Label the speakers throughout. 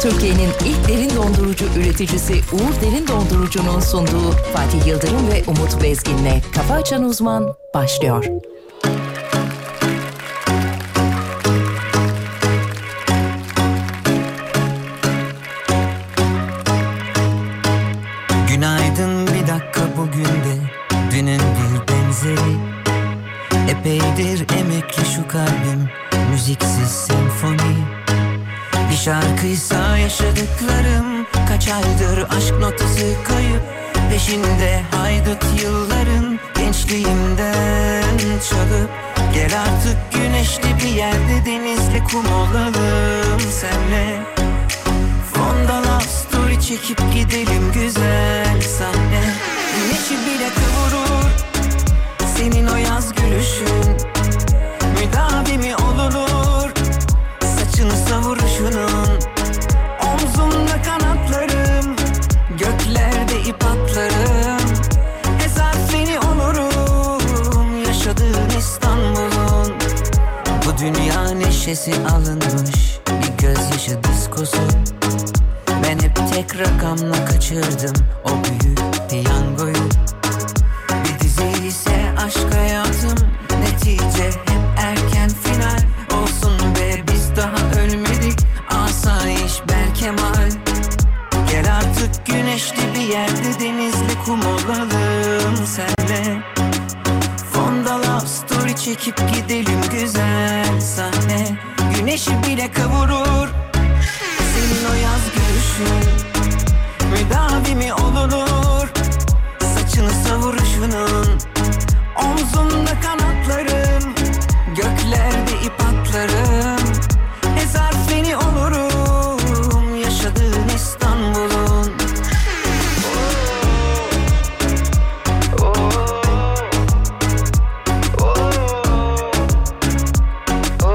Speaker 1: Türkiye'nin ilk derin dondurucu üreticisi Uğur Derin Dondurucu'nun sunduğu Fatih Yıldırım ve Umut Bezgin'le Kafa Açan Uzman başlıyor.
Speaker 2: Günaydın bir dakika bugün de dünün bir benzeri Epeydir emekli şu kalbim müziksiz senfoni Bir şarkıysa yaşadıklarım kaç aydır aşk notası kayıp Peşinde haydut yılların gençliğimden çalıp Gel artık güneşli bir yerde denizli kum olalım senle Fonda love story çekip gidelim güzel sahne Güneşi bile kıvırır senin o yaz gülüşün Müdavi mi olunur saçını savuruşunun Omzumda kanatlarım göklerde ip atlarım Hezarfeni olurum yaşadığın İstanbul'un Bu dünya neşesi alınmış bir gözyaşı diskosu ben hep tek rakamla kaçırdım o büyük piyangoyu Bir dizi ise aşk hayatım netice hep erken final Olsun be biz daha ölmedik asayiş berkemal Gel artık güneşli bir yerde denizli kum olalım senle Fonda love story çekip gidelim güzel sahne Güneşi bile kavurur senin o yaz gülüşün Müdavi mi olunur Saçını savuruşunun Omzumda kanatlarım Göklerde ip atlarım Ezar seni olurum Yaşadığın İstanbul'un Oo. Oo. Oo. Oo.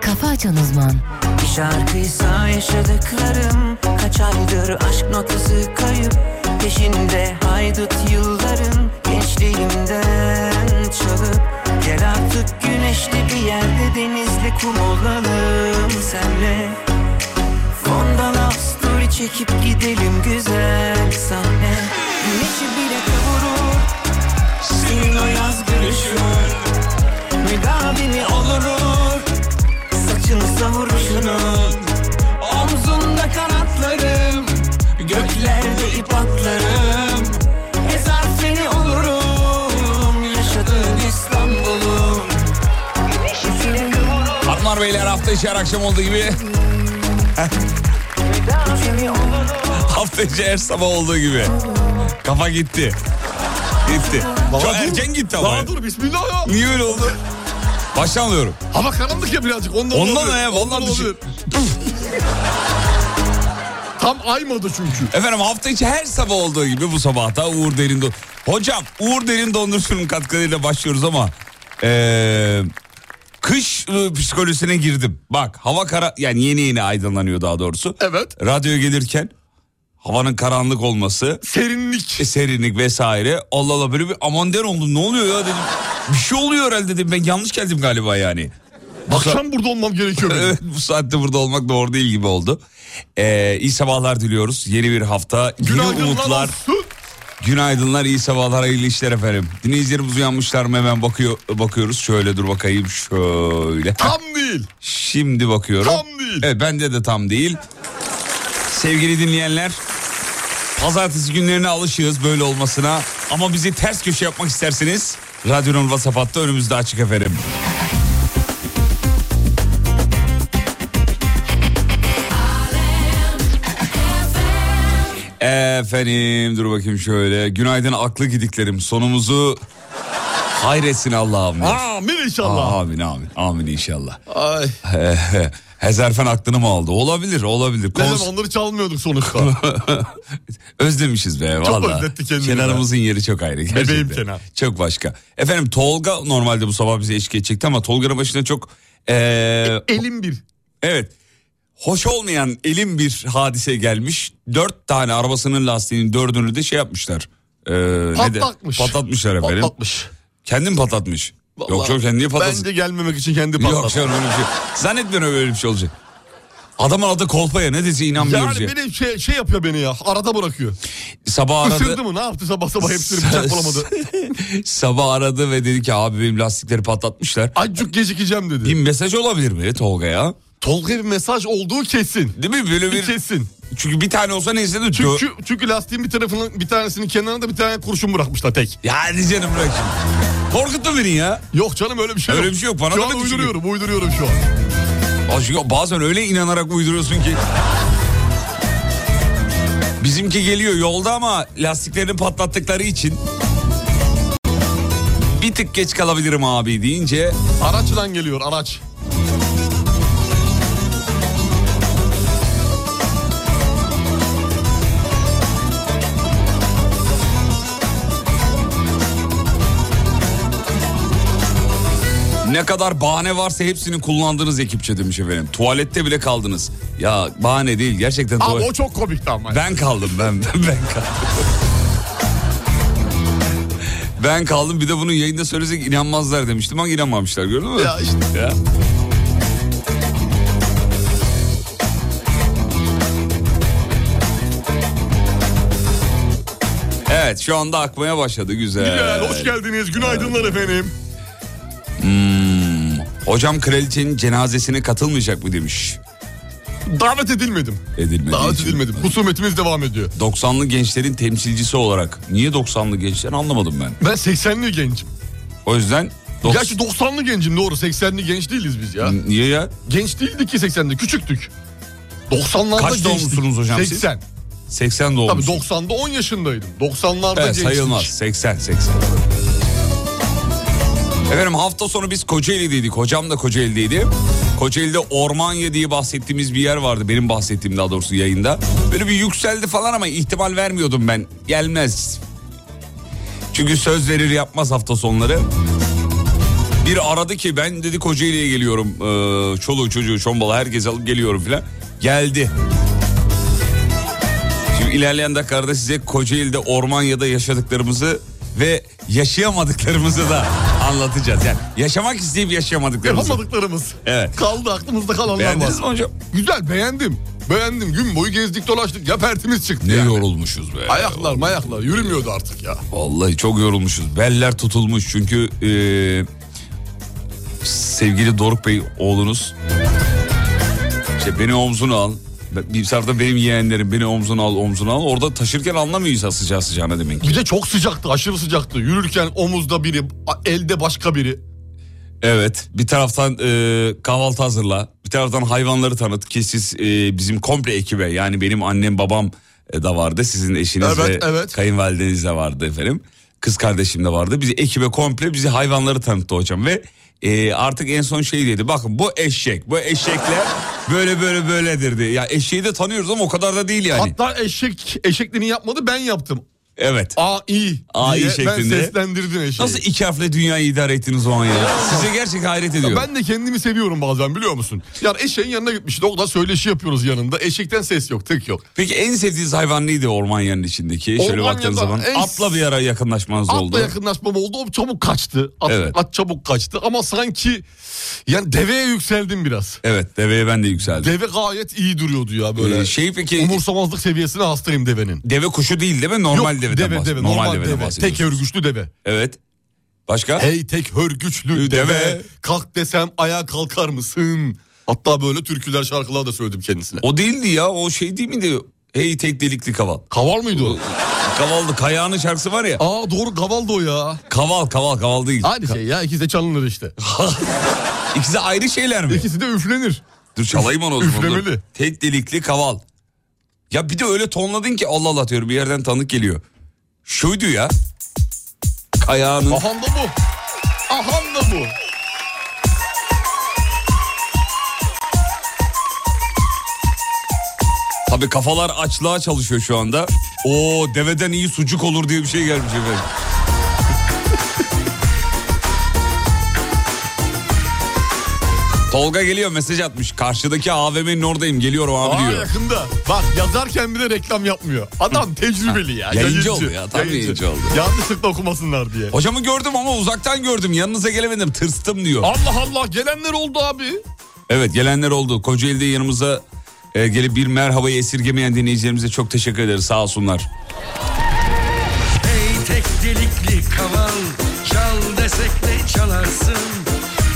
Speaker 1: Kafa Açan Uzman
Speaker 2: Bir şarkıysa yaşadıklarım Kaç aydır aşk notası kayıp Peşinde haydut yılların Gençliğimden çalıp Gel artık güneşli bir yerde Denizli kum olalım senle Fonda love story çekip gidelim güzel sahne Güneşi bile kavurur Senin o yaz gülüşün Müdavi mi olurur Saçını savuruşunun Omzunda kanatlarım Göklerde ip atlarım Ezar seni olurum Yaşadığın İstanbul'um Güneşi seni kıvırır
Speaker 3: Hanımlar beyler hafta içi her akşam olduğu gibi
Speaker 2: Seni olurum
Speaker 3: hafta içi her sabah olduğu gibi. Kafa gitti. Gitti.
Speaker 4: Daha
Speaker 3: Çok
Speaker 4: dur.
Speaker 3: erken gitti ama.
Speaker 4: Daha er- dur bismillah ya.
Speaker 3: Niye öyle oldu? Baştan alıyorum.
Speaker 4: Hava karanlık ya birazcık. Ondan,
Speaker 3: Ondan
Speaker 4: olabilir.
Speaker 3: da ya, vallahi düşün.
Speaker 4: olabilir. Tam ay modu çünkü.
Speaker 3: Efendim hafta içi her sabah olduğu gibi bu sabah da Uğur Derin Don... Hocam Uğur Derin Dondurucu'nun katkılarıyla başlıyoruz ama... eee, kış e, psikolojisine girdim. Bak hava kara... Yani yeni yeni aydınlanıyor daha doğrusu.
Speaker 4: Evet.
Speaker 3: Radyoya gelirken havanın karanlık olması...
Speaker 4: Serinlik.
Speaker 3: E, serinlik vesaire. Allah Allah böyle bir aman der oldum ne oluyor ya dedim. Bir şey oluyor herhalde dedim ben yanlış geldim galiba yani.
Speaker 4: Akşam burada olmam gerekiyor benim.
Speaker 3: Evet bu saatte burada olmak doğru değil gibi oldu. Ee, iyi sabahlar diliyoruz. Yeni bir hafta, yeni
Speaker 4: Günaydınlar
Speaker 3: umutlar.
Speaker 4: olsun.
Speaker 3: Günaydınlar, iyi sabahlar, hayırlı işler efendim. Dinleyicilerimiz uyanmışlar mı hemen bakıyor, bakıyoruz. Şöyle dur bakayım şöyle.
Speaker 4: Tam değil.
Speaker 3: Şimdi bakıyorum.
Speaker 4: Tam değil.
Speaker 3: Evet bende de tam değil. Sevgili dinleyenler pazartesi günlerine alışığız böyle olmasına. Ama bizi ters köşe yapmak isterseniz radyonun WhatsApp hattı önümüzde açık efendim. Efendim dur bakayım şöyle. Günaydın aklı gidiklerim. Sonumuzu hayretsin Allah'ım. diyor.
Speaker 4: Amin inşallah.
Speaker 3: Amin amin. Amin inşallah. Eh,
Speaker 4: Ay.
Speaker 3: Hezerfen aklını mı aldı? Olabilir olabilir.
Speaker 4: Neden
Speaker 3: Kons-
Speaker 4: onları çalmıyorduk sonuçta.
Speaker 3: Özlemişiz be valla.
Speaker 4: özletti kendini
Speaker 3: Kenarımızın yeri çok ayrı. Gerçekten.
Speaker 4: kenar.
Speaker 3: Çok başka. Efendim Tolga normalde bu sabah bize eşlik edecekti ama Tolga'nın başına çok... eee,
Speaker 4: E, Elim bir.
Speaker 3: evet. Hoş olmayan elin bir hadise gelmiş. Dört tane arabasının lastiğinin dördünü de şey yapmışlar. Eee, ne de-
Speaker 4: Patlatmış.
Speaker 3: patlatmışlar efendim.
Speaker 4: Patlatmış.
Speaker 3: Kendin patlatmış.
Speaker 4: Vallahi
Speaker 3: yok yok sen niye patlatsın?
Speaker 4: Bence gelmemek için kendi
Speaker 3: Yok
Speaker 4: patlattı.
Speaker 3: canım öyle bir şey. Zannetmiyorum öyle bir şey olacak. Adamın adı Kolpaya ne dese inanmıyoruz
Speaker 4: Yani
Speaker 3: ya.
Speaker 4: beni şey, şey yapıyor beni ya. Arada bırakıyor.
Speaker 3: Sabah aradı.
Speaker 4: Isırdı mı? Ne yaptı sabah sabah hepsini bıçak bulamadı.
Speaker 3: Sabah aradı ve dedi ki abi benim lastikleri patlatmışlar.
Speaker 4: Acık gecikeceğim dedi.
Speaker 3: Bir mesaj olabilir mi Tolga'ya?
Speaker 4: Tolga bir mesaj olduğu kesin.
Speaker 3: Değil mi böyle
Speaker 4: Bir
Speaker 3: bir...
Speaker 4: kesin.
Speaker 3: Çünkü bir tane olsa neyse de...
Speaker 4: Çünkü, çünkü lastiğin bir tarafının bir tanesinin kenarında bir tane kurşun bırakmışlar tek.
Speaker 3: Yani canım bırak şimdi. Korkuttun beni ya.
Speaker 4: Yok canım öyle bir şey yok.
Speaker 3: Öyle bir şey yok, bana
Speaker 4: şu
Speaker 3: da
Speaker 4: an
Speaker 3: da düşünüyor.
Speaker 4: uyduruyorum uyduruyorum şu an.
Speaker 3: Aa, çünkü bazen öyle inanarak uyduruyorsun ki. Bizimki geliyor yolda ama lastiklerini patlattıkları için... Bir tık geç kalabilirim abi deyince...
Speaker 4: Araçla geliyor araç.
Speaker 3: Ne kadar bahane varsa hepsini kullandınız ekipçe demiş efendim. Tuvalette bile kaldınız. Ya bahane değil gerçekten
Speaker 4: Abi
Speaker 3: tuvalet.
Speaker 4: o çok komikti ama.
Speaker 3: Ben kaldım ben, ben ben kaldım. ben kaldım bir de bunu yayında söylesek inanmazlar demiştim ama inanmamışlar gördün mü?
Speaker 4: Ya işte.
Speaker 3: Ya. Evet şu anda akmaya başladı güzel.
Speaker 4: Güzel, hoş geldiniz. Günaydınlar efendim.
Speaker 3: Hmm. Hocam kraliçenin cenazesine katılmayacak mı demiş.
Speaker 4: Davet edilmedim.
Speaker 3: Edilmedi.
Speaker 4: Davet
Speaker 3: için.
Speaker 4: edilmedim. Husumetimiz devam ediyor.
Speaker 3: 90'lı gençlerin temsilcisi olarak. Niye 90'lı gençler anlamadım ben.
Speaker 4: Ben 80'li gencim.
Speaker 3: O yüzden... dok-
Speaker 4: Gerçi 90'lı gencim doğru. 80'li genç değiliz biz ya.
Speaker 3: Niye ya?
Speaker 4: Genç değildik ki 80'de küçüktük. 90'larda
Speaker 3: Kaç
Speaker 4: gençtik.
Speaker 3: doğumlusunuz hocam siz?
Speaker 4: 80.
Speaker 3: 80
Speaker 4: Tabii
Speaker 3: doğmuş.
Speaker 4: 90'da 10 yaşındaydım. 90'larda
Speaker 3: Evet
Speaker 4: gençtik.
Speaker 3: sayılmaz. 80 80. Efendim hafta sonu biz Kocaeli'deydik. Hocam da Kocaeli'deydi. Kocaeli'de Ormanya diye bahsettiğimiz bir yer vardı. Benim bahsettiğim daha doğrusu yayında. Böyle bir yükseldi falan ama ihtimal vermiyordum ben. Gelmez. Çünkü söz verir yapmaz hafta sonları. Bir aradı ki ben dedi Kocaeli'ye geliyorum. Ee, çoluğu çocuğu şombalı herkesi alıp geliyorum filan. Geldi. Şimdi ilerleyen dakikalarda size Kocaeli'de Ormanya'da yaşadıklarımızı ve yaşayamadıklarımızı da anlatacağız. Yani yaşamak isteyip yaşayamadıklarımızı.
Speaker 4: Yapamadıklarımız.
Speaker 3: Evet.
Speaker 4: Kaldı aklımızda kalanlar
Speaker 3: Beğendiniz mi
Speaker 4: var.
Speaker 3: hocam?
Speaker 4: Güzel beğendim. Beğendim. Gün boyu gezdik dolaştık. Ya pertimiz çıktı.
Speaker 3: Ne
Speaker 4: yani.
Speaker 3: yorulmuşuz be.
Speaker 4: Ayaklar mayaklar yürümüyordu artık ya.
Speaker 3: Vallahi çok yorulmuşuz. Beller tutulmuş çünkü eee, sevgili Doruk Bey oğlunuz işte beni omzuna al. Bir tarafta benim yeğenlerim beni omzuna al omzuna al. Orada taşırken anlamıyor insan sıcağı sıcağına demek ki.
Speaker 4: Bir de çok sıcaktı aşırı sıcaktı. Yürürken omuzda biri a- elde başka biri.
Speaker 3: Evet bir taraftan eee, kahvaltı hazırla bir taraftan hayvanları tanıt ki siz eee, bizim komple ekibe yani benim annem babam e, da vardı sizin eşiniz
Speaker 4: Evet,
Speaker 3: ve
Speaker 4: evet.
Speaker 3: kayınvalideniz de vardı efendim. Kız kardeşim de vardı. Bizi ekibe komple bizi hayvanları tanıttı hocam ve eee, artık en son şey dedi. Bakın bu eşek. Bu eşekler böyle böyle böyledir diye. Ya eşeği de tanıyoruz ama o kadar da değil yani.
Speaker 4: Hatta eşek eşekliğini yapmadı ben yaptım.
Speaker 3: Evet.
Speaker 4: A-i,
Speaker 3: A.I.
Speaker 4: diye
Speaker 3: şeklinde.
Speaker 4: ben seslendirdim eşeği.
Speaker 3: Nasıl iki harfle dünyayı idare ettiniz o an ya? Size gerçek hayret ediyorum.
Speaker 4: Ben de kendimi seviyorum bazen biliyor musun? Yani eşeğin yanına gitmişiz. O kadar söyleşi yapıyoruz yanında. Eşekten ses yok, tık yok.
Speaker 3: Peki en sevdiğiniz hayvan neydi ormanyanın içindeki? Şöyle
Speaker 4: Ormanya'da
Speaker 3: baktığınız zaman
Speaker 4: en-
Speaker 3: atla bir ara yakınlaşmanız
Speaker 4: Atla
Speaker 3: oldu.
Speaker 4: yakınlaşmam oldu. O çabuk kaçtı. At,
Speaker 3: Evet.
Speaker 4: at çabuk kaçtı. Ama sanki yani deveye yükseldim biraz.
Speaker 3: Evet deveye ben de yükseldim.
Speaker 4: Deve gayet iyi duruyordu ya böyle.
Speaker 3: Ee, şey peki
Speaker 4: Umursamazlık seviyesine hastayım devenin.
Speaker 3: deve kuşu değil değil mi? Normal
Speaker 4: Yok,
Speaker 3: deveden
Speaker 4: deve,
Speaker 3: bahsediyoruz.
Speaker 4: deve,
Speaker 3: normal,
Speaker 4: normal,
Speaker 3: deveden
Speaker 4: deve. Tek
Speaker 3: bahsediyoruz.
Speaker 4: örgüçlü deve.
Speaker 3: Evet. Başka?
Speaker 4: Hey tek hörgüçlü
Speaker 3: Deve.
Speaker 4: deve. Kalk desem ayağa kalkar mısın? Hatta böyle türküler şarkılar da söyledim kendisine.
Speaker 3: O değildi ya o şey değil miydi? Hey tek delikli kaval.
Speaker 4: Kaval mıydı o?
Speaker 3: Kavaldı kayağının şarkısı var ya.
Speaker 4: Aa doğru kaval da o ya.
Speaker 3: Kaval kaval kaval değil.
Speaker 4: Aynı şey ya ikisi de çalınır işte.
Speaker 3: İkisi ayrı şeyler mi?
Speaker 4: İkisi de üflenir.
Speaker 3: Dur çalayım onu o zaman. dur.
Speaker 4: Üflemeli.
Speaker 3: Tek delikli kaval. Ya bir de öyle tonladın ki Allah Allah diyorum bir yerden tanık geliyor. Şuydu ya. Kayağının
Speaker 4: Ahan da bu. Ahan da bu.
Speaker 3: Tabii kafalar açlığa çalışıyor şu anda. O deveden iyi sucuk olur diye bir şey gelmiş efendim. Tolga geliyor mesaj atmış. Karşıdaki AVM'nin oradayım geliyorum abi
Speaker 4: Aa
Speaker 3: diyor.
Speaker 4: yakında. Bak yazarken bile reklam yapmıyor. Adam tecrübeli ya.
Speaker 3: Yayıncı oldu ya, tam yayıncı oldu.
Speaker 4: Yanlışlıkla okumasınlar diye.
Speaker 3: Hocamı gördüm ama uzaktan gördüm. Yanınıza gelemedim tırstım diyor.
Speaker 4: Allah Allah gelenler oldu abi.
Speaker 3: Evet gelenler oldu. Kocaeli'de yanımıza e, gelip bir merhabayı esirgemeyen dinleyicilerimize çok teşekkür ederiz. Sağ olsunlar.
Speaker 5: Ey tek delikli kaval Çal desek ne çalarsın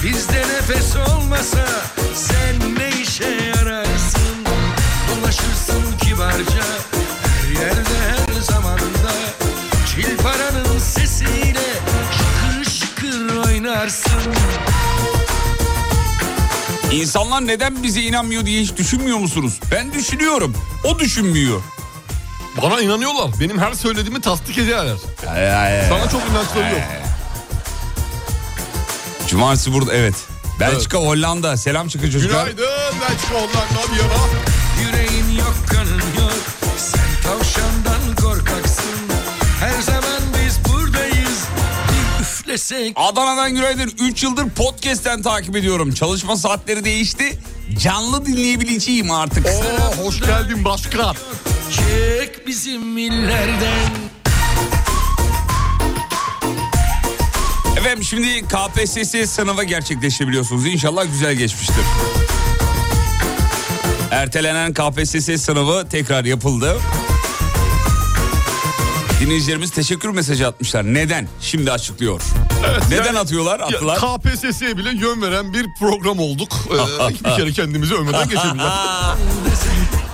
Speaker 5: Bizde nefes olmasa Sen ne işe yararsın Dolaşırsın kibarca Her yerde her zamanda Çil paranın sesiyle Şıkır şıkır oynarsın
Speaker 3: İnsanlar neden bize inanmıyor diye hiç düşünmüyor musunuz? Ben düşünüyorum. O düşünmüyor.
Speaker 4: Bana inanıyorlar. Benim her söylediğimi tasdik ediyorlar.
Speaker 3: Ay, ay, ay.
Speaker 4: Sana çok inançları yok.
Speaker 3: Cumartesi burada evet. Belçika, Hollanda. Selam çıkın çocuklar.
Speaker 4: Günaydın Belçika Hollanda Viyana.
Speaker 5: Yüreğin yok kanın yok Sen tavşandan korkaksın Her zaman biz buradayız Bir üflesek
Speaker 3: Adana'dan günaydın. 3 yıldır podcast'ten takip ediyorum. Çalışma saatleri değişti. Canlı dinleyebileceğim artık.
Speaker 4: Oo, hoş geldin başkan.
Speaker 5: Çek bizim illerden
Speaker 3: Efendim şimdi KPSS sınavı gerçekleşebiliyorsunuz. İnşallah güzel geçmiştir. Ertelenen KPSS sınavı tekrar yapıldı. Dinleyicilerimiz teşekkür mesajı atmışlar. Neden? Şimdi açıklıyor. Neden
Speaker 4: yani-
Speaker 3: atıyorlar?
Speaker 4: Ya,
Speaker 3: Attılar.
Speaker 4: KPSS'ye bile yön veren bir program olduk. Ee, bir kere kendimizi övmeden geçebiliriz.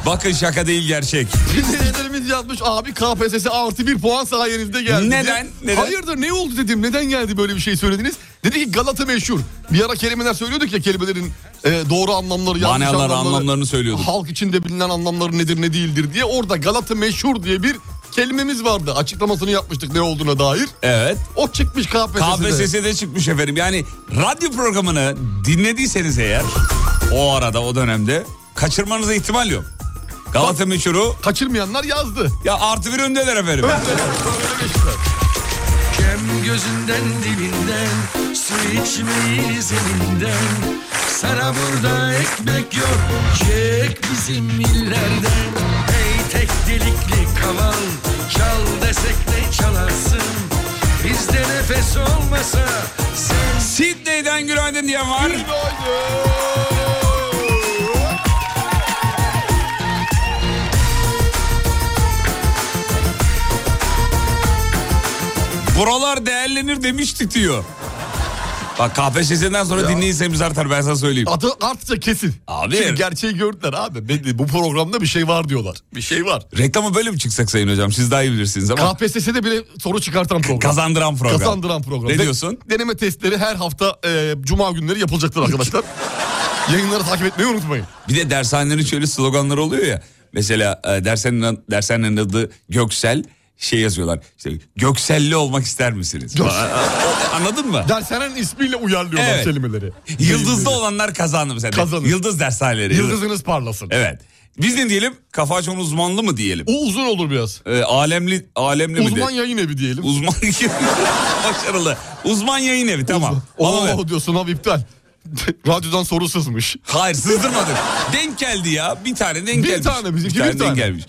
Speaker 3: Bakın şaka değil gerçek.
Speaker 4: Dinleyicilerimiz yazmış abi KPSS artı bir puan sayenizde geldi.
Speaker 3: Neden?
Speaker 4: diye.
Speaker 3: Neden?
Speaker 4: Hayırdır ne oldu dedim neden geldi böyle bir şey söylediniz. Dedi ki Galata meşhur. Bir ara kelimeler söylüyorduk ya kelimelerin e, doğru anlamları yanlış
Speaker 3: Manalar,
Speaker 4: anlamları.
Speaker 3: anlamlarını söylüyorduk.
Speaker 4: Halk içinde bilinen anlamları nedir ne değildir diye orada Galata meşhur diye bir kelimemiz vardı. Açıklamasını yapmıştık ne olduğuna dair.
Speaker 3: Evet.
Speaker 4: O çıkmış KPSS'de.
Speaker 3: KPSS'de çıkmış efendim. Yani radyo programını dinlediyseniz eğer o arada o dönemde kaçırmanıza ihtimal yok. Galata meşhuru
Speaker 4: Kaçırmayanlar yazdı.
Speaker 3: ya artı bir öndeler efendim.
Speaker 5: Kem gözünden dibinden Su içmeyi zeminden Sana burada ekmek yok Çek bizim illerden Ey tek delikli kaval Çal desek ne çalarsın Bizde nefes olmasa Sen
Speaker 3: Sydney'den günaydın diyen var. Buralar değerlenir demiştik diyor. Bak KPSS'den sonra dinleyicilerimiz artar ben sana söyleyeyim.
Speaker 4: Adı artsa kesin.
Speaker 3: Abi.
Speaker 4: Çünkü gerçeği gördüler abi. Belli, bu programda bir şey var diyorlar. Bir şey var.
Speaker 3: Reklama böyle mi çıksak sayın hocam siz daha iyi bilirsiniz ama
Speaker 4: KPSS'de bile soru çıkartan program.
Speaker 3: kazandıran program.
Speaker 4: Kazandıran program.
Speaker 3: Ne
Speaker 4: De-
Speaker 3: diyorsun?
Speaker 4: deneme testleri her hafta e, cuma günleri yapılacaktır arkadaşlar. Yayınları takip etmeyi unutmayın.
Speaker 3: Bir de dershanelerin şöyle sloganları oluyor ya. Mesela e, dershanenin, dershanenin adı Göksel şey yazıyorlar. İşte Gökselli olmak ister misiniz?
Speaker 4: Göksel.
Speaker 3: Anladın mı?
Speaker 4: Dershanenin ismiyle uyarlıyorlar
Speaker 3: Evet.
Speaker 4: kelimeleri.
Speaker 3: Yıldızlı olanlar kazandı mesela.
Speaker 4: Kazanır.
Speaker 3: Yıldız dershaneleri.
Speaker 4: Yıldızınız parlasın.
Speaker 3: Evet. Biz ne diyelim? Kafa açan uzmanlı mı diyelim?
Speaker 4: O uzun olur biraz.
Speaker 3: E, alemli alemli mi
Speaker 4: Uzman
Speaker 3: diyelim?
Speaker 4: yayın evi diyelim.
Speaker 3: Uzman Başarılı. Uzman yayın evi tamam. Tamam, evet.
Speaker 4: Oo diyor sınav iptal. Radyodan soru sızmış.
Speaker 3: Hayır sızdırmadık. denk geldi ya. Bir tane denk
Speaker 4: Bir
Speaker 3: gelmiş.
Speaker 4: tane, bizimki
Speaker 3: bir tane.
Speaker 4: bir
Speaker 3: denk
Speaker 4: tane.
Speaker 3: gelmiş.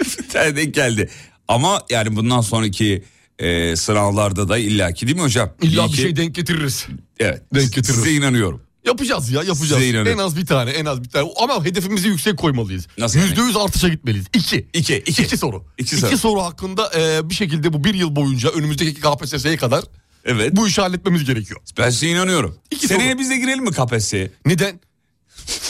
Speaker 3: bir tane denk geldi. Ama yani bundan sonraki e, sınavlarda da illaki değil mi hocam?
Speaker 4: İlla bir
Speaker 3: İllaki-
Speaker 4: şey denk getiririz.
Speaker 3: Evet.
Speaker 4: denk getiririz.
Speaker 3: Size inanıyorum.
Speaker 4: Yapacağız ya yapacağız.
Speaker 3: Size inanıyorum.
Speaker 4: En az bir tane en az bir tane. Ama hedefimizi yüksek koymalıyız.
Speaker 3: Nasıl yani?
Speaker 4: %100 artışa gitmeliyiz. İki.
Speaker 3: İki, iki.
Speaker 4: İki soru.
Speaker 3: İki soru.
Speaker 4: hakkında e, bir şekilde bu bir yıl boyunca önümüzdeki KPSS'ye kadar
Speaker 3: Evet.
Speaker 4: bu işi halletmemiz gerekiyor.
Speaker 3: Ben size inanıyorum.
Speaker 4: İki
Speaker 3: Seneye
Speaker 4: soru.
Speaker 3: biz de girelim mi KPSS'ye?
Speaker 4: Neden?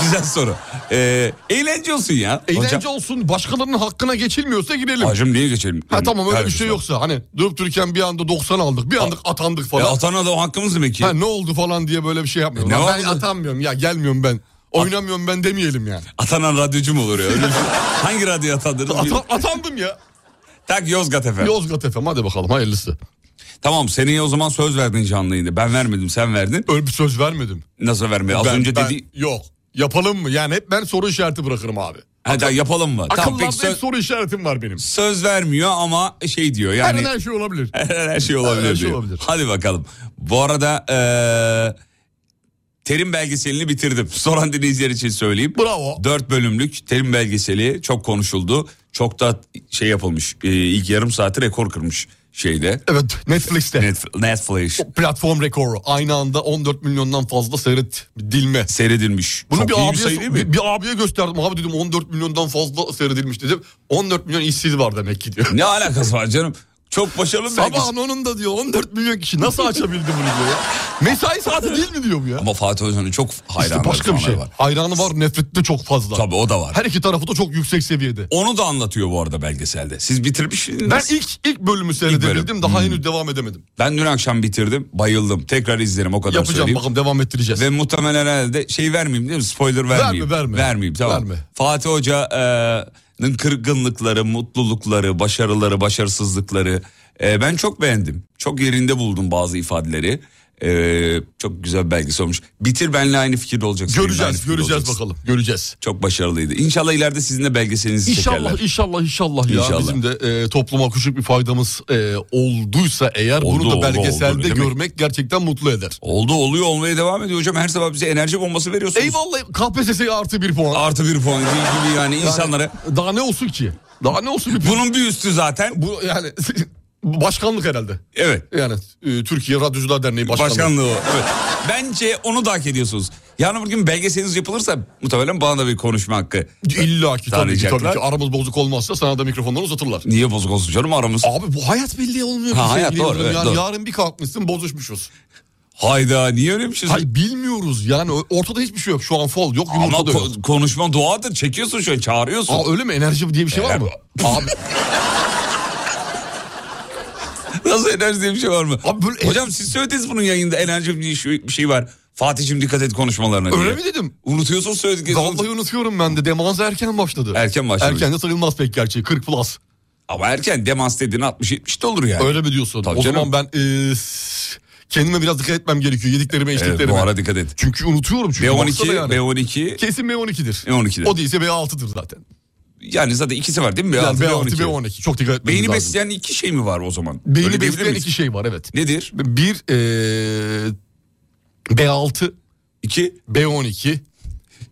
Speaker 3: Güzel soru. E, eğlence olsun ya.
Speaker 4: Eğlence
Speaker 3: hocam.
Speaker 4: olsun başkalarının hakkına geçilmiyorsa girelim.
Speaker 3: Hacım niye geçelim?
Speaker 4: Ha tamam öyle bir
Speaker 3: Kardeşim.
Speaker 4: şey yoksa hani durup dururken bir anda 90 aldık bir anda atandık
Speaker 3: E,
Speaker 4: falan.
Speaker 3: atana da o hakkımız demek ki.
Speaker 4: Ha ne oldu falan diye böyle bir şey yapmıyorum.
Speaker 3: E, ne
Speaker 4: Lan ben
Speaker 3: oldu?
Speaker 4: atanmıyorum ya gelmiyorum ben. Oynamıyorum ben demeyelim yani.
Speaker 3: Atanan radyocu mu olur ya? Öyle bir şey- Hangi radyo atandınız?
Speaker 4: Ata- atandım ya.
Speaker 3: Tak Yozgat efendim.
Speaker 4: Yozgat FM hadi bakalım hayırlısı.
Speaker 3: Tamam seneye o zaman söz verdin canlı yayında. Ben vermedim sen verdin.
Speaker 4: Öyle bir söz vermedim.
Speaker 3: Nasıl vermeye? Az
Speaker 4: Ben-
Speaker 3: önce
Speaker 4: ben-
Speaker 3: dedi.
Speaker 4: Yok yapalım mı? Yani hep ben soru işareti bırakırım abi.
Speaker 3: Hadi yapalım mı? Tamam
Speaker 4: Akıllarda
Speaker 3: peki
Speaker 4: hep
Speaker 3: söz,
Speaker 4: soru işaretim var benim.
Speaker 3: söz vermiyor ama şey diyor
Speaker 4: Her
Speaker 3: yani.
Speaker 4: an her şey olabilir.
Speaker 3: Her şey olabilir
Speaker 4: Her şey
Speaker 3: diyor.
Speaker 4: olabilir.
Speaker 3: Hadi bakalım. Bu arada eee, terim belgeselini bitirdim. Soran dinleyiciler için söyleyeyim.
Speaker 4: Bravo.
Speaker 3: Dört bölümlük terim belgeseli çok konuşuldu. Çok da şey yapılmış. Eee, ilk yarım saati rekor kırmış. şeyde.
Speaker 4: Evet Netflix'te.
Speaker 3: Net- Netflix
Speaker 4: Platform rekoru. Aynı anda 14 milyondan fazla seyredilme.
Speaker 3: seyredilmiş.
Speaker 4: Bunu
Speaker 3: Çok
Speaker 4: bir
Speaker 3: iyi
Speaker 4: abiye,
Speaker 3: sayı değil mi?
Speaker 4: bir, bir abiye gösterdim. Abi dedim 14 milyondan fazla seyredilmiş dedim. 14 milyon işsiz var demek ki diyor.
Speaker 3: Ne alakası var canım? Çok başarılı bir
Speaker 4: Sabahın onun da diyor 14 milyon kişi nasıl açabildi bunu diyor ya. Mesai saati değil mi diyor bu ya?
Speaker 3: Ama Fatih Özcan'ın çok hayranları
Speaker 4: işte başka bir
Speaker 3: fanları
Speaker 4: şey.
Speaker 3: var.
Speaker 4: Hayranı var nefret de çok fazla.
Speaker 3: Tabii o da var.
Speaker 4: Her iki tarafı da çok yüksek seviyede.
Speaker 3: Onu da anlatıyor bu arada belgeselde. Siz bitirmişsiniz.
Speaker 4: Ben ilk ilk bölümü seyredebildim
Speaker 3: bölüm. Hmm.
Speaker 4: daha henüz devam edemedim.
Speaker 3: Ben dün akşam bitirdim. Bayıldım. Tekrar izlerim o kadar
Speaker 4: Yapacağım
Speaker 3: söyleyeyim.
Speaker 4: bakalım devam ettireceğiz.
Speaker 3: Ve muhtemelen herhalde şey vermeyeyim değil mi? Spoiler vermeyeyim.
Speaker 4: verme.
Speaker 3: Vermeyeyim tamam.
Speaker 4: Verme.
Speaker 3: Fatih Hoca'nın kırgınlıkları, mutlulukları, başarıları, başarısızlıkları. e, ben çok beğendim. Çok yerinde buldum bazı ifadeleri. E, çok güzel bir belgesi olmuş. Bitir benle aynı fikirde olacaksın. benimle aynı
Speaker 4: göreceğiz
Speaker 3: fikirde
Speaker 4: göreceğiz
Speaker 3: olacaksın.
Speaker 4: bakalım göreceğiz.
Speaker 3: Çok başarılıydı. İnşallah ileride sizin de belgeselinizi çekerler.
Speaker 4: İnşallah inşallah inşallah ya
Speaker 3: İnşallah.
Speaker 4: bizim de e, topluma küçük bir faydamız e, olduysa eğer
Speaker 3: Oldu,
Speaker 4: bunu da
Speaker 3: oldu,
Speaker 4: belgeselde
Speaker 3: oldu, değil mi?
Speaker 4: görmek gerçekten mutlu eder.
Speaker 3: Oldu oluyor olmaya devam ediyor hocam. Her sabah bize enerji bombası veriyorsunuz.
Speaker 4: Eyvallah KPSS'ye artı bir puan.
Speaker 3: Artı bir puan değil gibi yani insanlara.
Speaker 4: Daha ne olsun ki? Daha ne olsun bir
Speaker 3: Bunun bir üstü zaten.
Speaker 4: Bu yani bu başkanlık herhalde.
Speaker 3: Evet.
Speaker 4: Yani e, Türkiye Radyocular Derneği Başkanlığı.
Speaker 3: Başkanlığı o. Evet. Bence onu da hak ediyorsunuz. Yarın bugün belgeseliniz yapılırsa muhtemelen bana da bir konuşma hakkı.
Speaker 4: İlla ki tabii ki, tabii
Speaker 3: Tanıyacaklar.
Speaker 4: ki. Aramız bozuk olmazsa sana da mikrofondan uzatırlar.
Speaker 3: Niye bozuk olsun canım aramız?
Speaker 4: Abi bu hayat belli olmuyor.
Speaker 3: Ha,
Speaker 4: ki
Speaker 3: hayat
Speaker 4: sevgili
Speaker 3: doğru,
Speaker 4: Yıldırım.
Speaker 3: evet,
Speaker 4: yani
Speaker 3: doğru.
Speaker 4: Yarın bir kalkmışsın bozuşmuşuz.
Speaker 3: Hayda niye öyle bir şey?
Speaker 4: Hayır bilmiyoruz yani o- ortada hiçbir şey yok. Şu an fol yok
Speaker 3: Ama
Speaker 4: yumurta da yok.
Speaker 3: ko- konuşma duadır. Çekiyorsun şu an çağırıyorsun.
Speaker 4: Aa, öyle mi enerji diye bir şey var mı? Abi,
Speaker 3: Nasıl enerji diye bir şey var mı?
Speaker 4: Abi böyle-
Speaker 3: Hocam siz söylediniz bunun yayında enerji diye şu- bir şey var. Fatih'cim dikkat et konuşmalarına diye.
Speaker 4: öyle mi dedim?
Speaker 3: Unutuyorsun söylediklerini.
Speaker 4: Vallahi unutuyorum ben de. Demans erken başladı.
Speaker 3: Erken başlamış.
Speaker 4: Erken de sayılmaz pek gerçi. 40 plus.
Speaker 3: Ama erken demans dediğin 60-70 de olur yani.
Speaker 4: Öyle mi diyorsun?
Speaker 3: Tabii
Speaker 4: o
Speaker 3: canım.
Speaker 4: zaman ben e, s- kendime biraz dikkat etmem gerekiyor. Yediklerime
Speaker 3: Evet,
Speaker 4: içtiklerime.
Speaker 3: bu ara dikkat et.
Speaker 4: Çünkü unutuyorum çünkü.
Speaker 3: B12,
Speaker 4: baksana yani.
Speaker 3: B12.
Speaker 4: Kesin B12'dir.
Speaker 3: B12'dir.
Speaker 4: O değilse B6'dır zaten.
Speaker 3: Yani zaten ikisi var değil mi? B6,
Speaker 4: Yani B6,
Speaker 3: B12.
Speaker 4: B12. Çok dikkat etmemiz
Speaker 3: Beyni
Speaker 4: lazım.
Speaker 3: besleyen iki şey mi var o zaman? Öyle
Speaker 4: Beyni
Speaker 3: diyebilir
Speaker 4: besleyen
Speaker 3: miyiz?
Speaker 4: iki şey var evet.
Speaker 3: Nedir?
Speaker 4: Bir e, B6,
Speaker 3: İki.
Speaker 4: B12.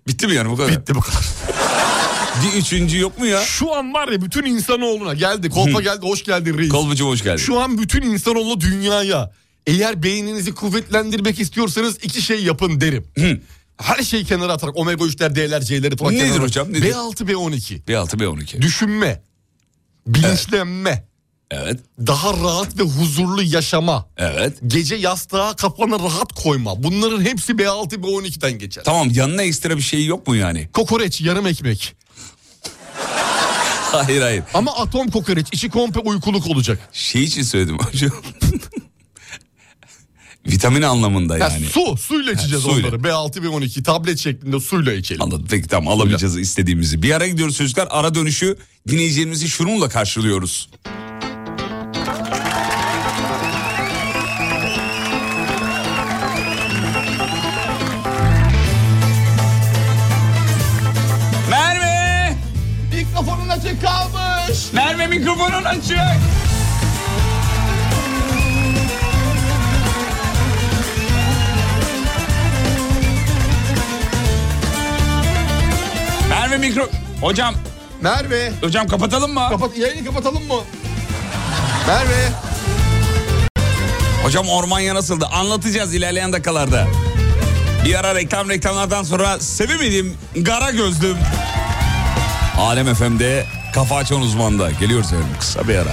Speaker 3: Bitti mi yani bu kadar?
Speaker 4: Bitti bu kadar.
Speaker 3: Bir üçüncü yok mu ya?
Speaker 4: Şu an var ya bütün insanoğluna geldi. Kolpa geldi hoş geldin reis.
Speaker 3: Kolbucu hoş geldin.
Speaker 4: Şu an bütün insanoğlu dünyaya eğer beyninizi kuvvetlendirmek istiyorsanız iki şey yapın derim. Her şeyi kenara atarak omega 3'ler, D'ler, C'leri falan
Speaker 3: Nedir
Speaker 4: kenara atarak.
Speaker 3: hocam, nedir?
Speaker 4: B6, B12.
Speaker 3: B6, B12.
Speaker 4: Düşünme, bilinçlenme,
Speaker 3: Evet,
Speaker 4: daha rahat ve huzurlu yaşama,
Speaker 3: evet.
Speaker 4: gece yastığa kafana rahat koyma. Bunların hepsi B6, B12'den geçer.
Speaker 3: Tamam yanına ekstra bir şey yok mu yani?
Speaker 4: Kokoreç, yarım ekmek.
Speaker 3: Hayır hayır.
Speaker 4: Ama atom kokoreç, içi komple uykuluk olacak.
Speaker 3: Şey için söyledim hocam. Vitamin anlamında
Speaker 4: Ya
Speaker 3: yani.
Speaker 4: su, suyla içeceğiz
Speaker 3: suyla.
Speaker 4: onları. B6, B12 tablet şeklinde suyla içelim.
Speaker 3: Anladım. Peki tamam alabileceğiz istediğimizi. Bir ara gidiyoruz çocuklar. Ara dönüşü dinleyicilerimizi şununla karşılıyoruz. Merve!
Speaker 4: Mikrofonun açık kalmış.
Speaker 3: Merve mikrofonun açık! Merve mikro... Hocam,
Speaker 4: Merve.
Speaker 3: hocam kapatalım mı?
Speaker 4: Kapat, yayını kapatalım mı? Merve.
Speaker 3: Hocam Ormanya nasıldı? Anlatacağız ilerleyen dakikalarda. Bir ara reklam reklamlardan sonra sevemedim gara gözlüm. Alem FM'de kafa açan uzmanda. Geliyoruz efendim kısa bir ara.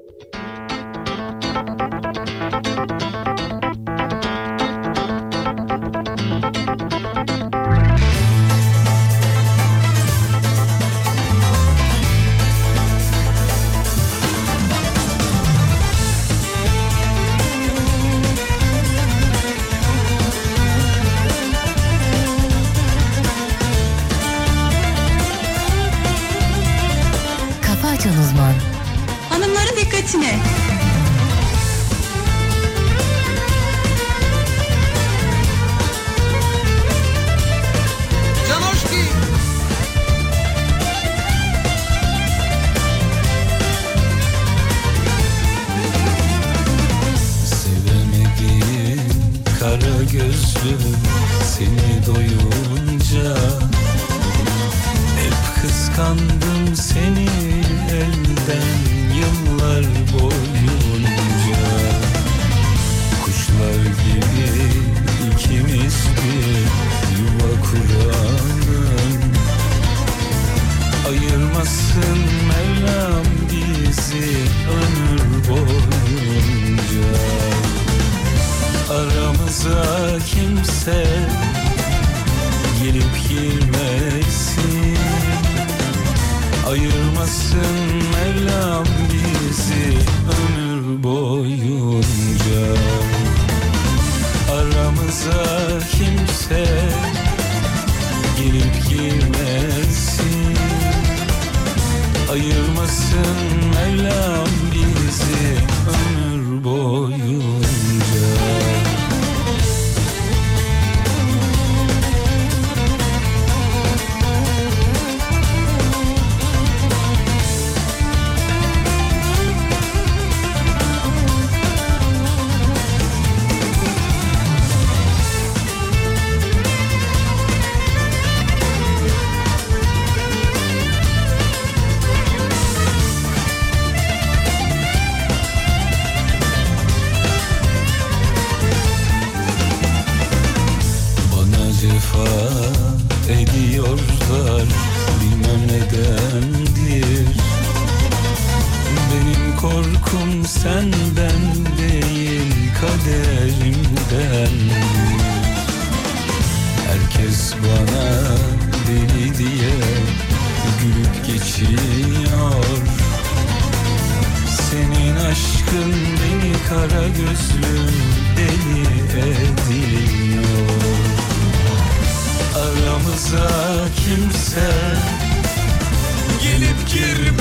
Speaker 1: Kafa Açan Uzman
Speaker 6: Hanımların dikkatine.
Speaker 7: Canoşki seni elden yıllar boyunca Kuşlar gibi ikimiz bir yuva kuralım Ayırmasın Mevlam bizi ömür boyunca Aramıza kimse gelip girmesin Ayırmasın Mevlam bizi ömür boyunca Aramıza kimse gelip girmesin Ayırmasın Mevlam bizi ömür boyunca Bana cefa ediyorlar bilmem nedendir Benim korkum senden değil kaderimden Herkes bana deli diye gülüp geçiyor senin aşkın beni kara gözlüm deli ediyor Aramıza kimse gelip girmesin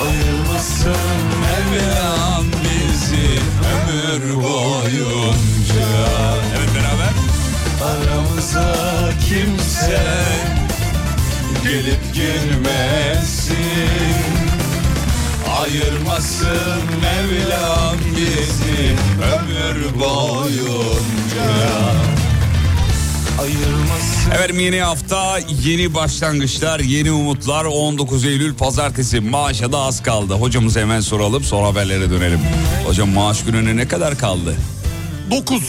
Speaker 7: Ayırmasın Mevlam bizi ömür boyunca
Speaker 3: Evet beraber.
Speaker 7: Aramıza kimse gelip girmesin Ayırmasın Mevlam bizi ömür boyunca Ayırmasın
Speaker 3: Efendim yeni hafta yeni başlangıçlar, yeni umutlar. 19 Eylül pazartesi maaşa da az kaldı. Hocamıza hemen soralım sonra haberlere dönelim. Hocam maaş gününe ne kadar kaldı?
Speaker 4: 9.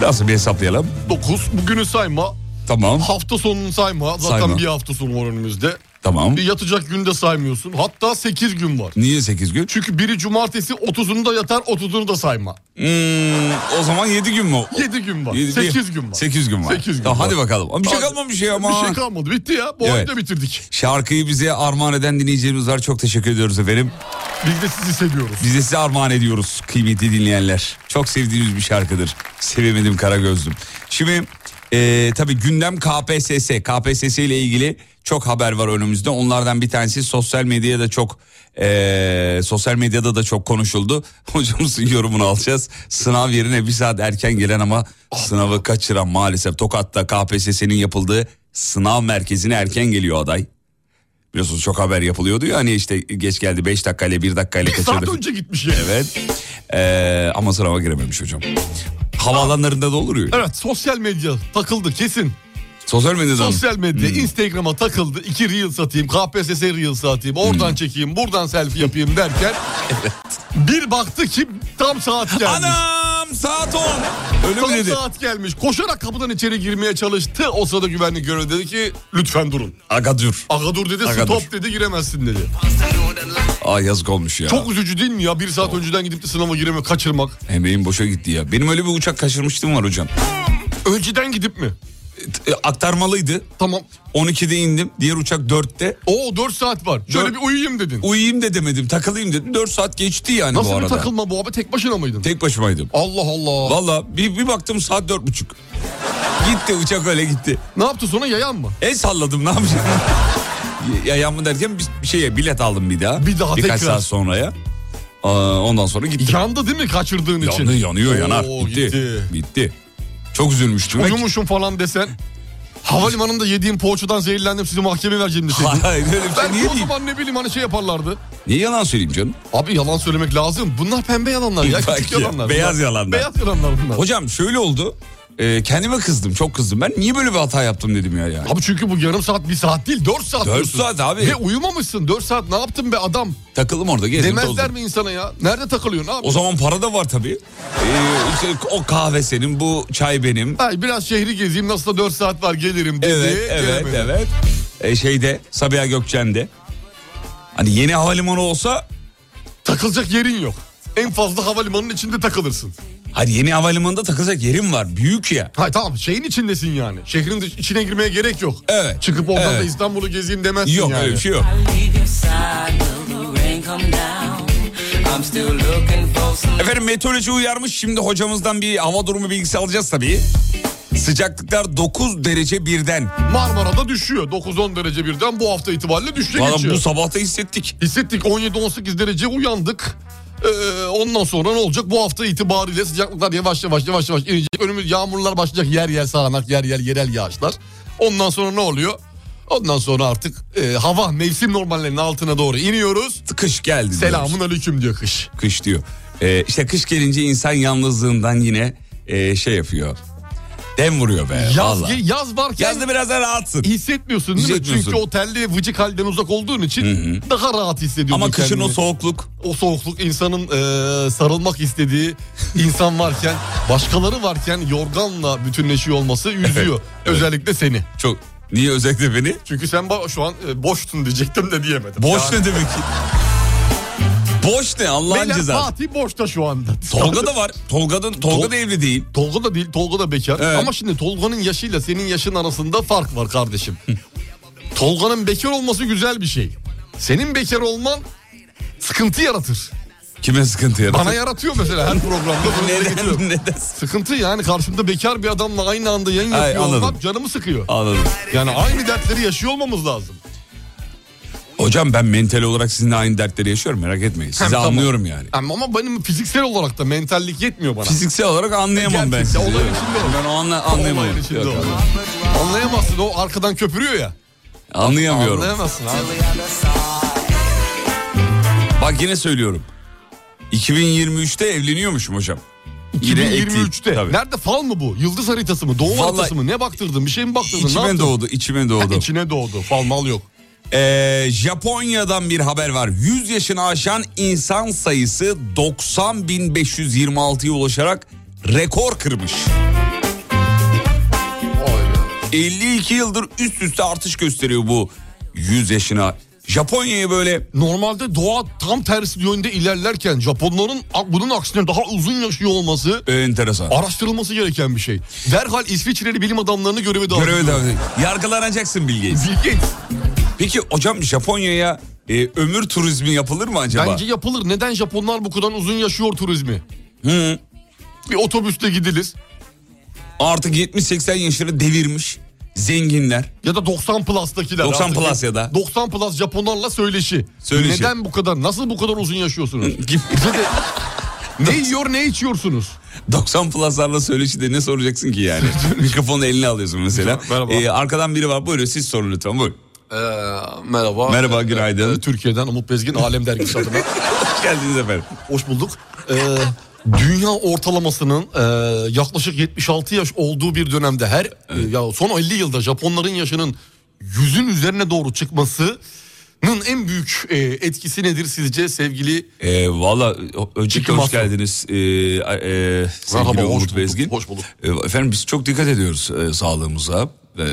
Speaker 3: Nasıl bir hesaplayalım?
Speaker 4: 9. Bugünü sayma.
Speaker 3: Tamam,
Speaker 4: Hafta sonunu sayma. Zaten
Speaker 3: Sayma.
Speaker 4: bir hafta sonu var önümüzde.
Speaker 3: tamam.
Speaker 4: Bir yatacak günü de saymıyorsun. Hatta 8 gün var.
Speaker 3: Niye 8 gün?
Speaker 4: Çünkü biri cumartesi 30'unda yatar 30'unu da sayma.
Speaker 3: Hmm, o zaman 7 gün mü?
Speaker 4: 7 gün var.
Speaker 3: Yedi-
Speaker 4: 8 gün var.
Speaker 3: 8 gün var.
Speaker 4: Sekiz gün
Speaker 3: Tamam,
Speaker 4: var.
Speaker 3: Hadi bakalım. Ama Bir şey
Speaker 4: Hadi.
Speaker 3: kalmamış ya ama.
Speaker 4: Bir şey kalmadı. Bitti ya. Bu
Speaker 3: Evet.
Speaker 4: ayı da bitirdik.
Speaker 3: Şarkıyı bize armağan eden dinleyicilerimiz var. Çok teşekkür ediyoruz efendim.
Speaker 4: Biz de sizi seviyoruz.
Speaker 3: Biz de size armağan ediyoruz kıymetli dinleyenler. Çok sevdiğimiz bir şarkıdır. Sevemedim Karagözlüm. Şimdi e, tabii gündem KPSS. KPSS ile ilgili çok haber var önümüzde. Onlardan bir tanesi sosyal medyada çok e, sosyal medyada da çok konuşuldu. Hocamızın yorumunu alacağız. Sınav yerine bir saat erken gelen ama sınavı kaçıran maalesef Tokat'ta KPSS'nin yapıldığı sınav merkezine erken geliyor aday. Biliyorsunuz çok haber yapılıyordu ya hani işte geç geldi 5 dakikayla 1 dakikayla
Speaker 4: Bir
Speaker 3: kaçırdı.
Speaker 4: saat önce gitmiş yani.
Speaker 3: Evet. Ee, ama sınava girememiş hocam. Havaalanlarında da olur ya.
Speaker 4: Evet sosyal medya takıldı kesin.
Speaker 3: Sosyal medyadan. Hmm.
Speaker 4: Sosyal medya Instagram'a takıldı. İki Reels atayım, KPSS Reels atayım, oradan
Speaker 3: Hmm.
Speaker 4: çekeyim, buradan selfie yapayım derken. Bir baktı ki tam saat gelmiş.
Speaker 3: Anam saat 10. Öyle
Speaker 4: Tam
Speaker 3: mi dedi?
Speaker 4: saat gelmiş. Koşarak kapıdan içeri girmeye çalıştı. O sırada güvenlik görevi dedi ki lütfen durun.
Speaker 3: Aga dur.
Speaker 4: Aga dur dedi,
Speaker 3: Aga
Speaker 4: stop dedi, giremezsin dedi.
Speaker 3: Ay yazık olmuş ya.
Speaker 4: Çok üzücü değil mi ya? Bir saat önceden gidip de sınava gireme kaçırmak.
Speaker 3: Emeğim boşa gitti ya. Benim öyle bir uçak kaçırmıştım var hocam.
Speaker 4: Önceden gidip mi?
Speaker 3: E, Aktarmalıydı.
Speaker 4: Tamam.
Speaker 3: 12'de indim. Diğer uçak 4'te.
Speaker 4: O 4 saat var. Şöyle
Speaker 3: Dört-
Speaker 4: bir uyuyayım dedin.
Speaker 3: Uyuyayım da demedim. Takılayım dedim. 4 saat geçti yani bu
Speaker 4: Nasıl bir
Speaker 3: arada.
Speaker 4: takılma bu abi? Tek başına mıydın?
Speaker 3: Tek başımaydım.
Speaker 4: Allah Allah.
Speaker 3: Valla bir, bir baktım saat dört buçuk. Gitti uçak öyle gitti.
Speaker 4: Ne yaptı sonra yayan mı?
Speaker 3: El salladım ne yapacağım? ya yanma derken bir- bir şeye bilet aldım bir daha.
Speaker 4: Bir daha
Speaker 3: Birkaç
Speaker 4: tekrar.
Speaker 3: saat sonraya. Aa, ondan sonra gitti.
Speaker 4: Yandı değil mi kaçırdığın için?
Speaker 3: Yandı, yanıyor yanar.
Speaker 4: Oo,
Speaker 3: Bitti.
Speaker 4: gitti.
Speaker 3: Bitti. Çok üzülmüştüm. Ve-
Speaker 4: Uyumuşum falan desen. Havalimanında yediğim poğaçadan zehirlendim sizi mahkemeye vereceğim deseydin.
Speaker 3: Hayır öyle bir şey
Speaker 4: Belki
Speaker 3: niye
Speaker 4: o
Speaker 3: diyeyim?
Speaker 4: zaman ne bileyim hani şey yaparlardı.
Speaker 3: Niye yalan söyleyeyim canım?
Speaker 4: Abi yalan söylemek lazım. Bunlar pembe yalanlar ya.
Speaker 3: Bak
Speaker 4: Küçük
Speaker 3: ya,
Speaker 4: yalanlar.
Speaker 3: beyaz
Speaker 4: bunlar.
Speaker 3: yalanlar.
Speaker 4: Beyaz yalanlar bunlar.
Speaker 3: Hocam şöyle oldu. e, kendime kızdım çok kızdım. Ben niye böyle bir hata yaptım dedim ya yani.
Speaker 4: Abi çünkü bu yarım saat bir saat değil 4 saat.
Speaker 3: Dört
Speaker 4: diyorsun.
Speaker 3: saat abi.
Speaker 4: Ve uyumamışsın 4 saat ne yaptın be adam?
Speaker 3: Takıldım orada gezdim
Speaker 4: Demezler
Speaker 3: tozdum.
Speaker 4: mi insana ya? Nerede takılıyorsun abi?
Speaker 3: O zaman para da var tabii. Ee, işte o kahve senin, bu çay benim.
Speaker 4: Ay biraz şehri gezeyim nasıl da 4 saat var gelirim dedi.
Speaker 3: Evet, evet,
Speaker 4: gelemedi.
Speaker 3: evet. Ee, şeyde, Sabiha Gökçen'de. Hani yeni havalimanı olsa...
Speaker 4: Takılacak yerin yok. En fazla havalimanının içinde takılırsın.
Speaker 3: Hayır yeni havalimanında takılacak yerim var. Büyük ya.
Speaker 4: Hay tamam şeyin içindesin yani. Şehrin dış- içine girmeye gerek yok.
Speaker 3: Evet,
Speaker 4: Çıkıp oradan
Speaker 3: evet.
Speaker 4: da İstanbul'u gezeyim demezsin
Speaker 3: Yok
Speaker 4: yani.
Speaker 3: öyle bir şey yok. Efendim meteoroloji uyarmış. Şimdi hocamızdan bir hava durumu bilgisi alacağız tabii. Sıcaklıklar 9 derece birden.
Speaker 4: Marmara'da düşüyor. 9-10 derece birden bu hafta itibariyle düşüşe
Speaker 3: Valla
Speaker 4: geçiyor.
Speaker 3: bu sabahta hissettik.
Speaker 4: Hissettik 17-18 derece uyandık. Ee, ondan sonra ne olacak? Bu hafta itibariyle sıcaklıklar yavaş yavaş yavaş yavaş inecek. Önümüz yağmurlar başlayacak yer yer sağanak yer yer yerel yağışlar. Ondan sonra ne oluyor? Ondan sonra artık e, hava mevsim normallerinin altına doğru iniyoruz.
Speaker 3: Kış geldi. diyoruz.
Speaker 4: Selamun aleyküm diyor kış.
Speaker 3: kış diyor. Ee, işte kış gelince insan yalnızlığından yine e, şey yapıyor. Dem vuruyor be.
Speaker 4: Yaz,
Speaker 3: vallahi.
Speaker 4: yaz varken
Speaker 3: Yazda biraz da rahatsın.
Speaker 4: hissetmiyorsun değil mi?
Speaker 3: Hissetmiyorsun.
Speaker 4: Çünkü o telli vıcık halden uzak olduğun için daha rahat hissediyorsun
Speaker 3: Ama kışın
Speaker 4: kendini.
Speaker 3: o soğukluk.
Speaker 4: o soğukluk insanın e, sarılmak istediği insan varken başkaları varken yorganla bütünleşiyor olması üzüyor.
Speaker 3: evet.
Speaker 4: Özellikle seni.
Speaker 3: Çok niye özellikle beni?
Speaker 4: Çünkü sen ba- şu an e, boştun diyecektim de diyemedim.
Speaker 3: Boş
Speaker 4: Yani.
Speaker 3: ne demek ki? Boş ne Allah'ın
Speaker 4: Beyler,
Speaker 3: cezası.
Speaker 4: Fatih boşta şu anda.
Speaker 3: Tolga da var. Tolga'nın Tolga
Speaker 4: Tol-
Speaker 3: da evli değil.
Speaker 4: Tolga da değil, Tolga da bekar.
Speaker 3: Evet.
Speaker 4: Ama şimdi Tolga'nın yaşıyla senin yaşın arasında fark var kardeşim. Tolga'nın bekar olması güzel bir şey. Senin bekar olman sıkıntı yaratır.
Speaker 3: Kime sıkıntı yaratır?
Speaker 4: Bana yaratıyor mesela her programda. bunu dile getiriyorum.
Speaker 3: neden, neden?
Speaker 4: Sıkıntı yani karşımda bekar bir adamla aynı anda yayın
Speaker 3: Ay,
Speaker 4: yapıyor
Speaker 3: anladım.
Speaker 4: olmak canımı sıkıyor.
Speaker 3: Anladım.
Speaker 4: Yani aynı dertleri yaşıyor olmamız lazım.
Speaker 3: Hocam ben mental olarak sizinle aynı dertleri yaşıyorum merak etmeyin. Sizi
Speaker 4: Hem tamam.
Speaker 3: anlıyorum yani.
Speaker 4: Ama ama benim fiziksel olarak da mentallik yetmiyor bana.
Speaker 3: Fiziksel olarak anlayamam ben
Speaker 4: Gerçekten
Speaker 3: sizi.
Speaker 4: olayın içinde ol.
Speaker 3: Ben o anla,
Speaker 4: Olmayan
Speaker 3: anlayamam.
Speaker 4: içinde
Speaker 3: Yok,
Speaker 4: o. Anlayamazsın o arkadan köpürüyor ya.
Speaker 3: Anlayamıyorum.
Speaker 4: Anlayamazsın abi.
Speaker 3: Bak yine söylüyorum. 2023'te evleniyormuşum hocam. Yine ekleyeyim.
Speaker 4: 2023'te.
Speaker 3: Tabii.
Speaker 4: Nerede fal mı bu? Yıldız haritası mı? Doğum
Speaker 3: Vallahi-
Speaker 4: haritası mı? Ne baktırdın? Bir şey mi baktırdın? ne
Speaker 3: İçime
Speaker 4: yaptın?
Speaker 3: doğdu, içime doğdu.
Speaker 4: İçine doğdu. Fal mal yok.
Speaker 3: Ee, Japonya'dan bir haber var. 100 yaşını aşan insan sayısı 90.526'ya ulaşarak rekor kırmış. 52 yıldır üst üste artış gösteriyor bu 100 yaşına. Japonya'ya böyle
Speaker 4: Normalde doğa tam tersi yönde ilerlerken Japonların bunun aksine daha uzun yaşıyor olması
Speaker 3: e, enteresan.
Speaker 4: araştırılması gereken bir şey. Derhal İsviçreli bilim adamlarını göreve davet
Speaker 3: Göreve
Speaker 4: ediyorum.
Speaker 3: devam- Yargılanacaksın Bill Gates.
Speaker 4: Bill Gates.
Speaker 3: Peki hocam Japonya'ya e, ömür turizmi yapılır mı acaba?
Speaker 4: Bence yapılır. Neden Japonlar bu kadar uzun yaşıyor turizmi?
Speaker 3: Hı.
Speaker 4: Bir otobüsle gidilir
Speaker 3: Artık 70-80 yaşını devirmiş zenginler.
Speaker 4: ya da 90 plus'takiler.
Speaker 3: 90
Speaker 4: artık.
Speaker 3: plus ya da.
Speaker 4: 90 plus Japonlarla söyleşi.
Speaker 3: Söyleşi.
Speaker 4: Neden bu kadar? Nasıl bu kadar uzun yaşıyorsunuz?
Speaker 3: Gibi.
Speaker 4: ne yiyor ne içiyorsunuz?
Speaker 3: 90 pluslarla söyleşide ne soracaksın ki yani? Mikrofonu eline alıyorsun mesela.
Speaker 4: Merhaba.
Speaker 3: Ee, arkadan biri var. Buyurun siz sorun lütfen. Buyurun.
Speaker 4: Ee, merhaba.
Speaker 3: Merhaba, günaydın.
Speaker 4: Türkiye'den Umut Bezgin Alem Dergisi adına.
Speaker 3: Hoş geldiniz efendim.
Speaker 4: Hoş bulduk. Ee, dünya ortalamasının e, yaklaşık 76 yaş olduğu bir dönemde her e, ya son 50 yılda Japonların yaşının yüzün üzerine doğru çıkmasının en büyük e, etkisi nedir sizce sevgili
Speaker 3: Ee, Valla o- öncelikle hoş
Speaker 4: Masum.
Speaker 3: geldiniz. Ee, a- e, sevgili
Speaker 4: Merhaba, hoş
Speaker 3: Umut
Speaker 4: bulduk,
Speaker 3: Bezgin.
Speaker 4: hoş bulduk.
Speaker 3: Ee, efendim biz çok dikkat ediyoruz e, sağlığımıza. Ee,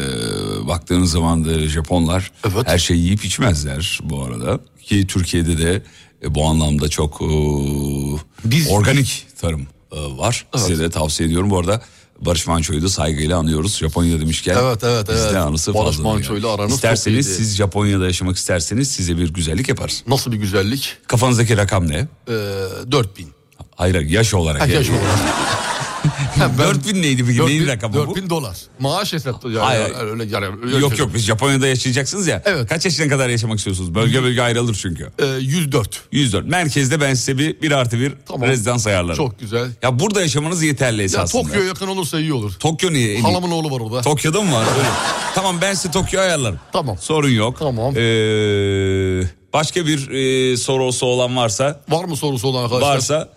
Speaker 3: baktığınız zaman da Japonlar
Speaker 4: Evet.
Speaker 3: her şeyi yiyip içmezler bu arada. Ki Türkiye'de de e, bu anlamda çok e,
Speaker 4: Biz-
Speaker 3: organik tarım e, var. Size de tavsiye ediyorum. Bu arada Barış Manço'yu da saygıyla anıyoruz. Japonya demişken
Speaker 4: Evet, evet,
Speaker 3: bizde
Speaker 4: evet.
Speaker 3: anısı
Speaker 4: Barış
Speaker 3: fazladır yani.
Speaker 4: Manço'yla aranız çok
Speaker 3: İsterseniz
Speaker 4: iyiydi.
Speaker 3: siz Japonya'da yaşamak isterseniz size bir güzellik yaparız.
Speaker 4: nasıl bir güzellik?
Speaker 3: Kafanızdaki rakam ne?
Speaker 4: E, 4000.
Speaker 3: Hayır hayır, yaş olarak.
Speaker 4: Ha,
Speaker 3: yani.
Speaker 4: yaş olarak. Ha, ben-
Speaker 3: 4000 neydi peki? Neyin
Speaker 4: 4000
Speaker 3: rakamı bu?
Speaker 4: 4000 dolar. Maaş hesapta. Yani,
Speaker 3: Hayır, hayır.
Speaker 4: öyle, yani, öyle
Speaker 3: Yok
Speaker 4: şey.
Speaker 3: yok biz Japonya'da yaşayacaksınız ya.
Speaker 4: Evet.
Speaker 3: Kaç yaşına kadar yaşamak istiyorsunuz? Bölge bölge ayrılır çünkü.
Speaker 4: E, 104.
Speaker 3: 104. Merkezde ben size bir, bir artı bir
Speaker 4: Tamam.
Speaker 3: rezidans ayarlarım.
Speaker 4: Çok güzel.
Speaker 3: Ya burada yaşamanız yeterli
Speaker 4: Ya
Speaker 3: esasında.
Speaker 4: Tokyo'ya yakın olursa iyi olur.
Speaker 3: Tokyo niye? en iyi?
Speaker 4: Halamın oğlu var orada.
Speaker 3: Tokyo'da mı var? Öyle. tamam ben size Tokyo ayarlarım.
Speaker 4: Tamam.
Speaker 3: Sorun yok.
Speaker 4: Tamam.
Speaker 3: Ee, başka bir e, sorusu olan varsa
Speaker 4: Var mı sorusu olan arkadaşlar?
Speaker 3: varsa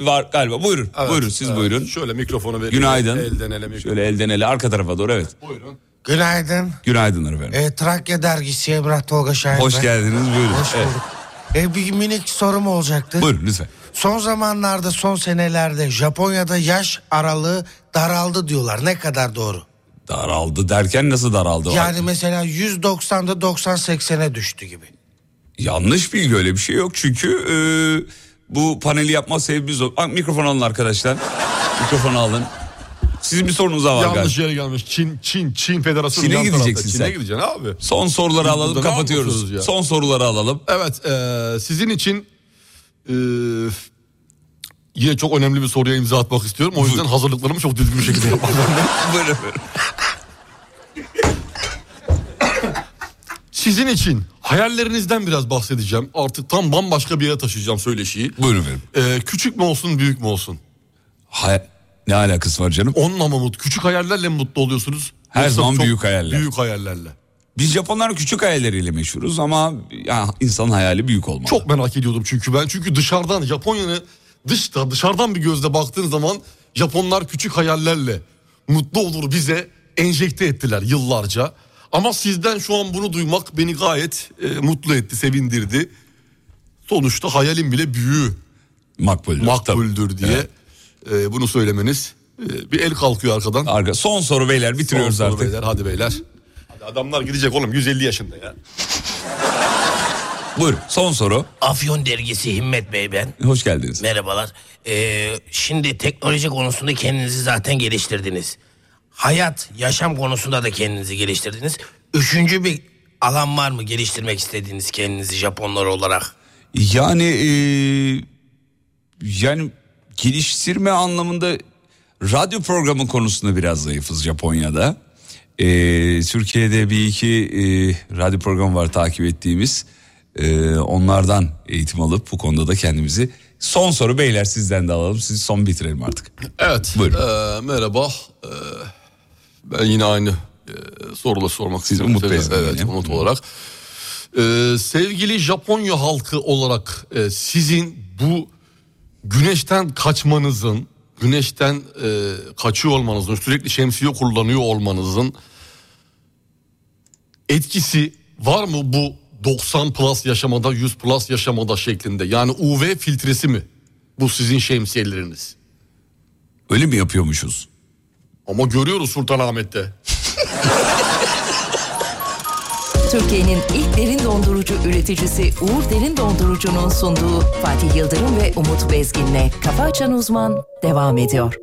Speaker 3: var galiba. Buyurun.
Speaker 8: Evet,
Speaker 3: buyurun siz
Speaker 8: evet.
Speaker 3: buyurun.
Speaker 8: Şöyle mikrofonu verin.
Speaker 3: Günaydın.
Speaker 8: Elden ele mikrofonu.
Speaker 3: Şöyle elden ele arka tarafa doğru evet.
Speaker 8: Buyurun.
Speaker 9: Günaydın.
Speaker 3: Günaydınlar efendim.
Speaker 9: E, Trakya dergisi Emrah Tolga Şahin.
Speaker 3: Hoş
Speaker 9: ben.
Speaker 3: geldiniz buyurun.
Speaker 9: Hoş
Speaker 3: Evet.
Speaker 9: bulduk. E, bir minik sorum olacaktı.
Speaker 3: Buyurun lütfen.
Speaker 9: Son zamanlarda, son senelerde Japonya'da yaş aralığı daraldı diyorlar. Ne kadar doğru?
Speaker 3: Daraldı derken nasıl daraldı?
Speaker 9: Yani mesela 190'da 90-80'e düştü gibi.
Speaker 3: Yanlış bilgi öyle bir şey yok çünkü e, bu paneli yapma sebebimiz o. Aa, Mikrofon alın arkadaşlar. Mikrofon alın. Sizin bir sorunuz daha var galiba.
Speaker 4: Yanlış yere gelmiş. Çin, Çin, Çin Federasyonu.
Speaker 3: Çin'e
Speaker 4: yan tarafta.
Speaker 3: gideceksin
Speaker 4: Çin'e
Speaker 3: sen.
Speaker 4: gideceksin abi.
Speaker 3: Son soruları alalım
Speaker 4: Burada ne
Speaker 3: kapatıyoruz.
Speaker 4: anlatıyoruz ya?
Speaker 3: Son soruları alalım.
Speaker 4: Evet e, sizin için e, yine çok önemli bir soruya imza atmak istiyorum. O yüzden hazırlıklarımı çok düzgün bir şekilde yapmam lazım.
Speaker 3: Buyurun buyurun.
Speaker 4: Sizin için hayallerinizden biraz bahsedeceğim. Artık tam bambaşka bir yere taşıyacağım söyleşiyi.
Speaker 3: Buyurun efendim.
Speaker 4: E, küçük mü olsun büyük mü olsun?
Speaker 3: Hay- ne alakası var canım?
Speaker 4: Onunla mı mutlu? Küçük hayallerle mi mutlu oluyorsunuz?
Speaker 3: Her
Speaker 4: Yoksa
Speaker 3: zaman
Speaker 4: çok
Speaker 3: büyük hayaller.
Speaker 4: Büyük hayallerle.
Speaker 3: Biz Japonlar küçük hayalleriyle meşhuruz ama ya, insan hayali büyük olmalı.
Speaker 4: Çok merak ediyordum çünkü ben. Çünkü dışarıdan Japonya'nı dışta dışarıdan bir gözle baktığın zaman Japonlar küçük hayallerle mutlu olur bize enjekte ettiler yıllarca. Ama sizden şu an bunu duymak beni gayet e, mutlu etti, sevindirdi. Sonuçta hayalim bile büyüğü
Speaker 3: makbuldür.
Speaker 4: makbuldür
Speaker 3: tabii.
Speaker 4: diye
Speaker 3: Evet.
Speaker 4: e, bunu söylemeniz. e, bir el kalkıyor arkadan.
Speaker 3: Arka, son soru beyler bitiriyoruz
Speaker 4: Son soru
Speaker 3: artık.
Speaker 4: Beyler, hadi beyler.
Speaker 8: Hadi adamlar gidecek oğlum 150 yaşında ya.
Speaker 3: Buyurun son soru.
Speaker 10: Afyon dergisi Himmet Bey ben.
Speaker 3: Hoş geldiniz.
Speaker 10: Merhabalar. Ee, şimdi teknoloji konusunda kendinizi zaten geliştirdiniz. Hayat, yaşam konusunda da kendinizi geliştirdiniz. Üçüncü bir alan var mı geliştirmek istediğiniz kendinizi Japonlar olarak?
Speaker 3: Yani e, yani geliştirme anlamında radyo programı konusunda biraz zayıfız Japonya'da. E, Türkiye'de bir iki e, radyo programı var takip ettiğimiz. E, onlardan eğitim alıp bu konuda da kendimizi son soru beyler sizden de alalım. Siz son bitirelim artık.
Speaker 4: Evet.
Speaker 3: Buyurun.
Speaker 4: e, merhaba. E, ben yine aynı e, sorula sormak istiyorum.
Speaker 3: Umut
Speaker 4: Tabii,
Speaker 3: Bey'siniz
Speaker 4: Evet
Speaker 3: yine.
Speaker 4: Umut olarak. E, sevgili Japonya halkı olarak e, sizin bu güneşten kaçmanızın, güneşten e, kaçıyor olmanızın, sürekli şemsiye kullanıyor olmanızın etkisi var mı bu 90 plus yaşamada, 100 plus yaşamada şeklinde? Yani UV filtresi mi bu sizin şemsiyeleriniz?
Speaker 3: Öyle mi yapıyormuşuz?
Speaker 4: Ama görüyoruz Sultanahmet'te.
Speaker 1: Türkiye'nin ilk derin dondurucu üreticisi Uğur Derin Dondurucu'nun sunduğu Fatih Yıldırım ve Umut Bezgin'le Kafa Açan Uzman devam ediyor.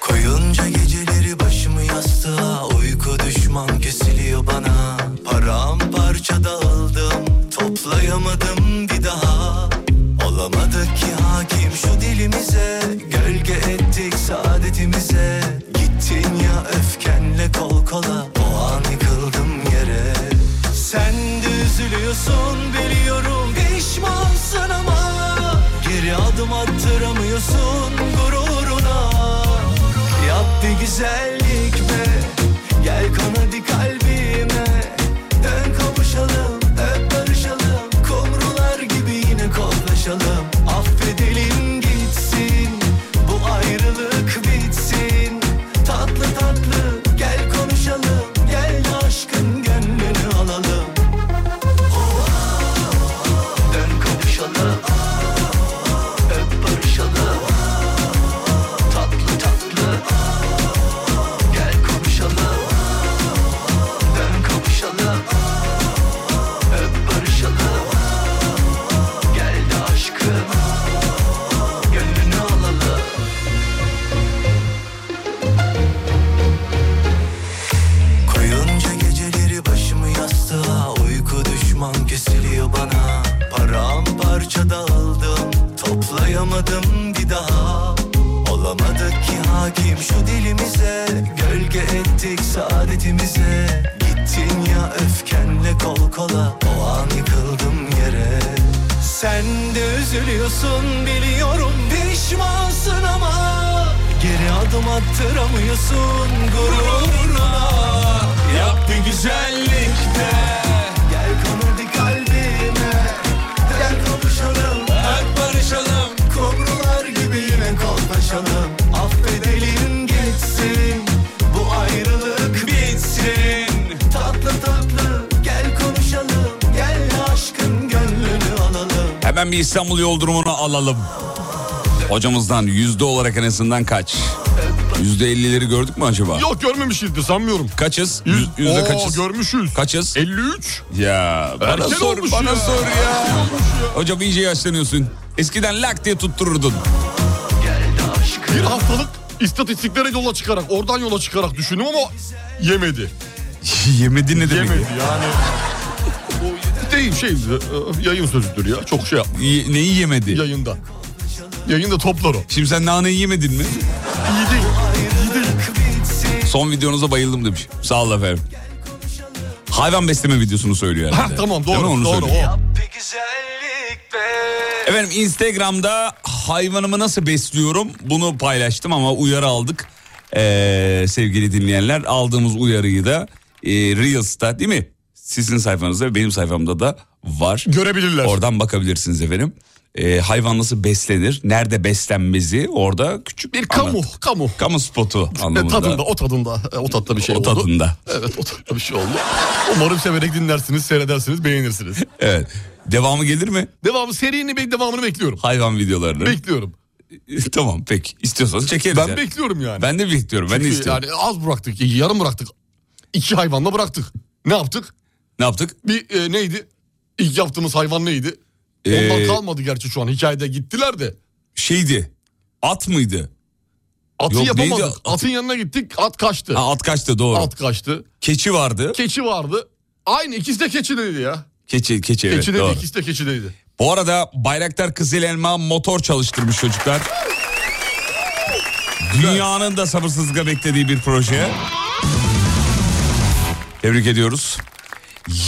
Speaker 11: Koyunca geceleri başımı yastığa Uyku düşman kesiliyor bana Paramparça dağıldım Toplayamadım bir daha Olamadık ki hakim şu dilimize Gölge ettik saadetimize Gittin ya öfkenle kol kola O an yıkıldım yere Sen de üzülüyorsun biliyorum Pişmansın ama Geri adım attıramıyorsun gururuna Yap bir güzellik be Gel kan hadi kalbime Dön kavuşalım öp barışalım Kumrular gibi yine kollaşalım Affedelim gitsin Bu ayrılık bitsin Tatlı tatlı gel konuşalım Gel de aşkın gönlünü alalım oh, Dön kavuşalım oh, Öp barışalım oh, Tatlı tatlı Gel kavuşalım Dön kavuşalım Öp barışalım Gel de aşkım Gönlünü alalım Koyunca geceleri başımı yastığa Uyku düşman kesiliyor bana Paramparça dağıldım Toplayamadım bir daha Olamadık ki hakim şu dilimize Gölge ettik saadetimize Gittin ya öfkenle kol kola O an yıkıldım yere Sen de üzülüyorsun biliyorum Pişmansın ama
Speaker 2: Geri adım attıramıyorsun gururuna Yap bir güzellik de Gel kan hadi kalbime Gel kavuşalım Hak barışalım Kumrular gibi yine kollaşalım Affedelim geçsin Bu ayrılık bitsin Tatlı tatlı gel konuşalım Gel aşkın gönlünü alalım
Speaker 3: Hemen bir İstanbul yol durumunu alalım. Hocamızdan yüzde olarak en azından kaç? Yüzde ellileri gördük mü acaba?
Speaker 4: Yok görmemişizdir sanmıyorum.
Speaker 3: Kaçız? Yüz- yüzde
Speaker 4: Oo,
Speaker 3: kaçız?
Speaker 4: görmüşüz.
Speaker 3: Kaçız?
Speaker 4: 53.
Speaker 3: Ya bana
Speaker 4: Erken
Speaker 3: sor,
Speaker 4: olmuş
Speaker 3: bana
Speaker 4: ya.
Speaker 3: sor ya.
Speaker 4: Erken olmuş ya.
Speaker 3: Hocam iyice yaşlanıyorsun. Eskiden lak diye tuttururdun.
Speaker 4: Bir haftalık istatistiklere yola çıkarak, oradan yola çıkarak düşündüm ama yemedi.
Speaker 3: Yemedi ne demek?
Speaker 4: Yemedi yani. Bu değil şey e, yayın sözüdür ya. Çok şey yapma.
Speaker 3: Ye- neyi yemedi?
Speaker 4: Yayında. Yayında toplar o.
Speaker 3: Şimdi sen naneyi yemedin mi?
Speaker 4: İyi değil.
Speaker 3: Son videonuza bayıldım demiş. Sağ ol efendim. Hayvan besleme videosunu söylüyor herhalde.
Speaker 4: Ha, tamam
Speaker 3: Değil mi?
Speaker 4: doğru.
Speaker 3: Onu
Speaker 4: Doğru
Speaker 3: söylüyor.
Speaker 4: o.
Speaker 2: Bir güzellik de
Speaker 3: Efendim Instagram'da hayvanımı nasıl besliyorum bunu paylaştım ama uyarı aldık. Ee, sevgili dinleyenler aldığımız uyarıyı da e, Reels'ta değil mi? Sizin sayfanızda benim sayfamda da var.
Speaker 4: Görebilirler.
Speaker 3: Oradan bakabilirsiniz efendim. Ee, hayvan nasıl beslenir, nerede beslenmezi orada küçük bir
Speaker 4: Kamu,
Speaker 3: anlat-
Speaker 4: kamu.
Speaker 3: Kamu spotu
Speaker 4: E,
Speaker 3: anlamında.
Speaker 4: tadında, o tadında. E, o tatlı bir şey
Speaker 3: O
Speaker 4: oldu.
Speaker 3: tadında.
Speaker 4: Evet o tatlı bir şey oldu. Umarım severek dinlersiniz, seyredersiniz, beğenirsiniz.
Speaker 3: Evet. Devamı gelir mi?
Speaker 4: Devamı serinin bek- devamını bekliyorum.
Speaker 3: Hayvan videolarını.
Speaker 4: Bekliyorum.
Speaker 3: tamam peki. İstiyorsanız çekeriz.
Speaker 4: Ben
Speaker 3: yani.
Speaker 4: bekliyorum yani.
Speaker 3: Ben de bekliyorum. Ben de
Speaker 4: Çünkü
Speaker 3: istiyorum.
Speaker 4: Yani az bıraktık, yarım bıraktık. İki hayvanla bıraktık. Ne yaptık?
Speaker 3: Ne yaptık?
Speaker 4: Bir e, neydi? İlk yaptığımız hayvan neydi? Ondan
Speaker 3: Ee,
Speaker 4: kalmadı gerçi şu an hikayede gittiler de.
Speaker 3: şeydi. At mıydı?
Speaker 4: Atı
Speaker 3: yok,
Speaker 4: yapamadık.
Speaker 3: neydi?
Speaker 4: Atın yanına gittik, at kaçtı.
Speaker 3: Ha, at kaçtı doğru.
Speaker 4: At kaçtı.
Speaker 3: Keçi vardı.
Speaker 4: Keçi vardı. Aynı ikisi de keçideydi ya.
Speaker 3: keçi keçi evet
Speaker 4: keçi dedi,
Speaker 3: doğru.
Speaker 4: ikisi de keçideydi.
Speaker 3: Bu arada Bayraktar Kızıl Elma motor çalıştırmış çocuklar. Dünyanın da sabırsızlıkla beklediği bir proje. Tebrik ediyoruz.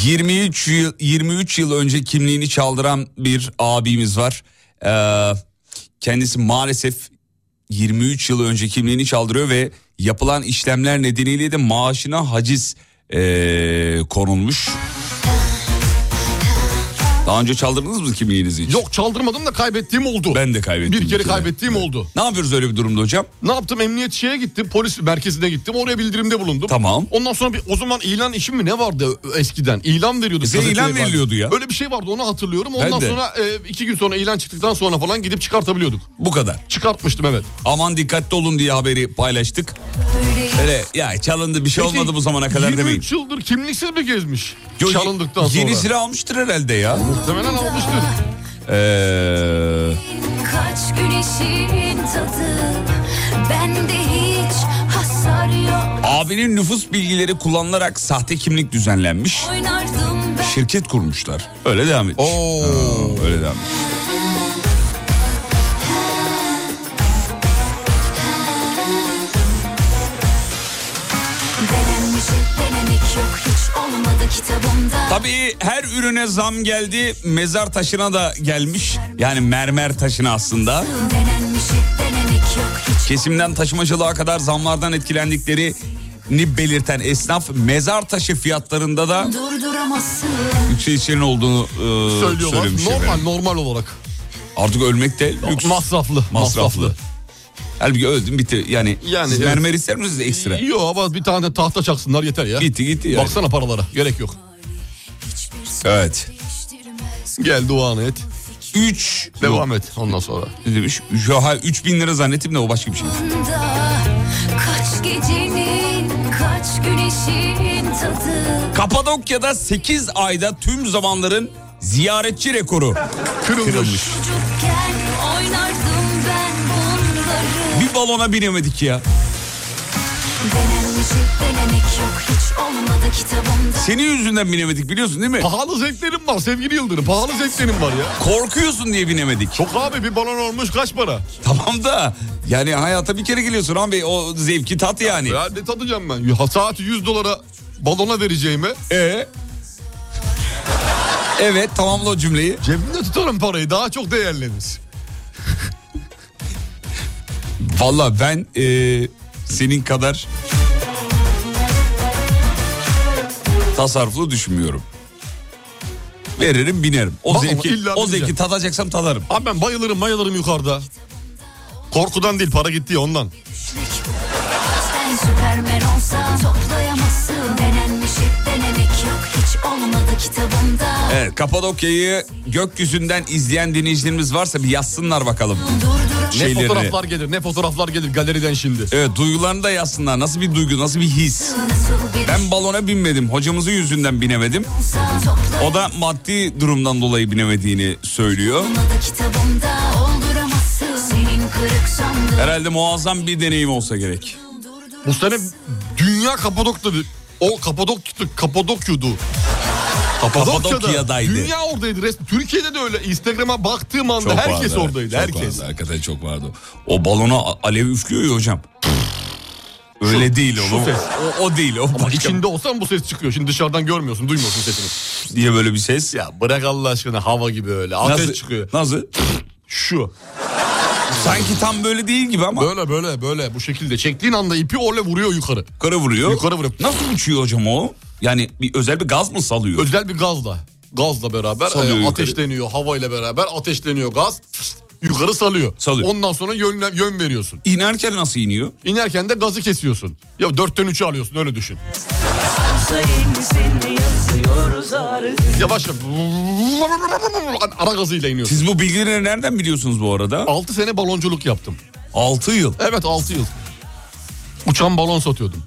Speaker 3: 23 yıl, 23 yıl önce kimliğini çaldıran bir abimiz var. Ee, kendisi maalesef 23 yıl önce kimliğini çaldırıyor ve yapılan işlemler nedeniyle de maaşına haciz ee, konulmuş. Daha önce çaldırdınız mı kimliğinizi hiç?
Speaker 4: Yok çaldırmadım da kaybettiğim oldu.
Speaker 3: Ben de kaybettim.
Speaker 4: Bir kere
Speaker 3: kere.
Speaker 4: kaybettiğim oldu.
Speaker 3: Ne yapıyoruz öyle bir durumda hocam?
Speaker 4: Ne yaptım? Emniyet şeye gittim. Polis merkezine gittim. Oraya bildirimde bulundum.
Speaker 3: Tamam.
Speaker 4: Ondan sonra bir o zaman ilan işim mi ne vardı eskiden? İlan veriyordu.
Speaker 3: Bize
Speaker 4: gazeteye
Speaker 3: E ilan
Speaker 4: falan.
Speaker 3: veriliyordu ya.
Speaker 4: Öyle bir şey vardı onu hatırlıyorum.
Speaker 3: Ben
Speaker 4: Ondan
Speaker 3: de.
Speaker 4: sonra e, iki gün sonra ilan çıktıktan sonra falan gidip çıkartabiliyorduk.
Speaker 3: Bu kadar.
Speaker 4: Çıkartmıştım evet.
Speaker 3: Aman dikkatli olun diye haberi paylaştık. Öyle ya çalındı bir şey
Speaker 4: Peki,
Speaker 3: olmadı bu zamana kadar
Speaker 4: 23
Speaker 3: demeyin.
Speaker 4: yıldır kimliksiz mi gezmiş?
Speaker 3: Yo,
Speaker 4: Çalındıktan sonra.
Speaker 3: Yeni sıra almıştır herhalde ya.
Speaker 4: Muhtemelen almıştır.
Speaker 3: Ee,
Speaker 12: Kaç güneşin tadı Bende hiç hasar yok
Speaker 3: abinin nüfus bilgileri kullanılarak sahte kimlik düzenlenmiş.
Speaker 12: Oynardım ben
Speaker 3: Şirket kurmuşlar. Öyle devam etmiş. Ha, öyle devam etmiş.
Speaker 12: Denenmiş denemek yok Hiç olmadı kitabımda
Speaker 3: Tabii her ürüne zam geldi. Mezar taşına da gelmiş. Yani mermer taşına aslında.
Speaker 12: Denenmiş denemek yok Hiç
Speaker 3: Kesimden taşımacılığa kadar zamlardan etkilendiklerini belirten esnaf mezar taşı fiyatlarında da
Speaker 12: durduramazsın
Speaker 3: yükselişlerin olduğunu e,
Speaker 4: Söylüyorlar.
Speaker 3: söylemiş.
Speaker 4: Normal
Speaker 3: efendim.
Speaker 4: normal olarak.
Speaker 3: Artık ölmek de lüks.
Speaker 4: Masraflı.
Speaker 3: masraflı. Halbuki öldün bitti. Yani,
Speaker 4: Yani
Speaker 3: siz
Speaker 4: evet.
Speaker 3: mermer ister misiniz ekstra?
Speaker 4: Yok ama bir tane tahta çaksınlar yeter ya.
Speaker 3: Gitti gitti yani.
Speaker 4: Baksana paralara gerek yok.
Speaker 12: Hiçbir söz
Speaker 3: Evet.
Speaker 12: değiştirmez
Speaker 4: Gel duanı et.
Speaker 3: 3
Speaker 4: Devam et ondan sonra.
Speaker 3: ne demiş? Yo, ha, 3 bin lira zannettim de o başka bir şey.
Speaker 12: Bunda Kaç gecenin Kaç güneşin tadı
Speaker 3: Kapadokya'da 8 ayda tüm zamanların ziyaretçi rekoru kırılmış.
Speaker 12: Çocukken oynardım ben bunları
Speaker 3: Bir balona binemedik ya.
Speaker 12: Denenmiş denemek yok Hiç olmadı kitabımda
Speaker 3: Senin yüzünden binemedik biliyorsun değil mi?
Speaker 4: Pahalı zevklerim var sevgili Yıldırım. Pahalı zevklerim var ya.
Speaker 3: Korkuyorsun diye binemedik.
Speaker 4: Çok abi bir balon olmuş kaç para?
Speaker 3: Tamam da yani hayata bir kere geliyorsun abi o zevki tat yani.
Speaker 4: Ya ne tadacağım ben? Ya saati 100 dolara balona vereceğime
Speaker 3: Ee? Evet tamamla o cümleyi.
Speaker 4: cebimde tutarım parayı daha çok değerlenir.
Speaker 3: Valla ben e, senin kadar tasarruflu düşünmüyorum. Veririm binerim. O
Speaker 4: Bak ama
Speaker 3: zevki,
Speaker 4: illa
Speaker 3: o
Speaker 4: bineceksin.
Speaker 3: zevki tadacaksam tadarım.
Speaker 4: Abi ben bayılırım bayılırım yukarıda. Korkudan değil para gitti ya ondan.
Speaker 12: Sen süpermen olsan toplayamazsın Denenmiş hep denemek yok hiç olmadı kitabımda
Speaker 3: Evet Kapadokya'yı gökyüzünden izleyen dinleyicilerimiz varsa bir yazsınlar bakalım.
Speaker 4: Ne
Speaker 3: Şeylerini.
Speaker 4: fotoğraflar gelir ne fotoğraflar gelir galeriden şimdi.
Speaker 3: Evet duygularını da yazsınlar. Nasıl bir duygu, nasıl bir his. Ben balona binmedim. Hocamızın yüzünden binemedim. O da maddi durumdan dolayı binemediğini söylüyor.
Speaker 12: Olmadı kitabımda olduramazsın Senin kırık sandığın
Speaker 3: Herhalde muazzam bir deneyim olsa gerek.
Speaker 4: Bu sene dünya Kapadokya o Kapadokya Kapadokya'du.
Speaker 3: Kapadokya'daydı.
Speaker 4: Dünya oradaydı. Resmi. Türkiye'de de öyle. Instagram'a baktığım anda herkes
Speaker 3: vardı,
Speaker 4: oradaydı.
Speaker 3: çok
Speaker 4: herkes.
Speaker 3: vardı, hakikaten çok vardı. O balona a- alev üflüyor ya hocam. Öyle değil
Speaker 4: şu
Speaker 3: oğlum.
Speaker 4: ses.
Speaker 3: O, o değil o.
Speaker 4: Ama
Speaker 3: başka-
Speaker 4: içinde olsan bu ses çıkıyor. Şimdi dışarıdan görmüyorsun, duymuyorsun sesini.
Speaker 3: Diye böyle bir ses.
Speaker 4: Ya bırak Allah aşkına hava gibi öyle. Ateş
Speaker 3: Nasıl-
Speaker 4: çıkıyor.
Speaker 3: Nasıl?
Speaker 4: Şu.
Speaker 3: Sanki tam böyle değil gibi ama.
Speaker 4: Böyle böyle böyle bu şekilde. Çektiğin anda ipi orla vuruyor yukarı.
Speaker 3: Yukarı vuruyor.
Speaker 4: Yukarı vuruyor.
Speaker 3: Nasıl uçuyor hocam o? Yani bir özel bir gaz mı salıyor?
Speaker 4: Özel bir gazla. Gazla beraber
Speaker 3: Salıyor
Speaker 4: e,
Speaker 3: yukarı.
Speaker 4: ateşleniyor. Havayla beraber ateşleniyor gaz. Yukarı salıyor.
Speaker 3: Salıyor.
Speaker 4: Ondan sonra yön, yön veriyorsun.
Speaker 3: İnerken nasıl iniyor?
Speaker 4: İnerken de gazı kesiyorsun. Ya dörtten üçü alıyorsun öyle düşün. Yavaş yavaş. Ara gazıyla iniyorsun.
Speaker 3: Siz bu bilgileri nereden biliyorsunuz bu arada?
Speaker 4: 6 sene balonculuk yaptım.
Speaker 3: 6 yıl.
Speaker 4: Evet 6 yıl. Uçan balon satıyordum.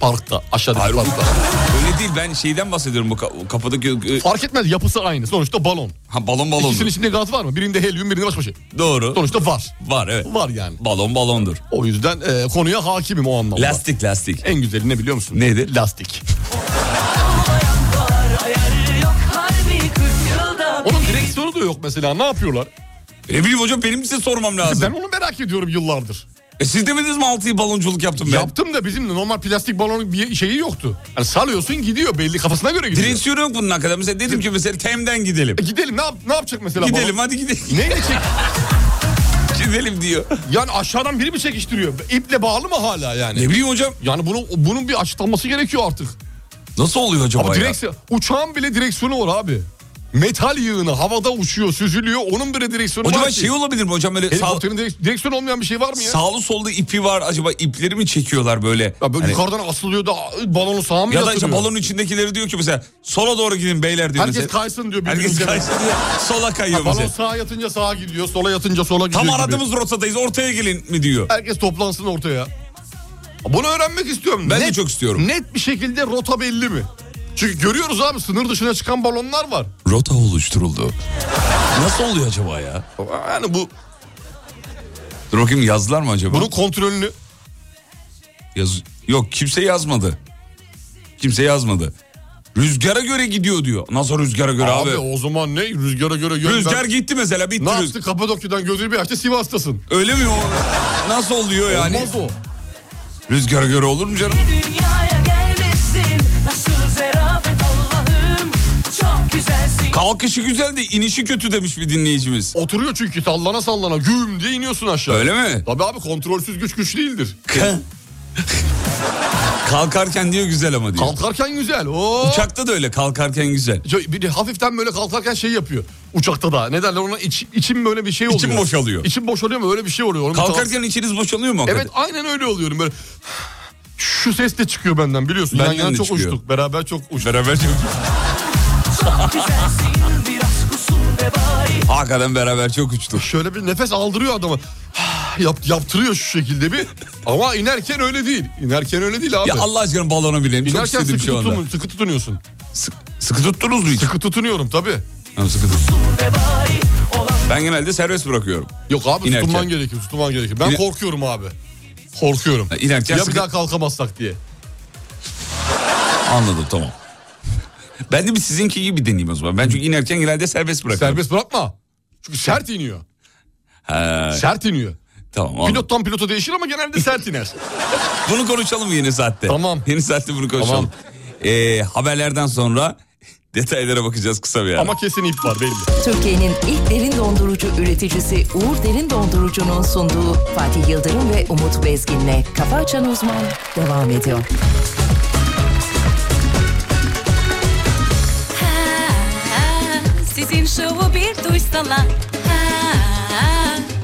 Speaker 4: Parkta aşağıdaki
Speaker 3: Hayır,
Speaker 4: parkta.
Speaker 3: Öyle değil ben şeyden bahsediyorum bu ka- kapıdaki... e,
Speaker 4: Fark etmez yapısı aynı. Sonuçta balon.
Speaker 3: Ha, balon balondur.
Speaker 4: İkisinin içinde gaz var mı? Birinde helyum birinde başka bir şey.
Speaker 3: Doğru.
Speaker 4: Sonuçta var.
Speaker 3: Var evet.
Speaker 4: Var yani.
Speaker 3: Balon balondur.
Speaker 4: O yüzden e, konuya hakimim o anlamda.
Speaker 3: Lastik lastik.
Speaker 4: En güzeli ne biliyor musun?
Speaker 3: Nedir?
Speaker 4: Lastik. Onun direksiyonu da yok mesela. Ne yapıyorlar?
Speaker 3: E Ne bileyim hocam benim size sormam lazım.
Speaker 4: Ben onu merak ediyorum yıllardır.
Speaker 3: E siz demediniz mi 6 yıl balonculuk yaptım ben?
Speaker 4: Yaptım da bizim de normal plastik balonun bir şeyi yoktu. Yani salıyorsun gidiyor belli kafasına göre gidiyor.
Speaker 3: Direksiyonu yok bunun hakikaten. Mesela dedim ki mesela Tem'den gidelim.
Speaker 4: E gidelim ne, yap, ne yapacak mesela
Speaker 3: Gidelim
Speaker 4: balon?
Speaker 3: hadi gidelim.
Speaker 4: Neyle çek?
Speaker 3: gidelim diyor.
Speaker 4: Yani aşağıdan biri mi çekiştiriyor? İple bağlı mı hala yani?
Speaker 3: Ne bileyim hocam
Speaker 4: Yani bunu, bunun bir açıklanması gerekiyor artık.
Speaker 3: nasıl oluyor acaba
Speaker 4: Ama
Speaker 3: ya?
Speaker 4: direksiyon, uçağın bile direksiyonu var abi. Metal yığını havada uçuyor, süzülüyor. Onun bile direksiyonu
Speaker 3: Hocam
Speaker 4: var
Speaker 3: şey olabilir mi hocam böyle sağ,
Speaker 4: Helikopterin direk- direksiyonu olmayan bir şey var mı ya?
Speaker 3: sağlı sollu ipi var acaba ipleri mi çekiyorlar böyle?
Speaker 4: ya böyle
Speaker 3: Hani-
Speaker 4: şey. yukarıdan asılıyor da ıı, balonu sağa mı
Speaker 3: ya da işte
Speaker 4: yatırıyor?
Speaker 3: balonun içindekileri diyor ki mesela sola doğru gidin beyler diyor
Speaker 4: Herkes
Speaker 3: mesela.
Speaker 4: kaysın diyor.
Speaker 3: Herkes
Speaker 4: birbirimize.
Speaker 3: kaysın diyor. Sola kayıyor
Speaker 4: Ha, Balon
Speaker 3: mesela.
Speaker 4: sağa yatınca sağa gidiyor, sola yatınca sola gidiyor
Speaker 3: Tam
Speaker 4: gibi.
Speaker 3: aradığımız rotadayız ortaya gelin mi diyor.
Speaker 4: Herkes toplansın ortaya. Bunu öğrenmek istiyorum.
Speaker 3: Ben de çok istiyorum.
Speaker 4: Net bir şekilde rota belli mi? Çünkü görüyoruz abi sınır dışına çıkan balonlar var.
Speaker 3: Rota oluşturuldu. Nasıl oluyor acaba ya?
Speaker 4: Yani bu
Speaker 3: Dur bakayım yazdılar mı acaba?
Speaker 4: bunun kontrolünü
Speaker 3: Yaz- Yok kimse yazmadı. Kimse yazmadı. Rüzgara göre gidiyor diyor. Nasıl rüzgara göre abi?
Speaker 4: abi, o zaman ne rüzgara göre yön
Speaker 3: Rüzgar
Speaker 4: ver-
Speaker 3: gitti mesela bitti.
Speaker 4: Ne
Speaker 3: rüz-
Speaker 4: yaptı Kapadokya'dan gözünü bir açtı Sivas'tasın.
Speaker 3: Öyle mi o? Nasıl oluyor yani?
Speaker 4: Olmaz o.
Speaker 3: Rüzgara göre olur mu canım?
Speaker 13: Dünyaya gelmesin Nasıl zerafet Allah'ım Çok güzelsin
Speaker 3: Kalkışı güzel de inişi kötü demiş bir dinleyicimiz.
Speaker 4: Oturuyor çünkü sallana sallana güm diye iniyorsun aşağı.
Speaker 3: Öyle mi?
Speaker 4: Tabii abi kontrolsüz güç güç değildir.
Speaker 3: Kalkarken diyor güzel ama diyor.
Speaker 4: Kalkarken güzel. Oo.
Speaker 3: Uçakta da öyle kalkarken güzel.
Speaker 4: Şöyle Bir de hafiften böyle kalkarken şey yapıyor. Uçakta da. Ne derler ona? İç, içim böyle bir şey oluyor.
Speaker 3: İçim boşalıyor.
Speaker 4: İçim boşalıyor mu? Öyle bir şey oluyor. Onu
Speaker 3: Kalkarken içiniz boşalıyor mu?
Speaker 4: Evet
Speaker 3: hakikaten?
Speaker 4: aynen öyle oluyorum böyle. Şu ses de çıkıyor benden biliyorsun.
Speaker 3: Benden
Speaker 4: Yan yana
Speaker 3: de
Speaker 4: çok
Speaker 3: çıkıyor.
Speaker 4: uçtuk. Beraber çok uçtuk.
Speaker 3: Beraber çok...
Speaker 13: Çok güzelsin Biraz kusun ve bari
Speaker 3: Hakikaten beraber çok uçtuk.
Speaker 4: Şöyle bir nefes aldırıyor adamı. Yap, yaptırıyor şu şekilde bir. Ama inerken öyle değil. İnerken öyle değil abi.
Speaker 3: Ya Allah aşkına balona binelim. Çok
Speaker 4: İnerken
Speaker 3: istedim
Speaker 4: sıkı,
Speaker 3: şu anda.
Speaker 4: tutun, sıkı tutunuyorsun.
Speaker 3: Sık- sıkı tuttunuz mu hiç?
Speaker 4: Sıkı tutunuyorum tabii.
Speaker 3: Ha, sıkı tut.
Speaker 13: ve bari Olan
Speaker 3: Ben genelde serbest bırakıyorum.
Speaker 4: Yok abi
Speaker 3: İnerken.
Speaker 4: tutunman gerekir, tutunman gerekir. Ben
Speaker 3: İne-
Speaker 4: korkuyorum abi. Korkuyorum.
Speaker 3: Ha, inerken
Speaker 4: ya
Speaker 3: sıkı-
Speaker 4: bir daha kalkamazsak diye.
Speaker 3: Anladım tamam. Ben de bir sizinki gibi deneyeyim o zaman. Ben çünkü inerken genelde serbest bırakıyorum.
Speaker 4: Serbest bırakma. Çünkü sert iniyor.
Speaker 3: Ha,
Speaker 4: Sert iniyor.
Speaker 3: tamam anladım.
Speaker 4: Pilottan pilota değişir ama genelde sert iner.
Speaker 3: Bunu konuşalım yeni saatte.
Speaker 4: Tamam.
Speaker 3: Yeni saatte bunu konuşalım. Ee, haberlerden sonra Detaylara bakacağız kısa bir ara.
Speaker 4: Ama kesin ip var belli.
Speaker 1: Türkiye'nin ilk derin dondurucu üreticisi Uğur Derin Dondurucu'nun sunduğu Fatih Yıldırım ve Umut Bezgin'le Kafa Açan Uzman devam ediyor.
Speaker 14: Ha, Sizin şovu bir duysalar Ha,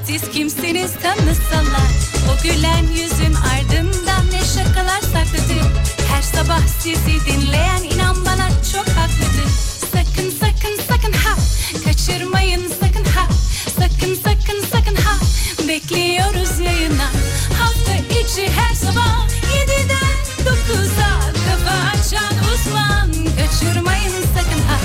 Speaker 14: Siz kimsiniz tanısalar O gülen yüzün ardından ne şakalar saklıdır Her sabah sizi dinleyen inan bana çok haklıdır Sakın sakın sakın ha Kaçırmayın sakın ha Sakın sakın sakın ha Bekliyoruz yayına Hafta içi her sabah 7'den 9'a Kafa açan uzman Kaçırmayın sakın ha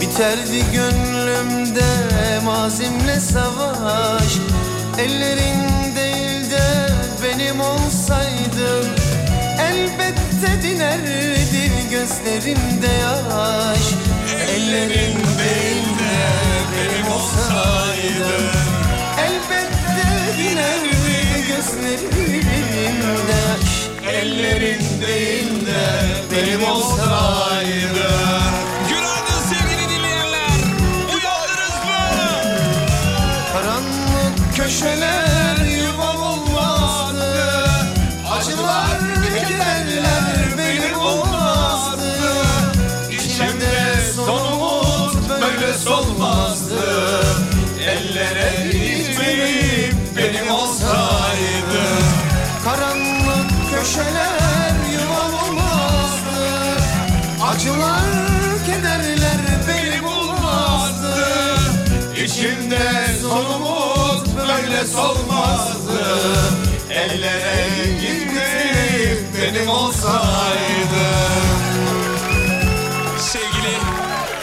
Speaker 5: Biterdi gönlümde mazimle savaş Ellerin değil de benim olsaydın Elbette dinerdi gözlerimde yaş Ellerin değil de benim olsaydın Elbette dinerdi gözlerimde yaş Ellerin değil de benim olsaydın
Speaker 3: Günaydın sevgili dinleyenler. Uyandınız mı?
Speaker 5: Karanlık köşeler yuvam olmazdı. Acılar kederler benim olmazdı. İçimde son umut böyle solmazdı. Ellere gitmeyip benim olsaydı. Karanlık köşeler yuvam olmazdı. Acılar kederler benim olmazdı. İçimde solumuz böyle solmazdı Ellere girmeyip benim olsaydı
Speaker 3: Sevgili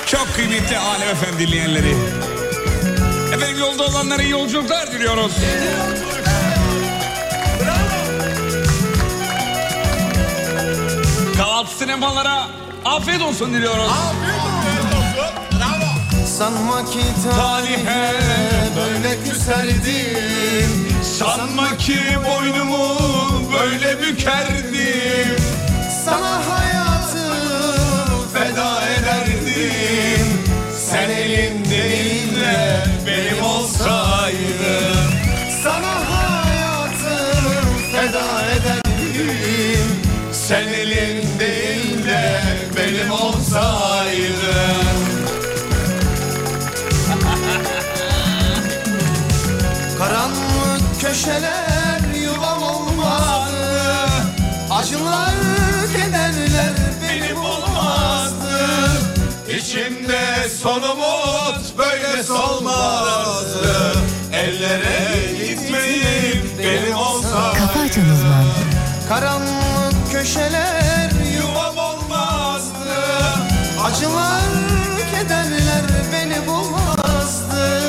Speaker 3: çok kıymetli Alem FM dinleyenleri. Efendim yolda olanlara iyi yolculuklar diliyoruz. Kahvaltı sinemalara afiyet olsun diliyoruz.
Speaker 5: Sanma ki tarihe böyle küserdim Sanma ki boynumu böyle bükerdim Sana hayatı feda ederdim Sen elin değil de benim olsaydın Sana hayatı feda ederdim Sen elin değil de benim olsaydın Karanlık köşeler yuvam olmazdı Acılar kederler benim olmazdı İçimde son umut böyle solmazdı Ellere gitmeyip benim olsa
Speaker 1: Kafa Açan Uzman
Speaker 5: Karanlık köşeler yuvam olmazdı Acılar kederler beni bulmazdı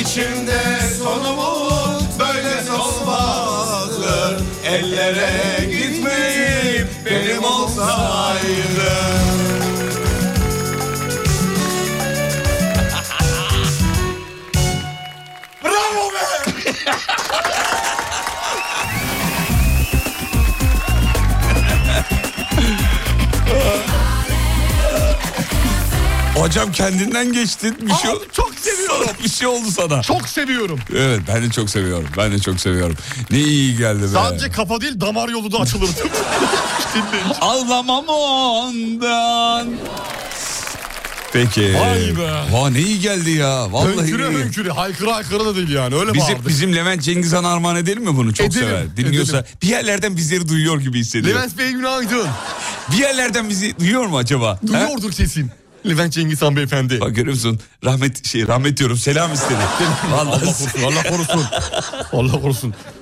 Speaker 5: İçimde son umut böyle solmazdı Ellere gitmeyip benim olsaydı Bravo be!
Speaker 3: Hocam kendinden geçtin. Bir şey
Speaker 4: çok seviyorum.
Speaker 3: Bir şey oldu sana.
Speaker 4: Çok seviyorum.
Speaker 3: Evet ben de çok seviyorum. Ben de çok seviyorum. Ne iyi geldi be.
Speaker 4: Sadece kafa değil damar yolu da açılır.
Speaker 3: Ağlamam ondan. Peki.
Speaker 4: Vay be.
Speaker 3: Vay ne iyi geldi ya. Vallahi
Speaker 4: hönküre
Speaker 3: iyi.
Speaker 4: hönküre haykıra haykıra da değil yani öyle
Speaker 3: bizim,
Speaker 4: bağırdı.
Speaker 3: Bizim Levent Cengizhan armağan edelim mi bunu? Çok
Speaker 4: Edelim,
Speaker 3: sever. Dinliyorsa
Speaker 4: edelim.
Speaker 3: bir yerlerden bizleri
Speaker 4: Şey
Speaker 3: duyuyor gibi hissediyor.
Speaker 4: Levent Bey günaydın.
Speaker 3: Bir yerlerden bizi duyuyor mu acaba?
Speaker 4: Duyuyordur kesin. Levent Cengizhan beyefendi.
Speaker 3: Bak görüyor musun? Rahmet şey rahmet diyorum. Selam istedi.
Speaker 4: Allah korusun, Allah korusun. Allah korusun. Allah.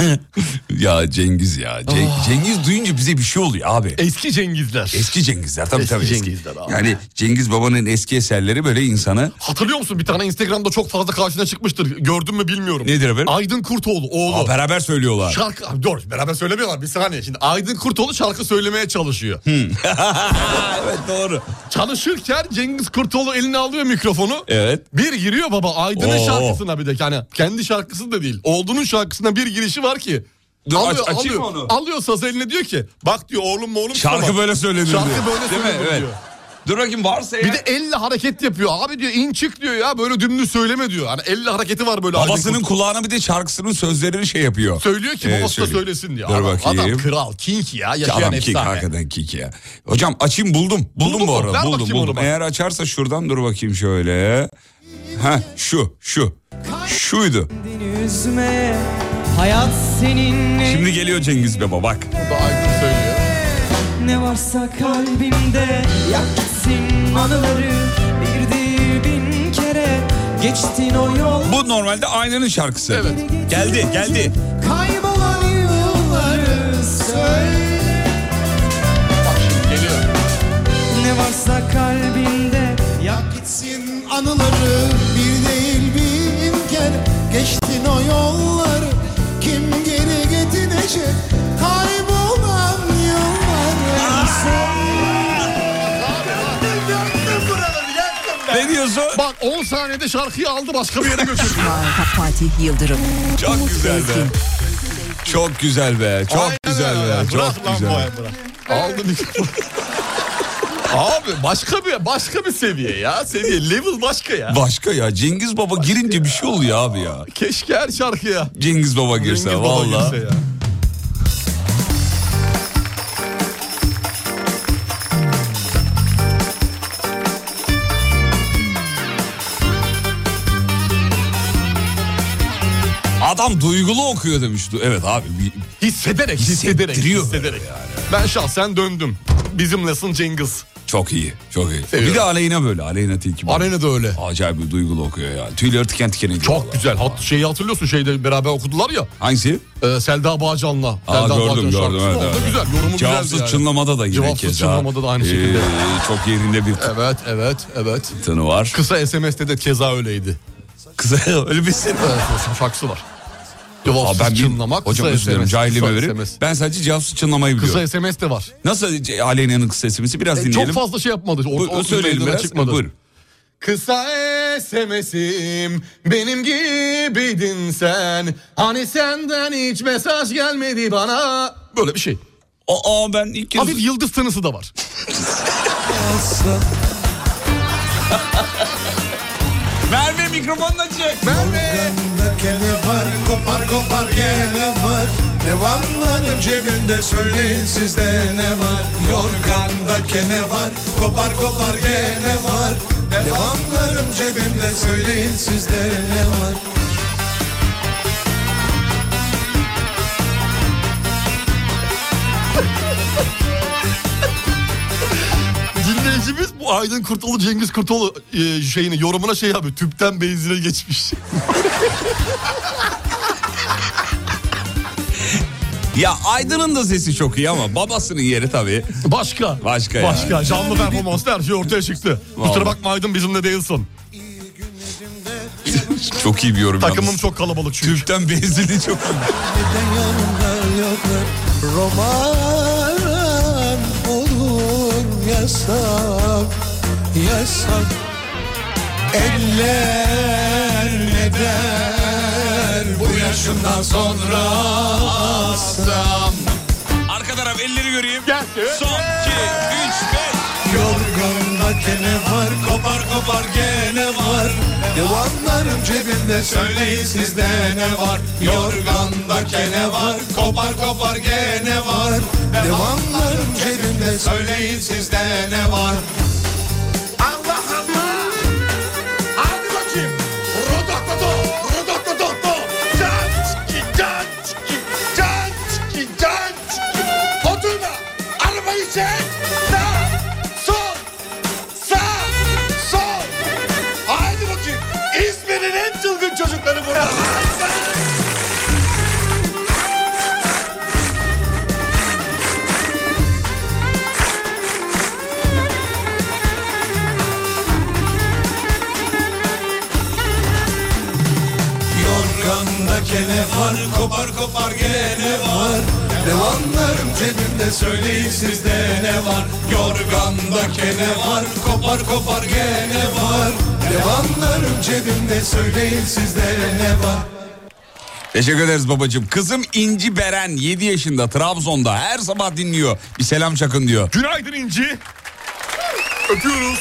Speaker 4: Ah.
Speaker 3: ya Cengiz ya. Ceng- Cengiz duyunca bize bir şey oluyor abi.
Speaker 4: Eski Cengizler.
Speaker 3: Eski Cengizler tabii
Speaker 4: Eski
Speaker 3: tabii.
Speaker 4: Cengizler abi.
Speaker 3: Yani Cengiz babanın eski eserleri böyle insanı
Speaker 4: Hatırlıyor musun bir tane Instagram'da çok fazla karşına çıkmıştır. Gördün mü bilmiyorum.
Speaker 3: Nedir efendim?
Speaker 4: Aydın Kurtoğlu oğlu.
Speaker 3: Aa, beraber söylüyorlar.
Speaker 4: Şarkı Abi dur beraber söylemiyorlar bir saniye. Şimdi Aydın Kurtoğlu şarkı söylemeye çalışıyor.
Speaker 3: evet doğru.
Speaker 4: Çalışırken Cengiz Kurtoğlu eline alıyor mikrofonu.
Speaker 3: Evet.
Speaker 4: Bir giriyor baba Aydın'ın
Speaker 3: Oo.
Speaker 4: şarkısına bir de yani kendi şarkısı da değil. Oğlunun şarkısına bir girişi var ki.
Speaker 3: Dur, aç-
Speaker 4: alıyor,
Speaker 3: açayım
Speaker 4: alıyor,
Speaker 3: mı onu?
Speaker 4: alıyor sazı eline diyor ki bak diyor oğlum mu oğlum
Speaker 3: Şarkı
Speaker 4: sana.
Speaker 3: böyle söylenir
Speaker 4: Şarkı
Speaker 3: diyor.
Speaker 4: böyle
Speaker 3: Değil mi?
Speaker 4: söylenir
Speaker 3: Evet.
Speaker 4: diyor.
Speaker 3: Dur bakayım varsa
Speaker 4: Bir de elle hareket yapıyor. Abi diyor in çık diyor ya böyle dümdüz söyleme diyor. Hani elle hareketi var böyle.
Speaker 3: Babasının
Speaker 4: Aydın Kurt-
Speaker 3: kulağına bir de şarkısının sözlerini şey yapıyor.
Speaker 4: Söylüyor ki
Speaker 3: Ee,
Speaker 4: babası da
Speaker 3: söylüyor.
Speaker 4: söylesin diyor.
Speaker 3: Dur
Speaker 4: adam,
Speaker 3: bakayım.
Speaker 4: adam kral, king ya yaşayan
Speaker 3: Adam kick,
Speaker 4: efsane.
Speaker 3: hakikaten kick ya. Hocam açayım buldum. Buldum
Speaker 4: Buldun
Speaker 3: bu
Speaker 4: mu? Ver
Speaker 3: arada. Buldum
Speaker 4: bakayım onu
Speaker 3: buldum.
Speaker 4: bana.
Speaker 3: Eğer açarsa şuradan dur bakayım şöyle. Ha şu şu. Şuydu.
Speaker 15: üzme Hayat seninle
Speaker 3: Şimdi geliyor Cengiz Baba bak.
Speaker 15: Ne varsa kalbimde Yak gitsin anıları Bir değil bin kere Geçtin o yol
Speaker 3: Bu normalde Aynanın şarkısı. Evet. Geldi geldi.
Speaker 15: Kaybolan yılları söyle
Speaker 4: Geliyor.
Speaker 15: Ne varsa kalbinde Yak
Speaker 5: Gitsin anıları bir değil bin kere Geçtin o yolları kim geri getirecek Kaybolan yılları
Speaker 3: Ne diyorsun?
Speaker 4: Bak 10 saniyede şarkıyı aldı başka bir yere götürdü.
Speaker 1: Fatih Yıldırım.
Speaker 3: Çok güzel be. Çok güzel be. Çok güzel be. Çok
Speaker 4: Bırak lan bu
Speaker 3: güzel.
Speaker 4: ay, bırak. Aldı mikrofonu. Abi başka bir başka bir seviye ya. Seviye level başka ya.
Speaker 3: Başka ya Cengiz Baba girince bir şey oluyor abi ya.
Speaker 4: Keşke her şarkıya.
Speaker 3: Cengiz Baba girse
Speaker 4: Cengiz Baba
Speaker 3: valla.
Speaker 4: girse ya.
Speaker 3: Adam duygulu okuyor demiş. Du- Evet abi. bir-
Speaker 4: Hissederek, hissederek,
Speaker 3: Hissettiriyor
Speaker 4: hissederek. Ben şahsen döndüm. Bizimlesin Cengiz.
Speaker 3: Çok iyi. Çok iyi.
Speaker 4: Seviyorum.
Speaker 3: Bir de Aleyna böyle. Aleyna Tilki.
Speaker 4: Aleyna da öyle.
Speaker 3: Acayip bir duygulu okuyor ya. Tüyleri tiken tiken ediyor.
Speaker 4: Çok güzel. Hat şeyi hatırlıyorsun şeyde beraber okudular ya.
Speaker 3: Hangisi?
Speaker 4: Ee, Selda Bağcan'la.
Speaker 3: Aa,
Speaker 4: Selda
Speaker 3: gördüm,
Speaker 4: Bağcan
Speaker 3: gördüm,
Speaker 4: şarkısı.
Speaker 3: evet,
Speaker 4: O da
Speaker 3: evet.
Speaker 4: güzel. Yorumu
Speaker 3: Cevapsız
Speaker 4: güzeldi yani.
Speaker 3: Çınlamada da yine
Speaker 4: Cevapsız
Speaker 3: keza.
Speaker 4: Çınlamada da aynı
Speaker 3: Ee,
Speaker 4: şekilde.
Speaker 3: çok yerinde bir
Speaker 4: Evet, evet, evet.
Speaker 3: tını var.
Speaker 4: Kısa SMS'te de keza öyleydi.
Speaker 3: Kısa öyle bir şey mi?
Speaker 4: Evet, şarkısı var. Cevapsız
Speaker 3: Aa, ben bil-
Speaker 4: çınlamak,
Speaker 3: Hocam
Speaker 4: kısa
Speaker 3: özür dilerim
Speaker 4: SMS,
Speaker 3: cahilliğime
Speaker 4: kısa
Speaker 3: verin.
Speaker 4: SMS.
Speaker 3: Ben sadece cevapsız çınlamayı biliyorum.
Speaker 4: Kısa SMS de var.
Speaker 3: Nasıl ce- Aleyna'nın kısa SMS'i biraz
Speaker 4: E,
Speaker 3: dinleyelim.
Speaker 4: çok fazla şey yapmadı. O,
Speaker 3: Bu-
Speaker 4: o
Speaker 3: söyleyelim
Speaker 4: meydana
Speaker 3: biraz.
Speaker 4: çıkmadı.
Speaker 3: Buyurun.
Speaker 4: Kısa SMS'im benim gibiydin sen. Hani senden hiç mesaj gelmedi bana. Böyle bir şey.
Speaker 3: Aa ben ilk kez...
Speaker 4: Hafif yıldız tınısı da var.
Speaker 3: Merve mikrofonunu açacak.
Speaker 5: Merve Kele var kopar kopar gene var Devamların cebinde söyleyin sizde ne var Yorganda kene var kopar kopar gene var Devamların cebinde söyleyin sizde ne var
Speaker 4: Dinleyicimiz bu Aydın Kurtoğlu Cengiz Kurtoğlu e, şeyini yorumuna şey abi tüpten benzine geçmiş.
Speaker 3: Ya Aydın'ın da sesi çok iyi ama babasının yeri tabii.
Speaker 4: Başka.
Speaker 3: Başka ya.
Speaker 4: Başka canlı performansta her şey ortaya çıktı.
Speaker 3: Vallahi.
Speaker 4: Kusura bakma Aydın bizimle değilsin.
Speaker 3: Çok iyi bir yorum
Speaker 4: Takımım
Speaker 3: yalnız.
Speaker 4: çok kalabalık çünkü.
Speaker 3: Tüpten benzinli çok
Speaker 5: Neden yanımda yoklar Roman olur yasak Yasak Eller ne der Bu yaşımdan sonra asam
Speaker 3: Arka taraf elleri göreyim.
Speaker 4: Gelsin.
Speaker 3: Son, iki, üç, beş.
Speaker 5: Yorganda kene var Kopar kopar gene var Devamlarım cebimde Söyleyin sizde ne var Yorganda kene var Kopar kopar gene var Devamlarım cebimde Söyleyin sizde ne var Allah'ım Hadi bakayım Rodokodo Rodokodo Canski Canski Canski Canski Oturma Arabayı çek Sağ Sol Sağ insanı buradan. Yorganda kene var kopar kopar gene var Devanlarım cebimde söyleyin sizde ne var Yorganda kene var kopar kopar gene var Devanlarım cebimde söyleyin sizde ne var
Speaker 3: Teşekkür ederiz babacığım. Kızım İnci Beren 7 yaşında Trabzon'da her sabah dinliyor. Bir selam çakın diyor.
Speaker 4: Günaydın İnci. Öpüyoruz.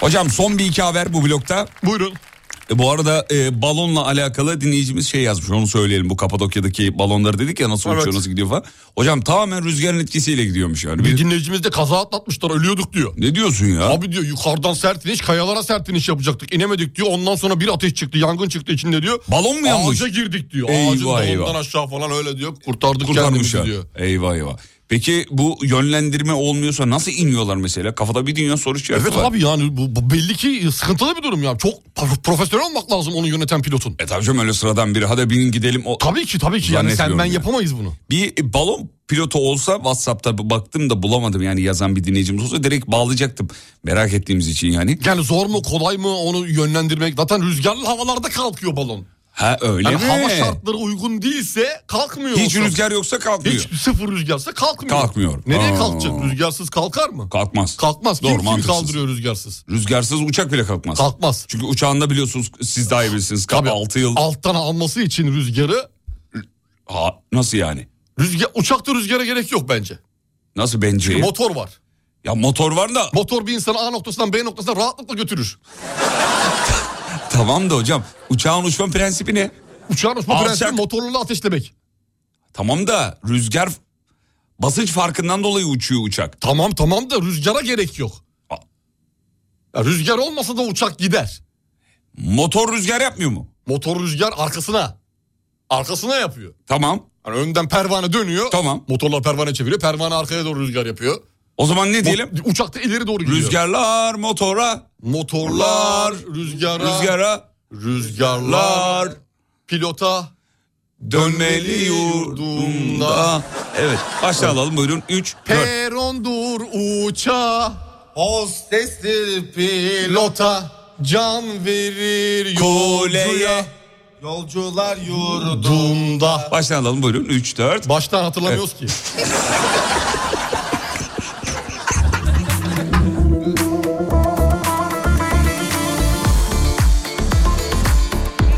Speaker 3: Hocam son bir iki haber bu blokta.
Speaker 4: Buyurun.
Speaker 3: bu arada e, balonla alakalı dinleyicimiz şey yazmış onu söyleyelim. Bu Kapadokya'daki balonları dedik ya nasıl uçuyor nasıl gidiyor falan. Hocam tamamen rüzgarın etkisiyle gidiyormuş yani.
Speaker 4: Bir dinleyicimiz de kaza atlatmışlar ölüyorduk diyor.
Speaker 3: Ne diyorsun ya?
Speaker 4: Abi diyor yukarıdan sertiniş kayalara sertiniş yapacaktık inemedik diyor. Ondan sonra bir ateş çıktı yangın çıktı içinde diyor.
Speaker 3: Balon mu yanmış?
Speaker 4: Ağaca girdik diyor.
Speaker 3: Eyvah,
Speaker 4: Ağacın dalından
Speaker 3: eyvah.
Speaker 4: aşağı falan öyle diyor. Kurtardık
Speaker 3: Kurtarmış
Speaker 4: kendimizi
Speaker 3: ya.
Speaker 4: diyor.
Speaker 3: Eyvah eyvah. Peki bu yönlendirme olmuyorsa nasıl iniyorlar mesela? Kafada bir dünya soru işareti
Speaker 4: Evet
Speaker 3: var.
Speaker 4: abi yani bu, bu belli ki sıkıntılı bir durum ya. Çok pro- profesyonel olmak lazım onu yöneten pilotun.
Speaker 3: E tabii canım öyle sıradan biri. Hadi binin gidelim. O...
Speaker 4: Tabii ki tabii ki yani sen ben
Speaker 3: Zannetmiyorum
Speaker 4: yapamayız bunu.
Speaker 3: Bir e, balon pilotu olsa Whatsapp'ta baktım da bulamadım yani yazan bir dinleyicimiz olsa direkt bağlayacaktım. Merak ettiğimiz için yani.
Speaker 4: Yani zor mu kolay mı onu yönlendirmek zaten rüzgarlı havalarda kalkıyor balon.
Speaker 3: Ha öyle
Speaker 4: yani
Speaker 3: mi?
Speaker 4: hava şartları uygun değilse kalkmıyor.
Speaker 3: Hiç
Speaker 4: o zaman.
Speaker 3: rüzgar yoksa kalkmıyor.
Speaker 4: Hiç sıfır rüzgarsa kalkmıyor.
Speaker 3: Kalkmıyor.
Speaker 4: Nereye
Speaker 3: Aa.
Speaker 4: kalkacak? Rüzgarsız kalkar mı?
Speaker 3: Kalkmaz.
Speaker 4: Kalkmaz.
Speaker 3: Doğru,
Speaker 4: Kim kimi
Speaker 3: mantıksız.
Speaker 4: kaldırıyor rüzgarsız?
Speaker 3: Rüzgarsız uçak bile kalkmaz.
Speaker 4: Kalkmaz.
Speaker 3: Çünkü uçağında biliyorsunuz siz daha iyi bilirsiniz. Tabii. 6 yıl.
Speaker 4: Alttan alması için rüzgarı
Speaker 3: Ha, nasıl yani?
Speaker 4: rüzgar uçakta rüzgara gerek yok bence.
Speaker 3: Nasıl bence?
Speaker 4: Çünkü motor var.
Speaker 3: Ya motor var da
Speaker 4: Motor bir insanı A noktasından B noktasına rahatlıkla götürür.
Speaker 3: tamam da hocam uçağın uçma prensibi ne?
Speaker 4: Uçağın uçma
Speaker 3: Alçak.
Speaker 4: prensibi motorlarla ateşlemek.
Speaker 3: Tamam da rüzgar basınç farkından dolayı uçuyor uçak.
Speaker 4: Tamam tamam da rüzgara gerek yok. Ya rüzgar olmasa da uçak gider.
Speaker 3: Motor rüzgar yapmıyor mu?
Speaker 4: Motor rüzgar arkasına. Arkasına yapıyor.
Speaker 3: Tamam.
Speaker 4: Yani önden pervane dönüyor.
Speaker 3: Tamam.
Speaker 4: Motorlar pervane çeviriyor. Pervane arkaya doğru rüzgar yapıyor.
Speaker 3: O zaman ne diyelim?
Speaker 4: Uçakta ileri doğru gidiyor.
Speaker 3: Rüzgarlar motora.
Speaker 4: Motorlar rüzgara.
Speaker 3: Rüzgara.
Speaker 4: Rüzgarlar pilota.
Speaker 3: Dönmeli yurdumda. Evet başla alalım buyurun. 3, 4.
Speaker 4: Perondur uça. Hostestir pilota. Can verir
Speaker 3: Kuleye.
Speaker 4: yolcuya. Yolcular yurdumda.
Speaker 3: Baştan alalım buyurun. 3, 4.
Speaker 4: Baştan hatırlamıyoruz ki.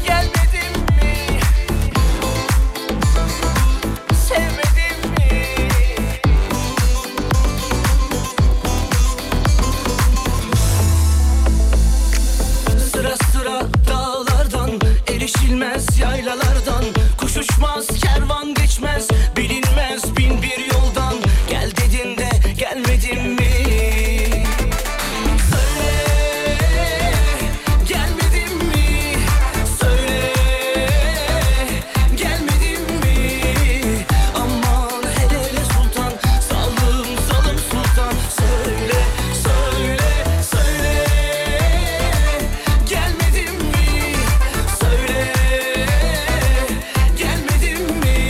Speaker 13: Gelmedim mi? Sevmedim mi? Sıra sıra dağlardan, erişilmez yaylalardan Kuşuşmaz kervan geçmez, bilinmez bin bir yoldan Gel dedin de gelmedin mi? Söyle, gelmedin mi? Söyle, gelmedin mi? Aman hele hele sultan, salım salım sultan Söyle, söyle, söyle Gelmedin mi? Söyle, gelmedin mi?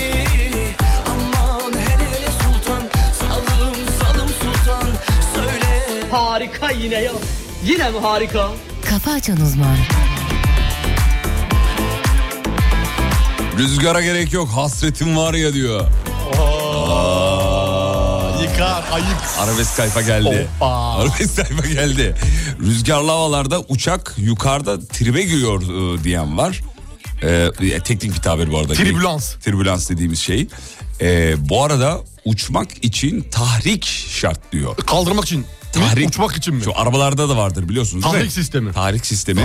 Speaker 13: Aman hele hele sultan, salım salım sultan Söyle Harika yine ya, yine mi harika?
Speaker 1: Kafa Açan Uzman.
Speaker 3: Rüzgara gerek yok hasretim var ya diyor. Aa.
Speaker 4: Yıkar ayıp.
Speaker 3: Arabesk tayfa geldi.
Speaker 4: Hoppa.
Speaker 3: Arabesk tayfa geldi. Rüzgarlı havalarda uçak yukarıda tribe giriyor e, diyen var. E, e, teknik bir tabir bu arada.
Speaker 4: Tribülans.
Speaker 3: Tribülans dediğimiz şey. E, bu arada uçmak için tahrik şart diyor.
Speaker 4: Kaldırmak için.
Speaker 3: Tahrik.
Speaker 4: Uçmak için mi?
Speaker 3: Şu arabalarda da vardır biliyorsunuz değil mi?
Speaker 4: Tahrik sistemi.
Speaker 3: Tahrik sistemi.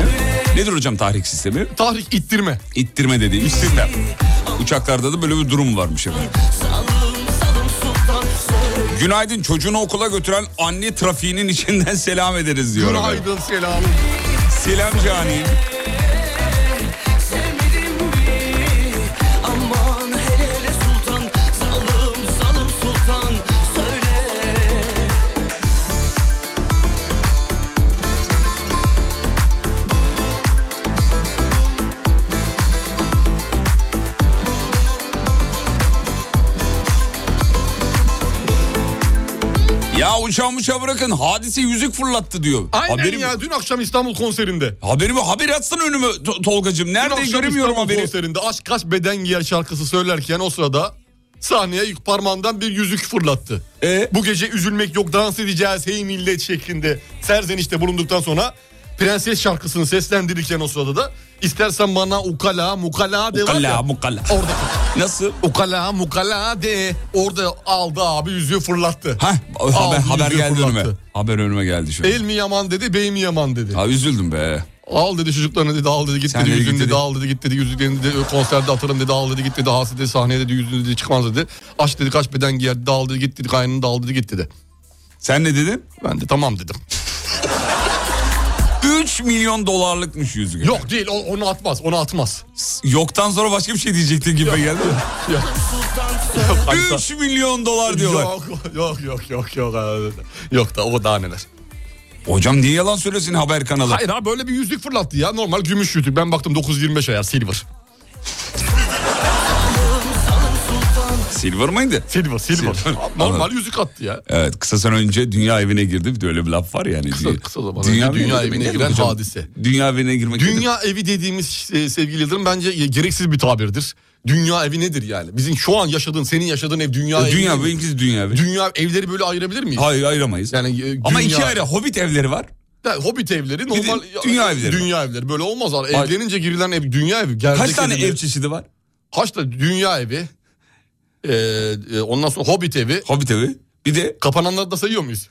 Speaker 3: Nedir hocam tahrik sistemi?
Speaker 4: Tahrik ittirme.
Speaker 3: İttirme dediğimiz sistem. Uçaklarda da böyle bir durum varmış efendim. Günaydın çocuğunu okula götüren anne trafiğinin içinden selam ederiz diyor. efendim.
Speaker 4: Günaydın selam.
Speaker 3: Selam Cani.
Speaker 13: Sevmedim mi? Aman hele hele sultan, salım salım sultan söyle.
Speaker 3: Ya uçağı uçağı bırakın hadise yüzük fırlattı diyor.
Speaker 4: Aynen
Speaker 3: Haberim-
Speaker 4: ya dün akşam İstanbul konserinde.
Speaker 3: Haberim yok. Haber atsana önüme To- Tolgacığım.
Speaker 4: Dün
Speaker 3: Nerede
Speaker 4: akşam
Speaker 3: göremiyorum
Speaker 4: İstanbul
Speaker 3: haberi.
Speaker 4: konserinde Aşk Kaç Beden Giyer şarkısı söylerken o sırada sahneye ilk parmağından bir yüzük fırlattı.
Speaker 3: E?
Speaker 4: Bu gece üzülmek yok dans edeceğiz hey millet şeklinde serzenişte bulunduktan sonra Prenses şarkısını seslendirirken o sırada da istersen bana ukala mukala de var
Speaker 3: Ukala,
Speaker 4: ya.
Speaker 3: mukala.
Speaker 4: Orada.
Speaker 3: Nasıl?
Speaker 4: Ukala mukala de. Orada aldı abi yüzüğü fırlattı. Heh,
Speaker 3: Haber, haber geldi önüme. Haber önüme geldi şu an.
Speaker 4: El mi yaman dedi, bey mi yaman dedi.
Speaker 3: Ha, üzüldüm be.
Speaker 4: Al dedi çocuklarına dedi al dedi git
Speaker 3: Sen
Speaker 4: dedi
Speaker 3: dedi,
Speaker 4: yüzünü
Speaker 3: git
Speaker 4: dedi,
Speaker 3: dedi.
Speaker 4: al dedi git dedi yüzüklerini dedi konserde atarım dedi al dedi git dedi hasi dedi sahneye dedi yüzünü dedi çıkmaz dedi. Aç dedi kaç beden giyer dedi al dedi git dedi kaynını da al dedi git dedi.
Speaker 3: Sen ne dedin?
Speaker 4: Ben de tamam dedim.
Speaker 3: 3 milyon dolarlıkmış yüzük.
Speaker 4: Yok değil o- onu atmaz onu atmaz.
Speaker 3: Yoktan sonra başka bir şey diyecektin gibi geldi mi?
Speaker 4: Yok.
Speaker 3: 3 milyon dolar diyorlar.
Speaker 4: Yok yok yok yok yok. abi. Yok da o daha neler.
Speaker 3: Hocam niye yalan söylesin haber kanalı?
Speaker 4: Hayır abi böyle bir yüzlük fırlattı ya normal gümüş yüzük. Ben baktım 925 ayar silver.
Speaker 3: Silver mıydı?
Speaker 4: Silver, silver. Normal
Speaker 3: Anladım.
Speaker 4: yüzük attı ya.
Speaker 3: Evet kısa sene önce dünya evine girdi. Bir de öyle bir laf var yani. Kısa,
Speaker 4: kısa zaman önce dünya evine giren hadise.
Speaker 3: Dünya evine girmek nedir?
Speaker 4: Dünya evi dediğimiz e, sevgili Yıldırım bence ye- gereksiz bir tabirdir. Dünya evi nedir yani? Bizim şu an yaşadığın, senin yaşadığın ev dünya
Speaker 3: E,
Speaker 4: evi.
Speaker 3: dünya
Speaker 4: değil mi?
Speaker 3: benimkisi dünya evi.
Speaker 4: Dünya evleri böyle ayırabilir miyiz?
Speaker 3: Hayır ayıramayız.
Speaker 4: Yani e,
Speaker 3: Ama
Speaker 4: dünya-
Speaker 3: iki ayrı hobbit evleri var.
Speaker 4: Ya, hobbit evleri
Speaker 3: Bir de
Speaker 4: normal
Speaker 3: dünya evleri
Speaker 4: Dünya evleri böyle olmaz abi.
Speaker 3: Hayır.
Speaker 4: Evlenince girilen ev dünya evi. Gerçek
Speaker 3: Kaç tane
Speaker 4: evi-
Speaker 3: ev çeşidi var?
Speaker 4: Kaç da dünya evi. e, e, ondan sonra hobbit evi.
Speaker 3: Hobbit evi. Bir de
Speaker 4: kapananları da sayıyor muyuz?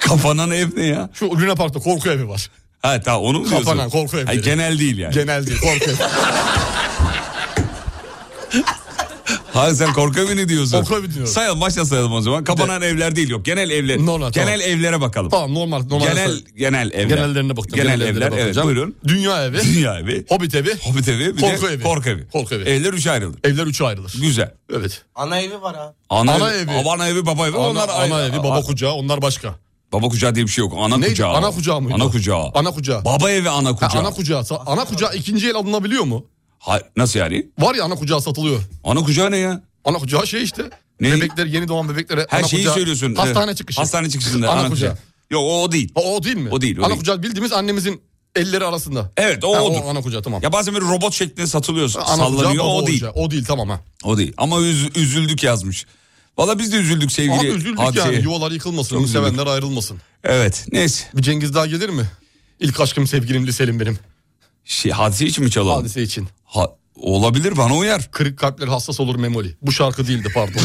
Speaker 3: Kapanan ev ne ya?
Speaker 4: Şu Luna Park'ta korku evi var.
Speaker 3: Ha tamam onu mu diyorsun?
Speaker 4: Kapanan korku evleri.
Speaker 3: Hayır, genel değil yani.
Speaker 4: Genel değil korku evi.
Speaker 3: Ha sen korku evi ne diyorsun?
Speaker 4: Korku evi diyorum.
Speaker 3: Sayalım başla sayalım o zaman. Kapanan evler değil yok. Genel evler.
Speaker 4: Normal,
Speaker 3: genel
Speaker 4: tamam.
Speaker 3: evlere bakalım.
Speaker 4: Tamam normal. normal
Speaker 3: genel genel evler.
Speaker 4: Genellerine baktım.
Speaker 3: Genel,
Speaker 4: genellerine
Speaker 3: evler evet
Speaker 4: bakacağım.
Speaker 3: buyurun.
Speaker 4: Dünya evi.
Speaker 3: Dünya evi.
Speaker 4: Hobbit evi.
Speaker 3: Hobbit evi. Bir
Speaker 4: korku
Speaker 3: de
Speaker 4: evi.
Speaker 3: Korku evi.
Speaker 4: Korku evi.
Speaker 3: Evler üçe ayrılır.
Speaker 4: Evler üçe ayrılır.
Speaker 3: Güzel.
Speaker 4: Evet.
Speaker 9: Ana evi var abi.
Speaker 3: Ana,
Speaker 4: Ana
Speaker 3: evi.
Speaker 4: evi.
Speaker 3: Ana evi baba evi.
Speaker 4: Ana-
Speaker 3: onlar
Speaker 4: ana
Speaker 3: ayrı.
Speaker 4: evi, baba
Speaker 3: A-
Speaker 4: kucağı onlar başka.
Speaker 3: Baba kucağı diye bir şey yok. Ana
Speaker 4: Neydi?
Speaker 3: kucağı.
Speaker 4: Ana kucağı mıydı?
Speaker 3: Ana kucağı.
Speaker 4: Ana kucağı.
Speaker 3: Baba evi ana
Speaker 4: Ha,
Speaker 3: kucağı.
Speaker 4: ana kucağı. Sa- Ana kucağı ikinci el alınabiliyor mu?
Speaker 3: Ha, nasıl yani?
Speaker 4: Var ya ana kucağı satılıyor.
Speaker 3: Ana kucağı ne ya?
Speaker 4: Ana kucağı şey işte.
Speaker 3: Ne?
Speaker 4: Bebekler yeni doğan bebeklere
Speaker 3: Her
Speaker 4: ana
Speaker 3: şeyi
Speaker 4: kucağı-
Speaker 3: söylüyorsun.
Speaker 4: Hastane
Speaker 3: Evet.
Speaker 4: çıkışı.
Speaker 3: Hastane çıkışında.
Speaker 4: Ana kucağı.
Speaker 3: Yok o, o değil.
Speaker 4: O, o değil mi?
Speaker 3: O değil. O
Speaker 4: ana
Speaker 3: değil.
Speaker 4: kucağı bildiğimiz annemizin elleri arasında.
Speaker 3: Evet o
Speaker 4: Ha,
Speaker 3: odur.
Speaker 4: ana kucağı tamam.
Speaker 3: Ya bazen böyle robot şeklinde satılıyor
Speaker 4: Ana kucağı,
Speaker 3: sallanıyor
Speaker 4: baba
Speaker 3: o değil.
Speaker 4: kucağı. O değil tamam ha.
Speaker 3: O değil ama üz- üzüldük yazmış. Valla biz de üzüldük sevgili
Speaker 4: Abi üzüldük
Speaker 3: hadiseye.
Speaker 4: yani yuvalar yıkılmasın,
Speaker 3: Çok üzüldük.
Speaker 4: sevenler ayrılmasın.
Speaker 3: Evet neyse.
Speaker 4: Bir Cengiz daha gelir mi? İlk aşkım sevgilim liselim benim.
Speaker 3: Şey, hadise için mi çalalım?
Speaker 4: Hadise için.
Speaker 3: Ha- olabilir bana uyar.
Speaker 4: Kırık kalpler hassas olur memoli. Bu şarkı değildi pardon.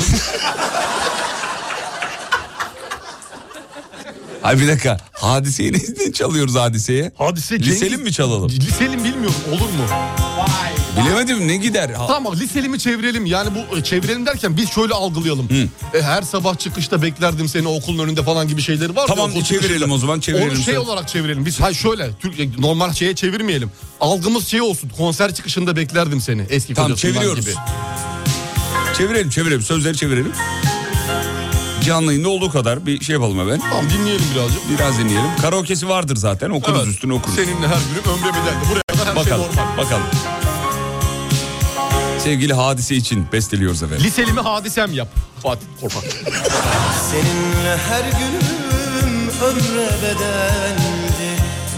Speaker 3: Ay bir dakika hadiseyi ne, ne çalıyoruz hadiseye?
Speaker 4: Hadise
Speaker 3: Liselim mi çalalım?
Speaker 4: liselim bilmiyorum olur mu?
Speaker 3: Bilemedim ne gider? Ha-
Speaker 4: Tamam liselimi çevirelim yani bu e, çevirelim derken biz şöyle algılayalım. E, her sabah çıkışta beklerdim seni okulun önünde falan gibi şeyleri var.
Speaker 3: Tamam,
Speaker 4: okul
Speaker 3: çevirelim
Speaker 4: çıkışında.
Speaker 3: o zaman, çevirelim
Speaker 4: Onu şey
Speaker 3: sen.
Speaker 4: olarak çevirelim biz ha şöyle Türk, e, normal şeye çevirmeyelim. Algımız şey olsun konser çıkışında beklerdim seni eski
Speaker 3: Tamam,
Speaker 4: kocasından
Speaker 3: çeviriyoruz.
Speaker 4: gibi.
Speaker 3: Çevirelim çevirelim sözleri çevirelim. Canlı yayında olduğu kadar bir şey yapalım hemen.
Speaker 4: Tamam dinleyelim birazcık.
Speaker 3: Biraz dinleyelim. Karaoke'si vardır zaten okuruz
Speaker 4: Evet.
Speaker 3: üstüne okuruz.
Speaker 4: Seninle her günüm ömre bedeldi. Buraya kadar her
Speaker 3: Bakalım
Speaker 4: şey normal.
Speaker 3: bakalım. Sevgili hadise için besteliyoruz efendim.
Speaker 4: Liselimi hadisem yap. Fatih Korkak.
Speaker 2: Seninle her günüm ömre bedeldi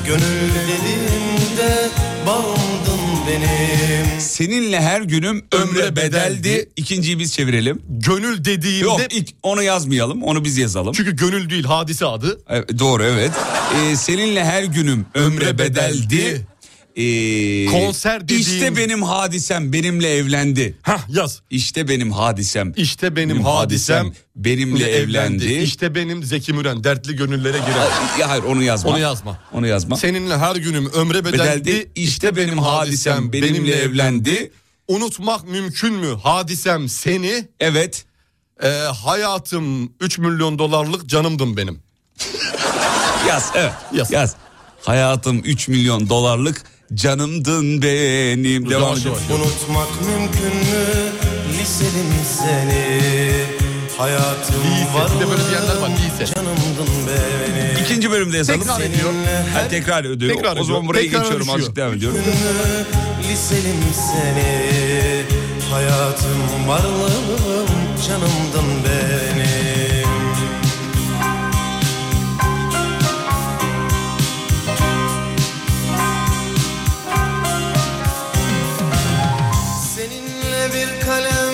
Speaker 2: Gönül dediğimde bağımdın benim
Speaker 3: Seninle her günüm ömre bedeldi. İkinciyi biz çevirelim.
Speaker 4: Gönül dediğimde...
Speaker 3: Yok ilk, onu yazmayalım onu biz yazalım.
Speaker 4: Çünkü gönül değil hadise adı.
Speaker 3: Evet, doğru evet. Ee, seninle her günüm ömre bedeldi. Ee,
Speaker 4: Konser dediğim-
Speaker 3: İşte benim hadisem benimle evlendi.
Speaker 4: Hah yaz.
Speaker 3: İşte benim hadisem.
Speaker 4: İşte benim hadisem
Speaker 3: benimle evlendi.
Speaker 4: İşte benim Zeki Müren dertli gönüllere giren.
Speaker 3: Ha- Ya hayır onu yazma.
Speaker 4: Onu yazma.
Speaker 3: Onu yazma.
Speaker 4: Seninle her günüm ömre bedeldi.
Speaker 3: bedeldi. İşte benim hadisem benimle evlendi.
Speaker 4: Unutmak mümkün mü hadisem seni?
Speaker 3: Evet.
Speaker 4: Ee, hayatım 3 milyon dolarlık canımdın benim.
Speaker 3: Yaz evet.
Speaker 4: Yaz.
Speaker 3: Hayatım 3 milyon dolarlık canımdın benim. Devam
Speaker 4: Yavaş
Speaker 3: edelim.
Speaker 4: yavaş.
Speaker 2: Unutmak mümkün mü liselim seni Hayatım
Speaker 4: Lise. Bir de böyle diyenler var
Speaker 2: varlığım
Speaker 4: lise.
Speaker 2: canımdın benim
Speaker 3: İkinci bölümde yazalım.
Speaker 4: Tekrar ediyor.
Speaker 3: Ha, tekrar ödüyor.
Speaker 4: Tekrar
Speaker 3: o
Speaker 4: ediyor.
Speaker 3: zaman buraya
Speaker 4: Tekrar
Speaker 3: geçiyorum
Speaker 4: düşüyor.
Speaker 3: azıcık devam ediyorum.
Speaker 2: Liselim seni
Speaker 16: Hayatım varlığım canımdan benim Seninle bir kalem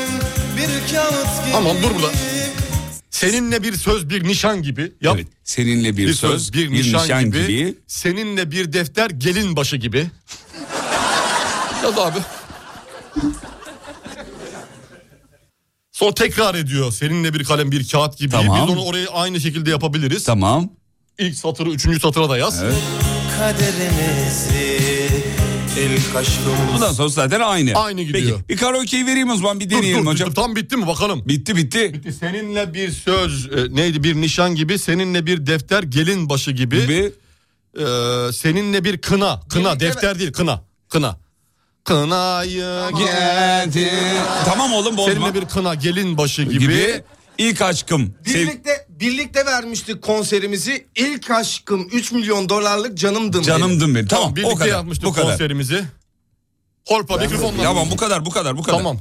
Speaker 16: bir kağıt gibi
Speaker 4: Aman dur burada. Seninle bir söz bir nişan gibi. Yap.
Speaker 3: Seninle bir, söz, bir nişan, gibi.
Speaker 4: Seninle bir defter gelin başı gibi. Yaz abi. Sonra tekrar ediyor. Seninle bir kalem bir kağıt gibi.
Speaker 3: Tamam.
Speaker 4: Biz onu oraya aynı şekilde yapabiliriz.
Speaker 3: Tamam.
Speaker 4: İlk satırı üçüncü satıra da yaz.
Speaker 16: kaderimizi ilk aşkımız
Speaker 3: Bundan sonra zaten aynı.
Speaker 4: Aynı gidiyor.
Speaker 3: Peki bir karaoke'yi vereyim o zaman bir deneyelim
Speaker 4: dur,
Speaker 3: hocam.
Speaker 4: Tam bitti mi bakalım?
Speaker 3: Bitti bitti.
Speaker 4: Bitti. Seninle bir söz e, neydi bir nişan gibi. Seninle bir defter gelin başı gibi. Ee, seninle bir kına. Kına defter değil kına. Kına. Kınayı geldi.
Speaker 3: Tamam oğlum bozma.
Speaker 4: Seninle bir kına gelin başı gibi.
Speaker 3: Gibi. İlk aşkım.
Speaker 17: Birlikte birlikte vermiştik konserimizi. İlk aşkım 3 milyon dolarlık canımdım.
Speaker 3: Canımdın benim. Tamam,
Speaker 17: birlikte
Speaker 3: o kadar.
Speaker 17: yapmıştık
Speaker 3: bu kadar.
Speaker 4: konserimizi. Holpa
Speaker 3: Ben-
Speaker 4: mikrofonla.
Speaker 3: Tamam, bu kadar, bu kadar, bu kadar.
Speaker 4: Tamam.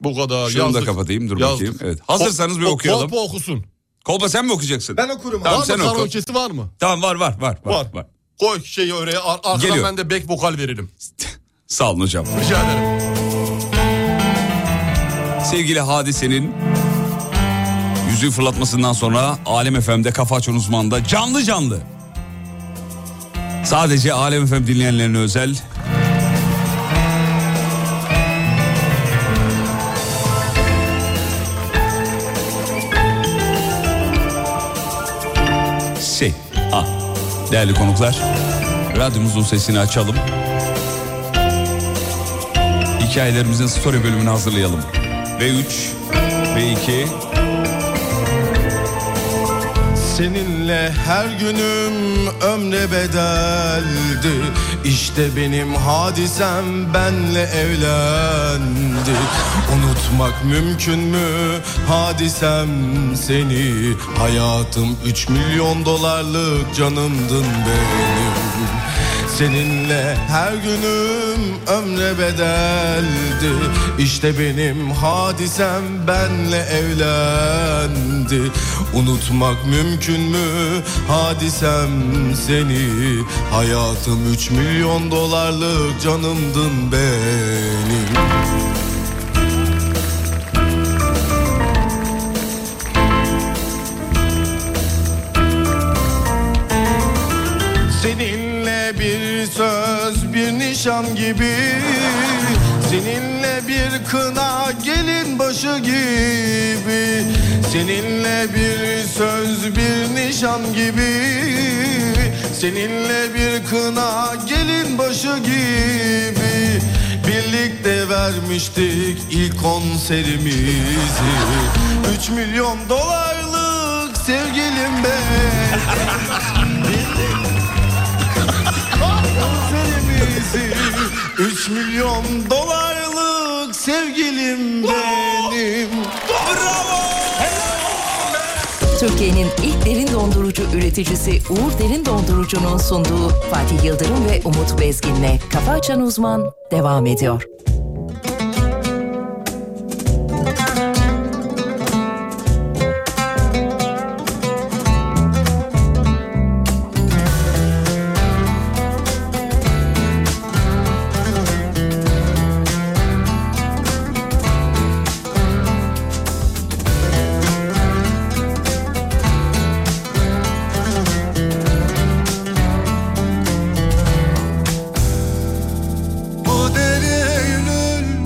Speaker 4: Bu kadar
Speaker 3: Şunu da
Speaker 4: yazdık.
Speaker 3: kapatayım dur
Speaker 4: Yazdık.
Speaker 3: bakayım. Evet. Hazırsanız bir
Speaker 4: Ko-
Speaker 3: okuyalım.
Speaker 4: Kolpa okusun.
Speaker 3: Kolpa sen mi okuyacaksın?
Speaker 4: Ben okurum.
Speaker 3: Tamam
Speaker 4: var
Speaker 3: sen
Speaker 4: mı
Speaker 3: oku.
Speaker 4: karaoke'si var mı?
Speaker 3: Tamam var var var. Var. var.
Speaker 4: Koy şeyi oraya ar- arkadan
Speaker 3: Geliyor.
Speaker 4: ben de back vokal veririm.
Speaker 3: Sağ olun hocam.
Speaker 4: Rica ederim.
Speaker 3: Sevgili Hadise'nin yüzüğü fırlatmasından sonra Alem FM'de Kafa Açan Uzman'da canlı canlı. Sadece Alem FM dinleyenlerine özel şey. Ha, değerli konuklar. Radyomuzun sesini açalım. Hikayelerimizin story bölümünü hazırlayalım. Ve 3 ve 2
Speaker 16: Seninle her günüm ömre bedeldi İşte benim hadisem benle evlendi Unutmak mümkün mü hadisem seni Hayatım 3 milyon dolarlık canımdın benim Seninle her günüm ömre bedeldi İşte benim hadisem benle evlendi Unutmak mümkün mü hadisem seni Hayatım 3 milyon dolarlık canımdın benim
Speaker 18: Seninle bir söz bir nişan gibi Seninle bir kına gelin başı gibi
Speaker 16: Seninle bir söz bir nişan gibi Seninle bir kına gelin başı gibi Birlikte vermiştik ilk konserimizi 3 milyon dolarlık sevgilim be Konserimizi 3 milyon dolarlık sevgilim benim Bravo!
Speaker 1: Türkiye'nin ilk derin dondurucu üreticisi Uğur Derin Dondurucu'nun sunduğu Fatih Yıldırım ve Umut Bezgin'le Kafa Açan Uzman devam ediyor.
Speaker 18: Bu derinin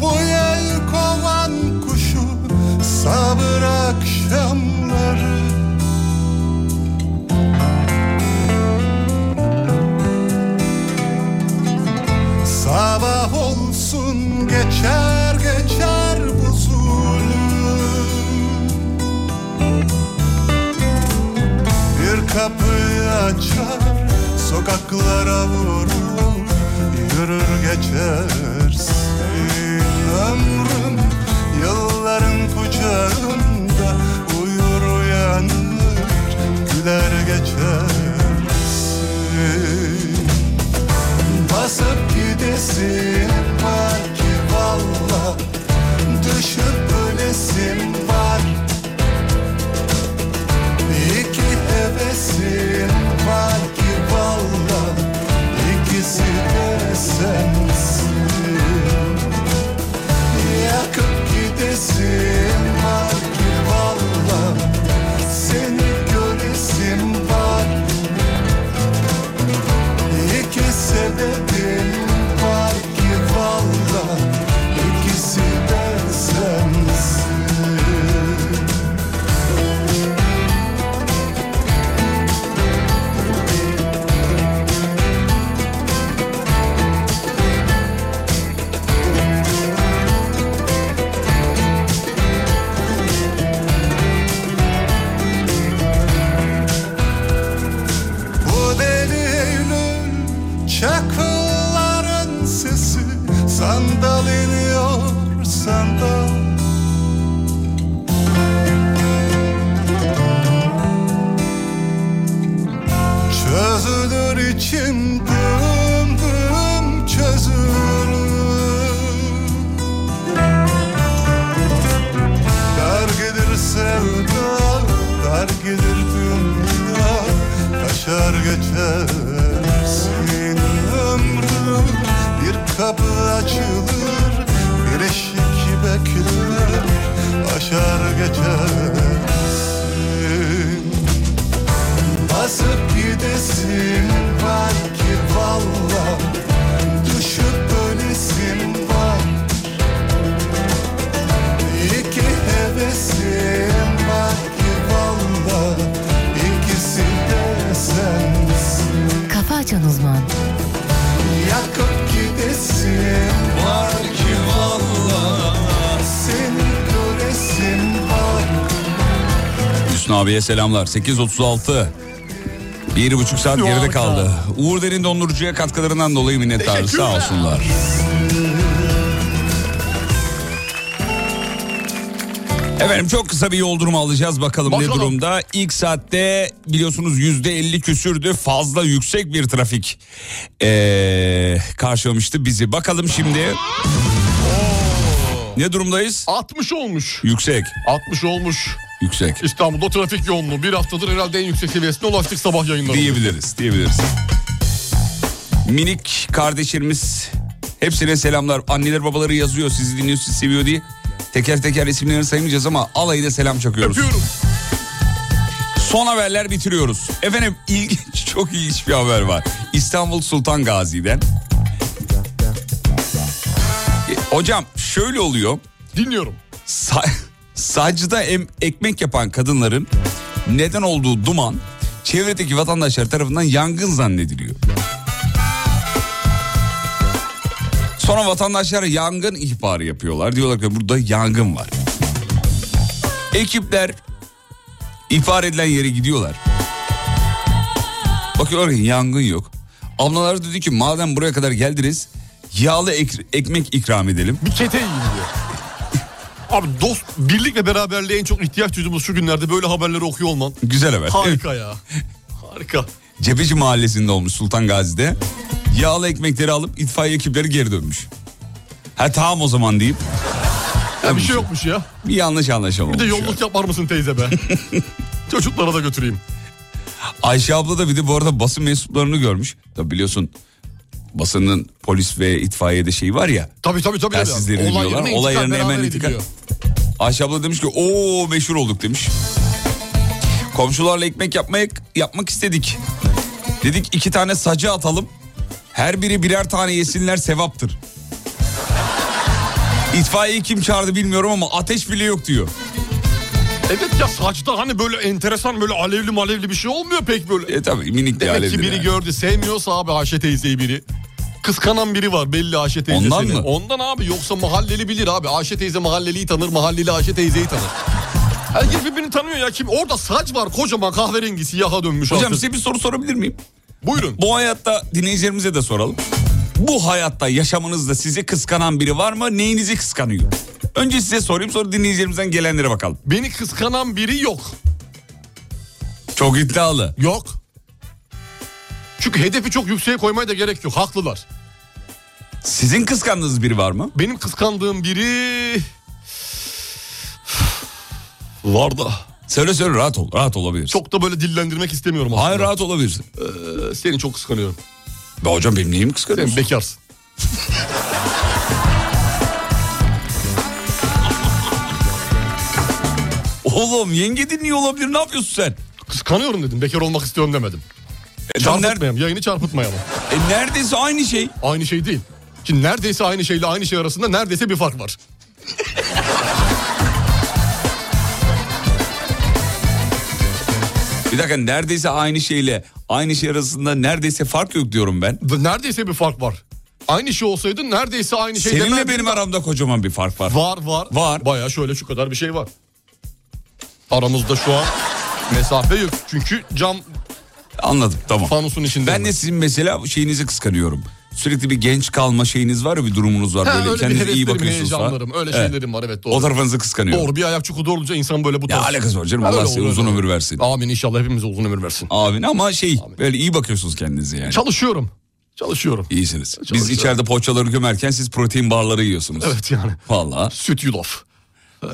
Speaker 18: bu yel kovan kuşu sabır akşamları Sabah olsun geçer geçer bu zulüm Bir kapıyı açar sokaklara vurur Yürür geçersin ömrüm Yılların kucağında uyur uyanır Güler geçersin Basıp gidesin var ki valla İçimden dım çözülür Dar gelir sevda, dar gelir dünya Taşar göçersin ömrüm Bir kapı açılır, bir eşik bekler Aşar geçersin Basıp gidesin var ki valla Düşüp ölesin var İki hevesim var ki valla İkisi de sensin
Speaker 5: Kafa Açan Uzman
Speaker 18: Yakıp gidesin var ki valla Seni göresin var
Speaker 3: Hüsnü abiye selamlar. 8.36. Bir buçuk saat geride kaldı. Uğur Derin Dondurucu'ya katkılarından dolayı minnettarız. Sağ olsunlar. Efendim çok kısa bir yol durumu alacağız bakalım, ne durumda. İlk saatte biliyorsunuz yüzde elli küsürdü fazla yüksek bir trafik ee, karşılamıştı bizi. Bakalım şimdi ne durumdayız?
Speaker 4: 60 olmuş.
Speaker 3: Yüksek.
Speaker 4: 60 olmuş.
Speaker 3: Yüksek.
Speaker 4: İstanbul'da trafik yoğunluğu bir haftadır herhalde en yüksek seviyesine ulaştık sabah yayınlarında.
Speaker 3: Diyebiliriz, diyebiliriz. Minik kardeşlerimiz hepsine selamlar. Anneler babaları yazıyor sizi dinliyor sizi seviyor diye. Teker teker isimlerini saymayacağız ama alayı da selam çakıyoruz. Son haberler bitiriyoruz. Efendim ilginç, çok ilginç bir haber var. İstanbul Sultan Gazi'den. E, Hocam şöyle oluyor.
Speaker 4: Dinliyorum.
Speaker 3: Sa sacıda em- ekmek yapan kadınların neden olduğu duman çevredeki vatandaşlar tarafından yangın zannediliyor. Sonra vatandaşlar yangın ihbarı yapıyorlar. Diyorlar ki burada yangın var. Ekipler ihbar edilen yere gidiyorlar. Bakıyorlar ki yangın yok. Ablalar dedi ki madem buraya kadar geldiniz yağlı ek- ekmek ikram edelim.
Speaker 4: Bir kete yiyin diyor. Abi dost birlik ve beraberliğe en çok ihtiyaç duyduğumuz şu günlerde böyle haberleri okuyor olman.
Speaker 3: Güzel haber.
Speaker 4: Harika ya. Harika.
Speaker 3: Cebeci mahallesinde olmuş Sultan Gazi'de. Yağlı ekmekleri alıp itfaiye ekipleri geri dönmüş. Ha tamam o zaman deyip.
Speaker 4: Ya bir şey yokmuş ya.
Speaker 3: Bir yanlış anlaşılma
Speaker 4: Bir de
Speaker 3: olmuş.
Speaker 4: yolluk yapar mısın teyze be? Çocuklara da götüreyim.
Speaker 3: Ayşe abla da bir de bu arada basın mensuplarını görmüş. Tabi biliyorsun basının polis ve itfaiyede şeyi var ya.
Speaker 4: Tabii tabii tabii.
Speaker 3: Telsizleri
Speaker 4: Olay
Speaker 3: dinliyorlar.
Speaker 4: yerine
Speaker 3: Olay
Speaker 4: intikal
Speaker 3: yerine
Speaker 4: beraber
Speaker 3: hemen intikal.
Speaker 4: ediliyor.
Speaker 3: Ayşe abla demiş ki o meşhur olduk demiş. Komşularla ekmek yapmak, yapmak istedik. Dedik iki tane sacı atalım. Her biri birer tane yesinler sevaptır. İtfaiyeyi kim çağırdı bilmiyorum ama ateş bile yok diyor.
Speaker 4: Evet ya saçta hani böyle enteresan böyle alevli malevli bir şey olmuyor pek böyle.
Speaker 3: E tabii minik bir
Speaker 4: Demek ki
Speaker 3: alevdir
Speaker 4: biri
Speaker 3: yani.
Speaker 4: gördü sevmiyorsa abi Ayşe teyzeyi biri. Kıskanan biri var belli Ayşe teyze
Speaker 3: Ondan
Speaker 4: seni.
Speaker 3: mı?
Speaker 4: Ondan abi yoksa mahalleli bilir abi. Ayşe teyze mahalleliyi tanır mahalleli Ayşe teyzeyi tanır. Herkes birbirini tanıyor ya kim? Orada saç var kocaman kahverengi siyaha dönmüş.
Speaker 3: Hocam
Speaker 4: artık.
Speaker 3: size bir soru sorabilir miyim?
Speaker 4: Buyurun.
Speaker 3: Bu hayatta dinleyicilerimize de soralım. Bu hayatta yaşamınızda sizi kıskanan biri var mı? Neyinizi kıskanıyor? Önce size sorayım sonra dinleyicilerimizden gelenlere bakalım.
Speaker 4: Beni kıskanan biri yok.
Speaker 3: Çok iddialı.
Speaker 4: Yok. Çünkü hedefi çok yükseğe koymaya da gerek yok. Haklılar.
Speaker 3: Sizin kıskandığınız biri var mı?
Speaker 4: Benim kıskandığım biri... Var da.
Speaker 3: Söyle söyle rahat ol. Rahat olabilirsin.
Speaker 4: Çok da böyle dillendirmek istemiyorum aslında.
Speaker 3: Hayır rahat olabilirsin.
Speaker 4: Ee, seni çok kıskanıyorum.
Speaker 3: Be hocam benim neyimi kıskanıyorsun?
Speaker 4: Sen bekarsın.
Speaker 3: Oğlum yenge dinliyor olabilir ne yapıyorsun sen?
Speaker 4: Kıskanıyorum dedim. Bekar olmak istiyorum demedim. çarpıtmayalım. Yayını çarpıtmayalım.
Speaker 3: E neredeyse aynı şey.
Speaker 4: Aynı şey değil. Şimdi neredeyse aynı şeyle aynı şey arasında neredeyse bir fark var.
Speaker 3: Bir dakika neredeyse aynı şeyle aynı şey arasında neredeyse fark yok diyorum ben.
Speaker 4: Ve Neredeyse bir fark var. Aynı şey olsaydı neredeyse aynı şey
Speaker 3: Seninle
Speaker 4: demezdim.
Speaker 3: benim aramda kocaman bir fark var.
Speaker 4: Var var.
Speaker 3: Var.
Speaker 4: Baya şöyle şu kadar bir şey var. Aramızda şu an mesafe yok. Çünkü cam
Speaker 3: Anladım tamam.
Speaker 4: Fanusun içinde.
Speaker 3: Ben de sizin mesela şeyinizi kıskanıyorum. Sürekli bir genç kalma şeyiniz var ya bir durumunuz var.
Speaker 4: Ha,
Speaker 3: böyle
Speaker 4: öyle bir
Speaker 3: kendinize iyi
Speaker 4: heveslerim,
Speaker 3: bakıyorsunuz falan.
Speaker 4: heyecanlarım, öyle
Speaker 3: Evet.
Speaker 4: şeylerim var, evet, doğru.
Speaker 3: O tarafınızı kıskanıyor.
Speaker 4: Doğru bir ayak çukurda olunca insan böyle bu
Speaker 3: Ya
Speaker 4: tarz.
Speaker 3: alakası var canım
Speaker 4: Ha,
Speaker 3: Allah
Speaker 4: öyle
Speaker 3: size
Speaker 4: olur,
Speaker 3: uzun
Speaker 4: öyle.
Speaker 3: ömür versin.
Speaker 4: Amin inşallah hepimize uzun ömür versin.
Speaker 3: Amin ama şey böyle iyi bakıyorsunuz kendinize yani.
Speaker 4: Çalışıyorum. Çalışıyorum.
Speaker 3: İyisiniz. Biz içeride poğaçaları gömerken siz protein barları yiyorsunuz.
Speaker 4: Evet yani.
Speaker 3: Valla.
Speaker 4: Süt yulaf.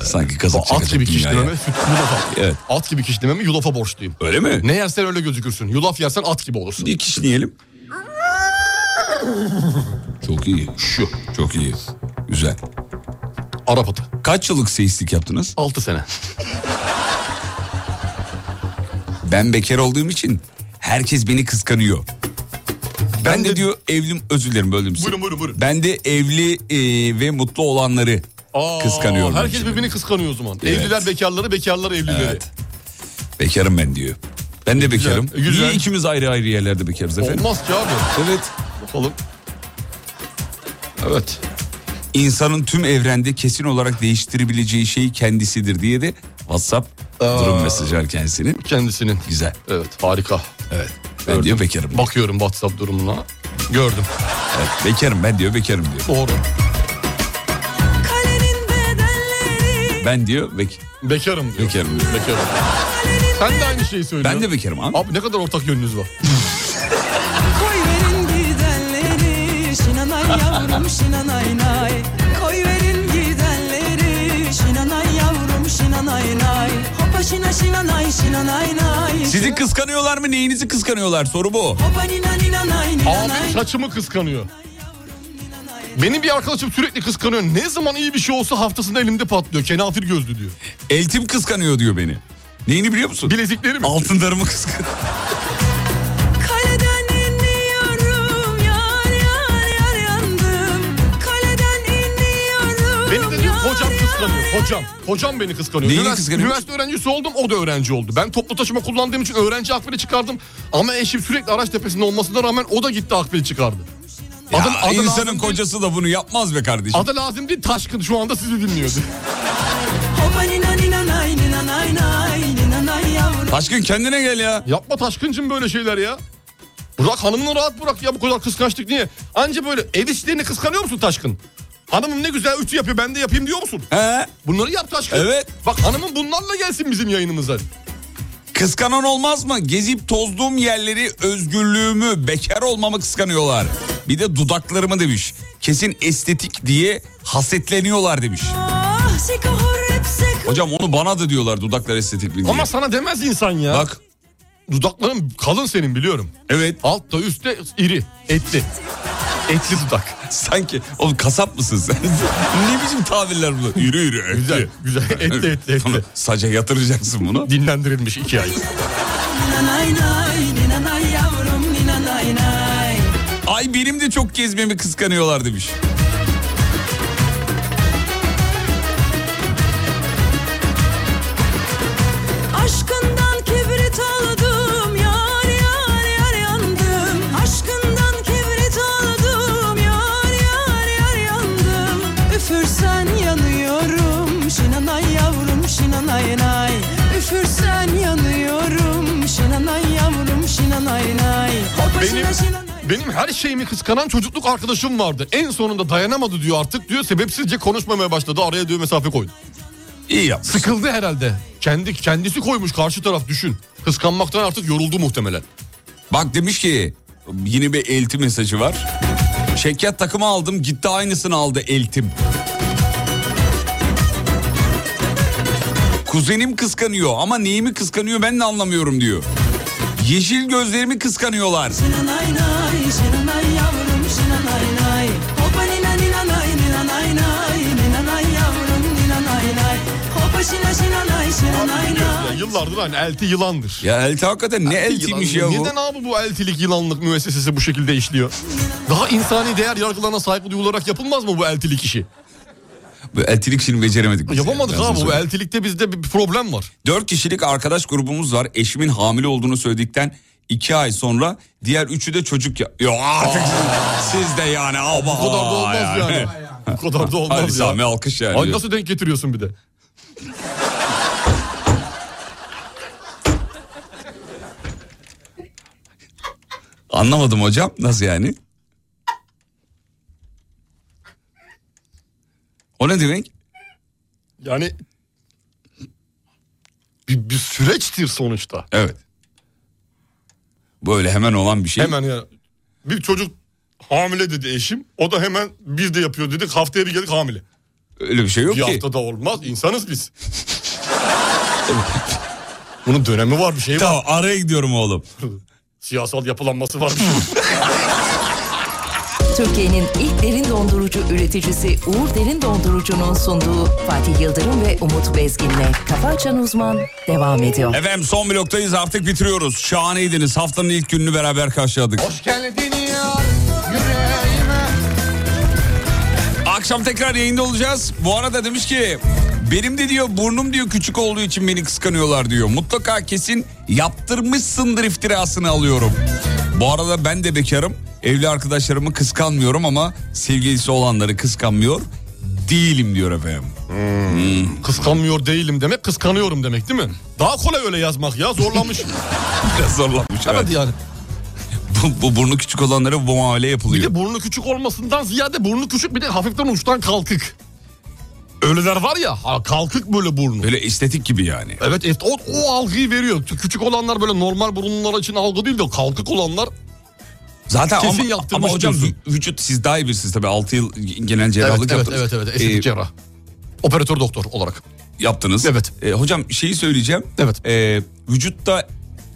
Speaker 3: Sanki kazık
Speaker 4: At
Speaker 3: çakacak
Speaker 4: gibi
Speaker 3: dünyaya.
Speaker 4: kişnememe süt yulafa.
Speaker 3: Evet.
Speaker 4: At gibi kişnememi yulafa borçluyum.
Speaker 3: Öyle mi?
Speaker 4: Ne yersen öyle gözükürsün. Yulaf yersen at gibi olursun.
Speaker 3: Bir kişneyelim. Çok iyi. Şu. Çok iyi. Güzel.
Speaker 4: Arap atı.
Speaker 3: Kaç yıllık seyislik yaptınız?
Speaker 4: 6 sene.
Speaker 3: Ben bekar olduğum için herkes beni kıskanıyor. Ben, de, diyor evli özür dilerim böldüm sizi.
Speaker 4: Buyurun, buyurun, buyurun.
Speaker 3: Ben de evli e, ve mutlu olanları
Speaker 4: Aa,
Speaker 3: kıskanıyorum.
Speaker 4: Herkes birbirini kıskanıyor o zaman.
Speaker 3: Evet.
Speaker 4: Evliler bekarları, bekarlar evlileri.
Speaker 3: Bekarım ben diyor. Ben de
Speaker 4: E, Güzel,
Speaker 3: bekarım.
Speaker 4: güzel.
Speaker 3: Niye ikimiz ayrı ayrı yerlerde bekarız efendim?
Speaker 4: Olmaz ki abi.
Speaker 3: Evet.
Speaker 4: Bakalım. Evet.
Speaker 3: İnsanın tüm evrende kesin olarak değiştirebileceği şey kendisidir diye de WhatsApp durum mesajı var kendisinin.
Speaker 4: Kendisinin.
Speaker 3: Güzel.
Speaker 4: Evet harika.
Speaker 3: Evet. Ben diyor bekarım.
Speaker 4: Bakıyorum WhatsApp durumuna. Gördüm.
Speaker 3: Evet, bekarım ben diyor bekarım diyor.
Speaker 4: Doğru.
Speaker 3: Ben diyor bek
Speaker 4: bekarım diyor.
Speaker 3: Bekarım diyor.
Speaker 4: Bekarım. Sen de aynı şeyi söylüyorsun.
Speaker 3: Ben de bekarım abi.
Speaker 4: Abi ne kadar ortak yönünüz var.
Speaker 13: Koy verin gidenleri Şinanay yavrum şinanay nay Koy verin gidenleri Şinanay yavrum şinanay nay Hopa şina şinanay şinanay nay
Speaker 3: Sizi kıskanıyorlar mı neyinizi kıskanıyorlar soru bu.
Speaker 13: Hopa nina nina nay nina nay
Speaker 4: Abi saçımı kıskanıyor. Benim bir arkadaşım sürekli kıskanıyor. Ne zaman iyi bir şey olsa haftasında elimde patlıyor. Kenafir gözlü diyor.
Speaker 3: Eltim kıskanıyor diyor beni. Neyini biliyor musun?
Speaker 4: Bilezikleri mi?
Speaker 3: Altınlarımı kıskanıyor.
Speaker 13: Kaleden iniyorum yar yar yar yandım Kaleden iniyorum
Speaker 4: Beni de diyor hocam kıskanıyor. Hocam. Hocam beni kıskanıyor.
Speaker 3: Neyini
Speaker 4: üniversite,
Speaker 3: kıskanıyor?
Speaker 4: üniversite öğrencisi oldum o da öğrenci oldu. Ben toplu taşıma kullandığım için öğrenci akbili çıkardım. Ama eşim sürekli araç tepesinde olmasına rağmen o da gitti akbili çıkardı.
Speaker 3: Ya,
Speaker 4: Adı- adı lazım
Speaker 3: insanın
Speaker 4: değil.
Speaker 3: kocası da bunu yapmaz be kardeşim.
Speaker 4: Adı lazım değil Taşkın şu anda sizi dinliyordu.
Speaker 13: Hopa nina nina nay nina nay nay Nina nay yavrum
Speaker 3: Taşkın kendine gel ya.
Speaker 4: Yapma Taşkıncım böyle şeyler ya. Bırak hanımını rahat bırak ya bu kadar kıskançlık niye? Anca böyle ev işlerini kıskanıyor musun Taşkın? Hanımım ne güzel ütü yapıyor ben de yapayım diyor musun?
Speaker 3: He.
Speaker 4: Bunları yap Taşkın.
Speaker 3: Evet.
Speaker 4: Bak hanımın bunlarla gelsin bizim yayınımıza.
Speaker 3: Kıskanan olmaz mı? Gezip tozduğum yerleri, özgürlüğümü, bekar olmamı kıskanıyorlar. Bir de dudaklarımı demiş. Kesin estetik diye hasetleniyorlar demiş.
Speaker 13: Ah sika horrep sik
Speaker 3: Hocam onu bana da diyorlar dudaklar estetik mi diye.
Speaker 4: Ama sana demez insan ya.
Speaker 3: Bak.
Speaker 4: Dudakların kalın senin biliyorum.
Speaker 3: Evet.
Speaker 4: Altta üstte iri, etli. Etli dudak.
Speaker 3: Sanki oğlum kasap mısın sen? ne biçim tabirler bu? Yürü yürü. etli.
Speaker 4: Güzel, güzel. Etli, etli, etli.
Speaker 3: Saca yatıracaksın bunu.
Speaker 4: Dinlendirilmiş iki ay.
Speaker 13: Nina nay nay nina nay yavrum nina nay nay
Speaker 3: Ay benim de çok gezmemi kıskanıyorlar demiş.
Speaker 13: Aşkından kibrit aldım yar yar yar yandım Aşkından kibrit aldım yar yar yar yandım Üfürsen yanıyorum şinanay yavrum şinanay nay Üfürsen yanıyorum şinanay yavrum şinanay nay Hopa
Speaker 4: Benim-
Speaker 13: şina şina
Speaker 4: Benim her şeyimi kıskanan çocukluk arkadaşım vardı. En sonunda dayanamadı diyor artık diyor. Sebepsizce konuşmamaya başladı. Araya diyor mesafe koydu.
Speaker 3: İyi yapmış.
Speaker 4: Sıkıldı herhalde. Kendi kendisi koymuş karşı taraf düşün. Kıskanmaktan artık yoruldu muhtemelen.
Speaker 3: Bak demiş ki yine bir elti mesajı var. Şeker takımı aldım gitti aynısını aldı eltim. Kuzenim kıskanıyor ama neyimi kıskanıyor ben de anlamıyorum diyor. Yeşil gözlerimi kıskanıyorlar.
Speaker 13: Şinanay nay şinanay yavrum şinanay nay Hopa nina nina nay nina nay nay Nina nay yavrum nina nay nay Hopa şina şina nay şinanay nay
Speaker 4: Ya yıllardır aynı elti yılandır.
Speaker 3: Ya elti hakikaten ne eltiymiş ya
Speaker 4: Yılan-
Speaker 3: bu.
Speaker 4: Neden abi bu eltilik yılanlık müessesesi bu şekilde işliyor? Daha insani değer yargılarına saygı duyularak yapılmaz mı bu eltilik işi?
Speaker 3: Bu eltilik şimdi beceremedik. biz yani,
Speaker 4: Yapamadık
Speaker 3: ben
Speaker 4: abi
Speaker 3: sana
Speaker 4: bu
Speaker 3: söyleyeyim.
Speaker 4: eltilikte bizde bir problem var.
Speaker 3: Dört kişilik arkadaş grubumuz var. Eşimin hamile olduğunu söyledikten iki ay sonra diğer üçü de çocuk ya. Yo artık siz de yani ama.
Speaker 4: Bu kadar da olmaz yani. Bu kadar da olmaz
Speaker 3: Hadi
Speaker 4: ya.
Speaker 3: Sami alkış yani.
Speaker 4: Ay nasıl denk getiriyorsun bir de?
Speaker 3: Anlamadım hocam nasıl yani? ne demek?
Speaker 4: Yani bir, bir süreçtir sonuçta.
Speaker 3: Evet. Böyle hemen olan bir şey.
Speaker 4: Hemen ya. Bir çocuk hamile dedi eşim. O da hemen biz de yapıyor dedik. Haftaya bir geldik hamile.
Speaker 3: Öyle bir şey yok
Speaker 4: bir
Speaker 3: ki.
Speaker 4: haftada olmaz. insanız biz. Bunun dönemi var bir şey
Speaker 3: tamam, var. Tamam araya gidiyorum oğlum.
Speaker 4: Siyasal yapılanması var.
Speaker 1: Türkiye'nin ilk derin dondurucu üreticisi Uğur Derin Dondurucu'nun sunduğu Fatih Yıldırım ve Umut Bezgin'le Kafa Açan Uzman devam ediyor.
Speaker 3: Efendim son bloktayız artık bitiriyoruz. Şahaneydiniz. Haftanın ilk gününü beraber karşıladık.
Speaker 19: Geldin yar yüreğime
Speaker 3: Akşam tekrar yayında olacağız. Bu arada demiş ki benim de diyor burnum diyor küçük olduğu için beni kıskanıyorlar diyor. Mutlaka kesin yaptırmışsındır iftirasını alıyorum. Bu arada ben de bekarım. Evli arkadaşlarımı kıskanmıyorum ama sevgilisi olanları kıskanmıyor değilim diyor efendim.
Speaker 4: Kıskanmıyor değilim demek kıskanıyorum demek değil mi? Daha kolay öyle yazmak ya zorlamış.
Speaker 3: Biraz zorlanmış.
Speaker 4: Evet. yani.
Speaker 3: Bu, bu burnu küçük olanlara bu muamele
Speaker 4: Bir
Speaker 3: yapılıyor.
Speaker 4: de burnu küçük olmasından ziyade burnu küçük bir de hafiften uçtan kalkık. Öyleler var ya ha, kalkık böyle burnu.
Speaker 3: Böyle estetik gibi yani.
Speaker 4: Evet es- o, o algıyı veriyor. Tü- Küçük olanlar böyle normal burunlar için algı değil de kalkık olanlar
Speaker 3: Zaten
Speaker 4: kesin
Speaker 3: ama,
Speaker 4: yaptırmış
Speaker 3: ama hocam
Speaker 4: diyorsun.
Speaker 3: vü- vücut siz daha iyi bilirsiniz tabii 6 yıl genel cerrahlık
Speaker 4: evet, evet,
Speaker 3: yaptınız.
Speaker 4: evet evet estetik
Speaker 3: Ee,
Speaker 4: cerrah. Operatör doktor olarak.
Speaker 3: yaptınız. Evet. hocam şeyi söyleyeceğim. Evet. vücutta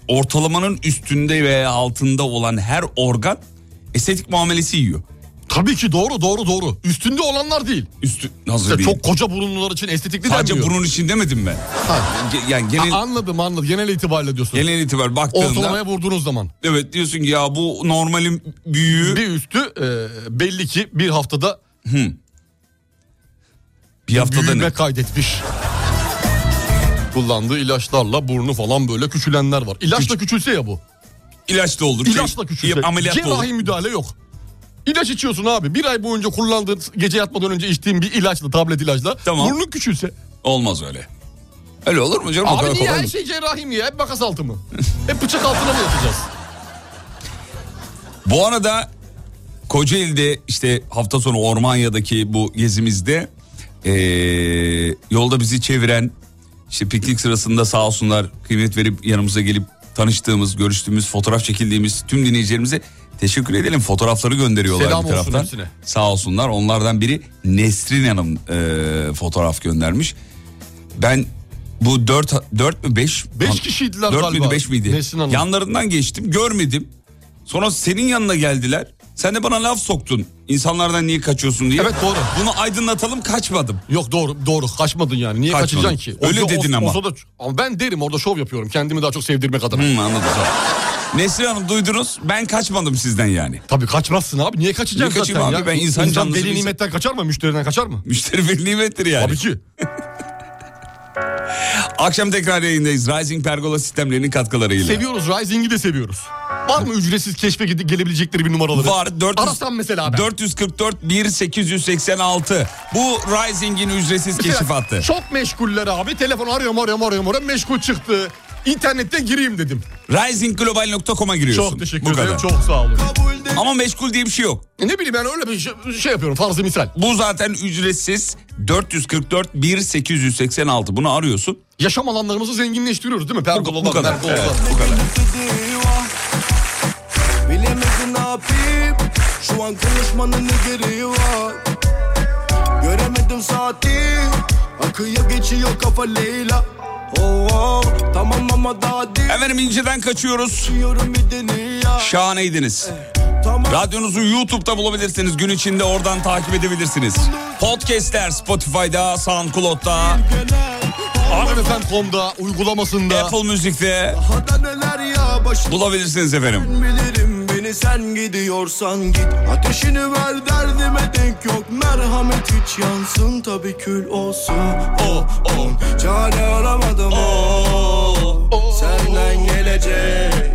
Speaker 3: ortalamanın üstünde veya altında olan her organ estetik muamelesi yiyor.
Speaker 4: Tabii ki doğru doğru doğru. Üstünde olanlar değil.
Speaker 3: Üstü nasıl
Speaker 4: İşte
Speaker 3: değil?
Speaker 4: çok koca burunlular için estetikli
Speaker 3: Sadece
Speaker 4: denmiyor.
Speaker 3: burun için demedim ben. Ge- Yani genel
Speaker 4: Ha, anladım anladım. Genel itibariyle diyorsun.
Speaker 3: genel itibar baktığında
Speaker 4: Ortalamaya vurduğunuz zaman.
Speaker 3: evet diyorsun ki ya bu normalin büyüğü
Speaker 4: Bir üstü e, belli ki bir haftada
Speaker 3: bir haftada
Speaker 4: büyüme
Speaker 3: ne?
Speaker 4: kaydetmiş. Kullandığı ilaçlarla burnu falan böyle küçülenler var. İlaçla küçülse ya bu.
Speaker 3: İlaç da olur.
Speaker 4: İlaçla
Speaker 3: Şey-
Speaker 4: küçülse.
Speaker 3: Ameliyat da olur.
Speaker 4: Cerrahi müdahale yok. İlaç içiyorsun abi. Bir ay boyunca kullandığın gece yatmadan önce içtiğin bir ilaçla tablet ilaçla.
Speaker 3: Tamam.
Speaker 4: Burnun küçülse.
Speaker 3: Olmaz öyle. Öyle olur mu canım? O kadar
Speaker 4: abi niye
Speaker 3: kolay
Speaker 4: her
Speaker 3: mı?
Speaker 4: şey cerrahi mi ya? Hep makas altı mı? Hep bıçak altına mı yatacağız?
Speaker 3: Bu arada Kocaeli'de işte hafta sonu Ormanya'daki bu gezimizde ee, yolda bizi çeviren işte piknik sırasında sağ olsunlar kıymet verip yanımıza gelip tanıştığımız, görüştüğümüz, fotoğraf çekildiğimiz tüm dinleyicilerimize teşekkür edelim. Fotoğrafları gönderiyorlar
Speaker 4: Selam
Speaker 3: bir
Speaker 4: olsun
Speaker 3: taraftan.
Speaker 4: hepsine.
Speaker 3: Sağ olsunlar. Onlardan biri Nesrin Hanım ee, fotoğraf göndermiş. Ben bu 4 4 mü 5
Speaker 4: Beş kişiydiler
Speaker 3: Dört
Speaker 4: galiba.
Speaker 3: müydü 5 miydi?
Speaker 4: Nesrin Hanım.
Speaker 3: Yanlarından geçtim görmedim. Sonra senin yanına geldiler. Sen de bana laf soktun. İnsanlardan niye kaçıyorsun diye.
Speaker 4: Evet, doğru.
Speaker 3: Bunu aydınlatalım kaçmadım.
Speaker 4: Yok doğru doğru kaçmadın yani. Niye
Speaker 3: Kaçmadım.
Speaker 4: kaçacaksın ki?
Speaker 3: Öyle dedin ama.
Speaker 4: da- ama ben derim orada şov yapıyorum. Kendimi daha çok sevdirmek adına.
Speaker 3: Hı, Hmm, anladım. Nesrin Hanım duydunuz ben kaçmadım sizden yani.
Speaker 4: Tabii kaçmazsın abi. Niye kaçacaksın
Speaker 3: Niye
Speaker 4: zaten
Speaker 3: kaçayım
Speaker 4: ya?
Speaker 3: abi? Ben insan canlısı
Speaker 4: deli
Speaker 3: bir-
Speaker 4: nimetten kaçar mı? Müşteriden kaçar mı?
Speaker 3: Müşteri bir nimettir yani.
Speaker 4: Tabii ki.
Speaker 3: Akşam tekrar yayındayız. Rising Pergola sistemlerinin katkılarıyla.
Speaker 4: Seviyoruz. Rising'i de seviyoruz. Var mı ücretsiz keşfe gide- gelebilecekleri bir numaraları?
Speaker 3: Var. 400,
Speaker 4: Arasam mesela ben.
Speaker 3: 444 1886. Bu Rising'in ücretsiz
Speaker 4: Mesela
Speaker 3: keşif hattı.
Speaker 4: Çok meşguller abi. Telefon arıyorum arıyorum arıyorum arıyorum. Meşgul çıktı. İnternette gireyim dedim.
Speaker 3: Risingglobal.com'a giriyorsun.
Speaker 4: Çok teşekkür
Speaker 3: Bu
Speaker 4: ederim.
Speaker 3: kadar.
Speaker 4: Çok sağ olun.
Speaker 3: Ama meşgul diye bir şey yok.
Speaker 4: E Ne bileyim ben öyle bir şey, şey yapıyorum. Fazla misal.
Speaker 3: Bu zaten ücretsiz 444 1886. Bunu arıyorsun.
Speaker 4: Yaşam alanlarımızı zenginleştiriyoruz değil mi? Pergolalar,
Speaker 3: Bu kadar.
Speaker 4: mergolalar.
Speaker 3: Evet, bu kadar.
Speaker 5: Bilemedim ne yapayım Şu an konuşmanın ne gereği var Göremedim saati Akıyor geçiyor kafa Leyla Oh, oh, tamam ama daha değil
Speaker 3: Efendim inceden kaçıyoruz.
Speaker 5: Diyorum bir deney ya Eh,
Speaker 3: Şahaneydiniz. Radyonuzu YouTube'da bulabilirsiniz. Gün içinde oradan takip edebilirsiniz. Podcast'ler Spotify'da, SoundCloud'da,
Speaker 4: Hanımefendi.com'da, uygulamasında.
Speaker 3: Apple Music'te
Speaker 5: Daha da neler ya başım
Speaker 3: bulabilirsiniz efendim.
Speaker 5: Bilirim beni sen gidiyorsan git Ateşini ver derdime denk yok Merhamet hiç yansın tabi kül olsun Oh oh Çare aramadım oh, Senden gelecek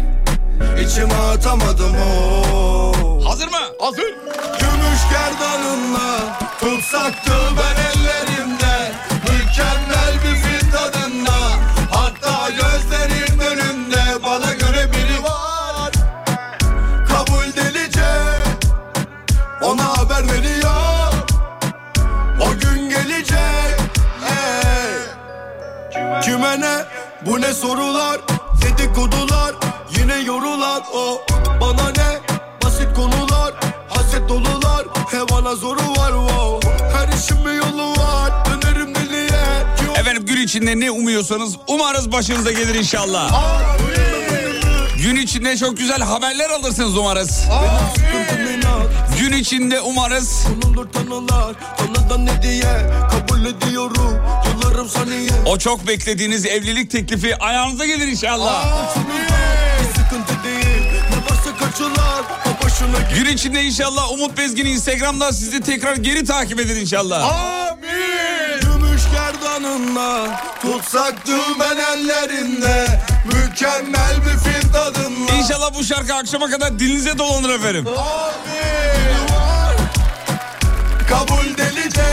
Speaker 5: İçime atamadım oh
Speaker 3: Hazır mı?
Speaker 4: Hazır.
Speaker 5: Gümüş gerdanınla Tutsaktı ben ellerimde Mükemmel bir fil tadında Hatta gözlerim önünde Bana göre biri var Kabul delice Ona haber veriyor O gün gelecek sorular Dedikodular yine yorular o Bana ne basit konular Haset dolular hevana zoru var wow. Her işin bir yolu var dönerim deliye
Speaker 3: Efendim gün içinde ne umuyorsanız umarız başınıza gelir inşallah. Gün içinde çok güzel haberler alırsınız umarız. Gün içinde umarız.
Speaker 5: Tanılar tanıdan ne diye kabul ediyorum Yıllarım saniye
Speaker 3: O çok beklediğiniz evlilik teklifi ayağınıza gelir inşallah.
Speaker 5: Bir sıkıntı değil ne varsa kaçılar O başına
Speaker 3: Gün içinde inşallah Umut Bezgin'i Instagram'dan sizi tekrar geri takip edin inşallah.
Speaker 5: Amin. Gümüş gerdanınla tutsak dümen ellerinde mükemmel bir fil tadınla.
Speaker 3: İnşallah bu şarkı akşama kadar dilinize dolanır efendim.
Speaker 5: Kabul delice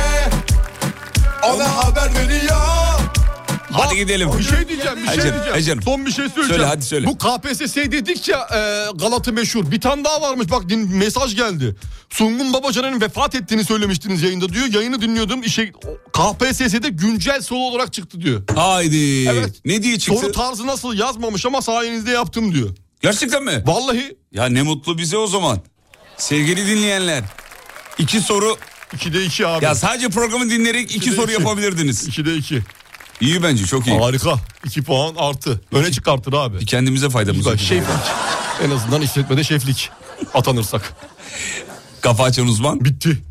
Speaker 5: ona haber veriyor.
Speaker 3: Hadi gidelim.
Speaker 4: Bir şey diyeceğim, bir şey
Speaker 3: Hacer,
Speaker 4: diyeceğim.
Speaker 3: Hacer.
Speaker 4: Son bir şey söyleyeceğim.
Speaker 3: Söyle, hadi söyle.
Speaker 4: Bu KPSS dedikçe e, Galata meşhur. Bir tane daha varmış bak din- mesaj geldi. Sungun Babacan'ın vefat ettiğini söylemiştiniz yayında diyor. Yayını dinliyordum. İşe, KPSS'de güncel soru olarak çıktı diyor.
Speaker 3: Haydi. Ne diye çıktı?
Speaker 4: Soru tarzı nasıl yazmamış ama sayenizde yaptım diyor.
Speaker 3: Gerçekten mi?
Speaker 4: Vallahi.
Speaker 3: Ya ne mutlu bize o zaman. Sevgili dinleyenler. iki soru.
Speaker 4: İkide iki abi.
Speaker 3: Ya sadece programı dinleyerek iki, soru yapabilirdiniz.
Speaker 4: İkide iki.
Speaker 3: İyi bence çok iyi.
Speaker 4: Harika. 2 puan artı. Öne çıkartır abi. Bir
Speaker 3: kendimize faydamız
Speaker 4: var. Şeflik. en azından işletmede şeflik atanırsak.
Speaker 3: Kafa açan uzman.
Speaker 4: Bitti.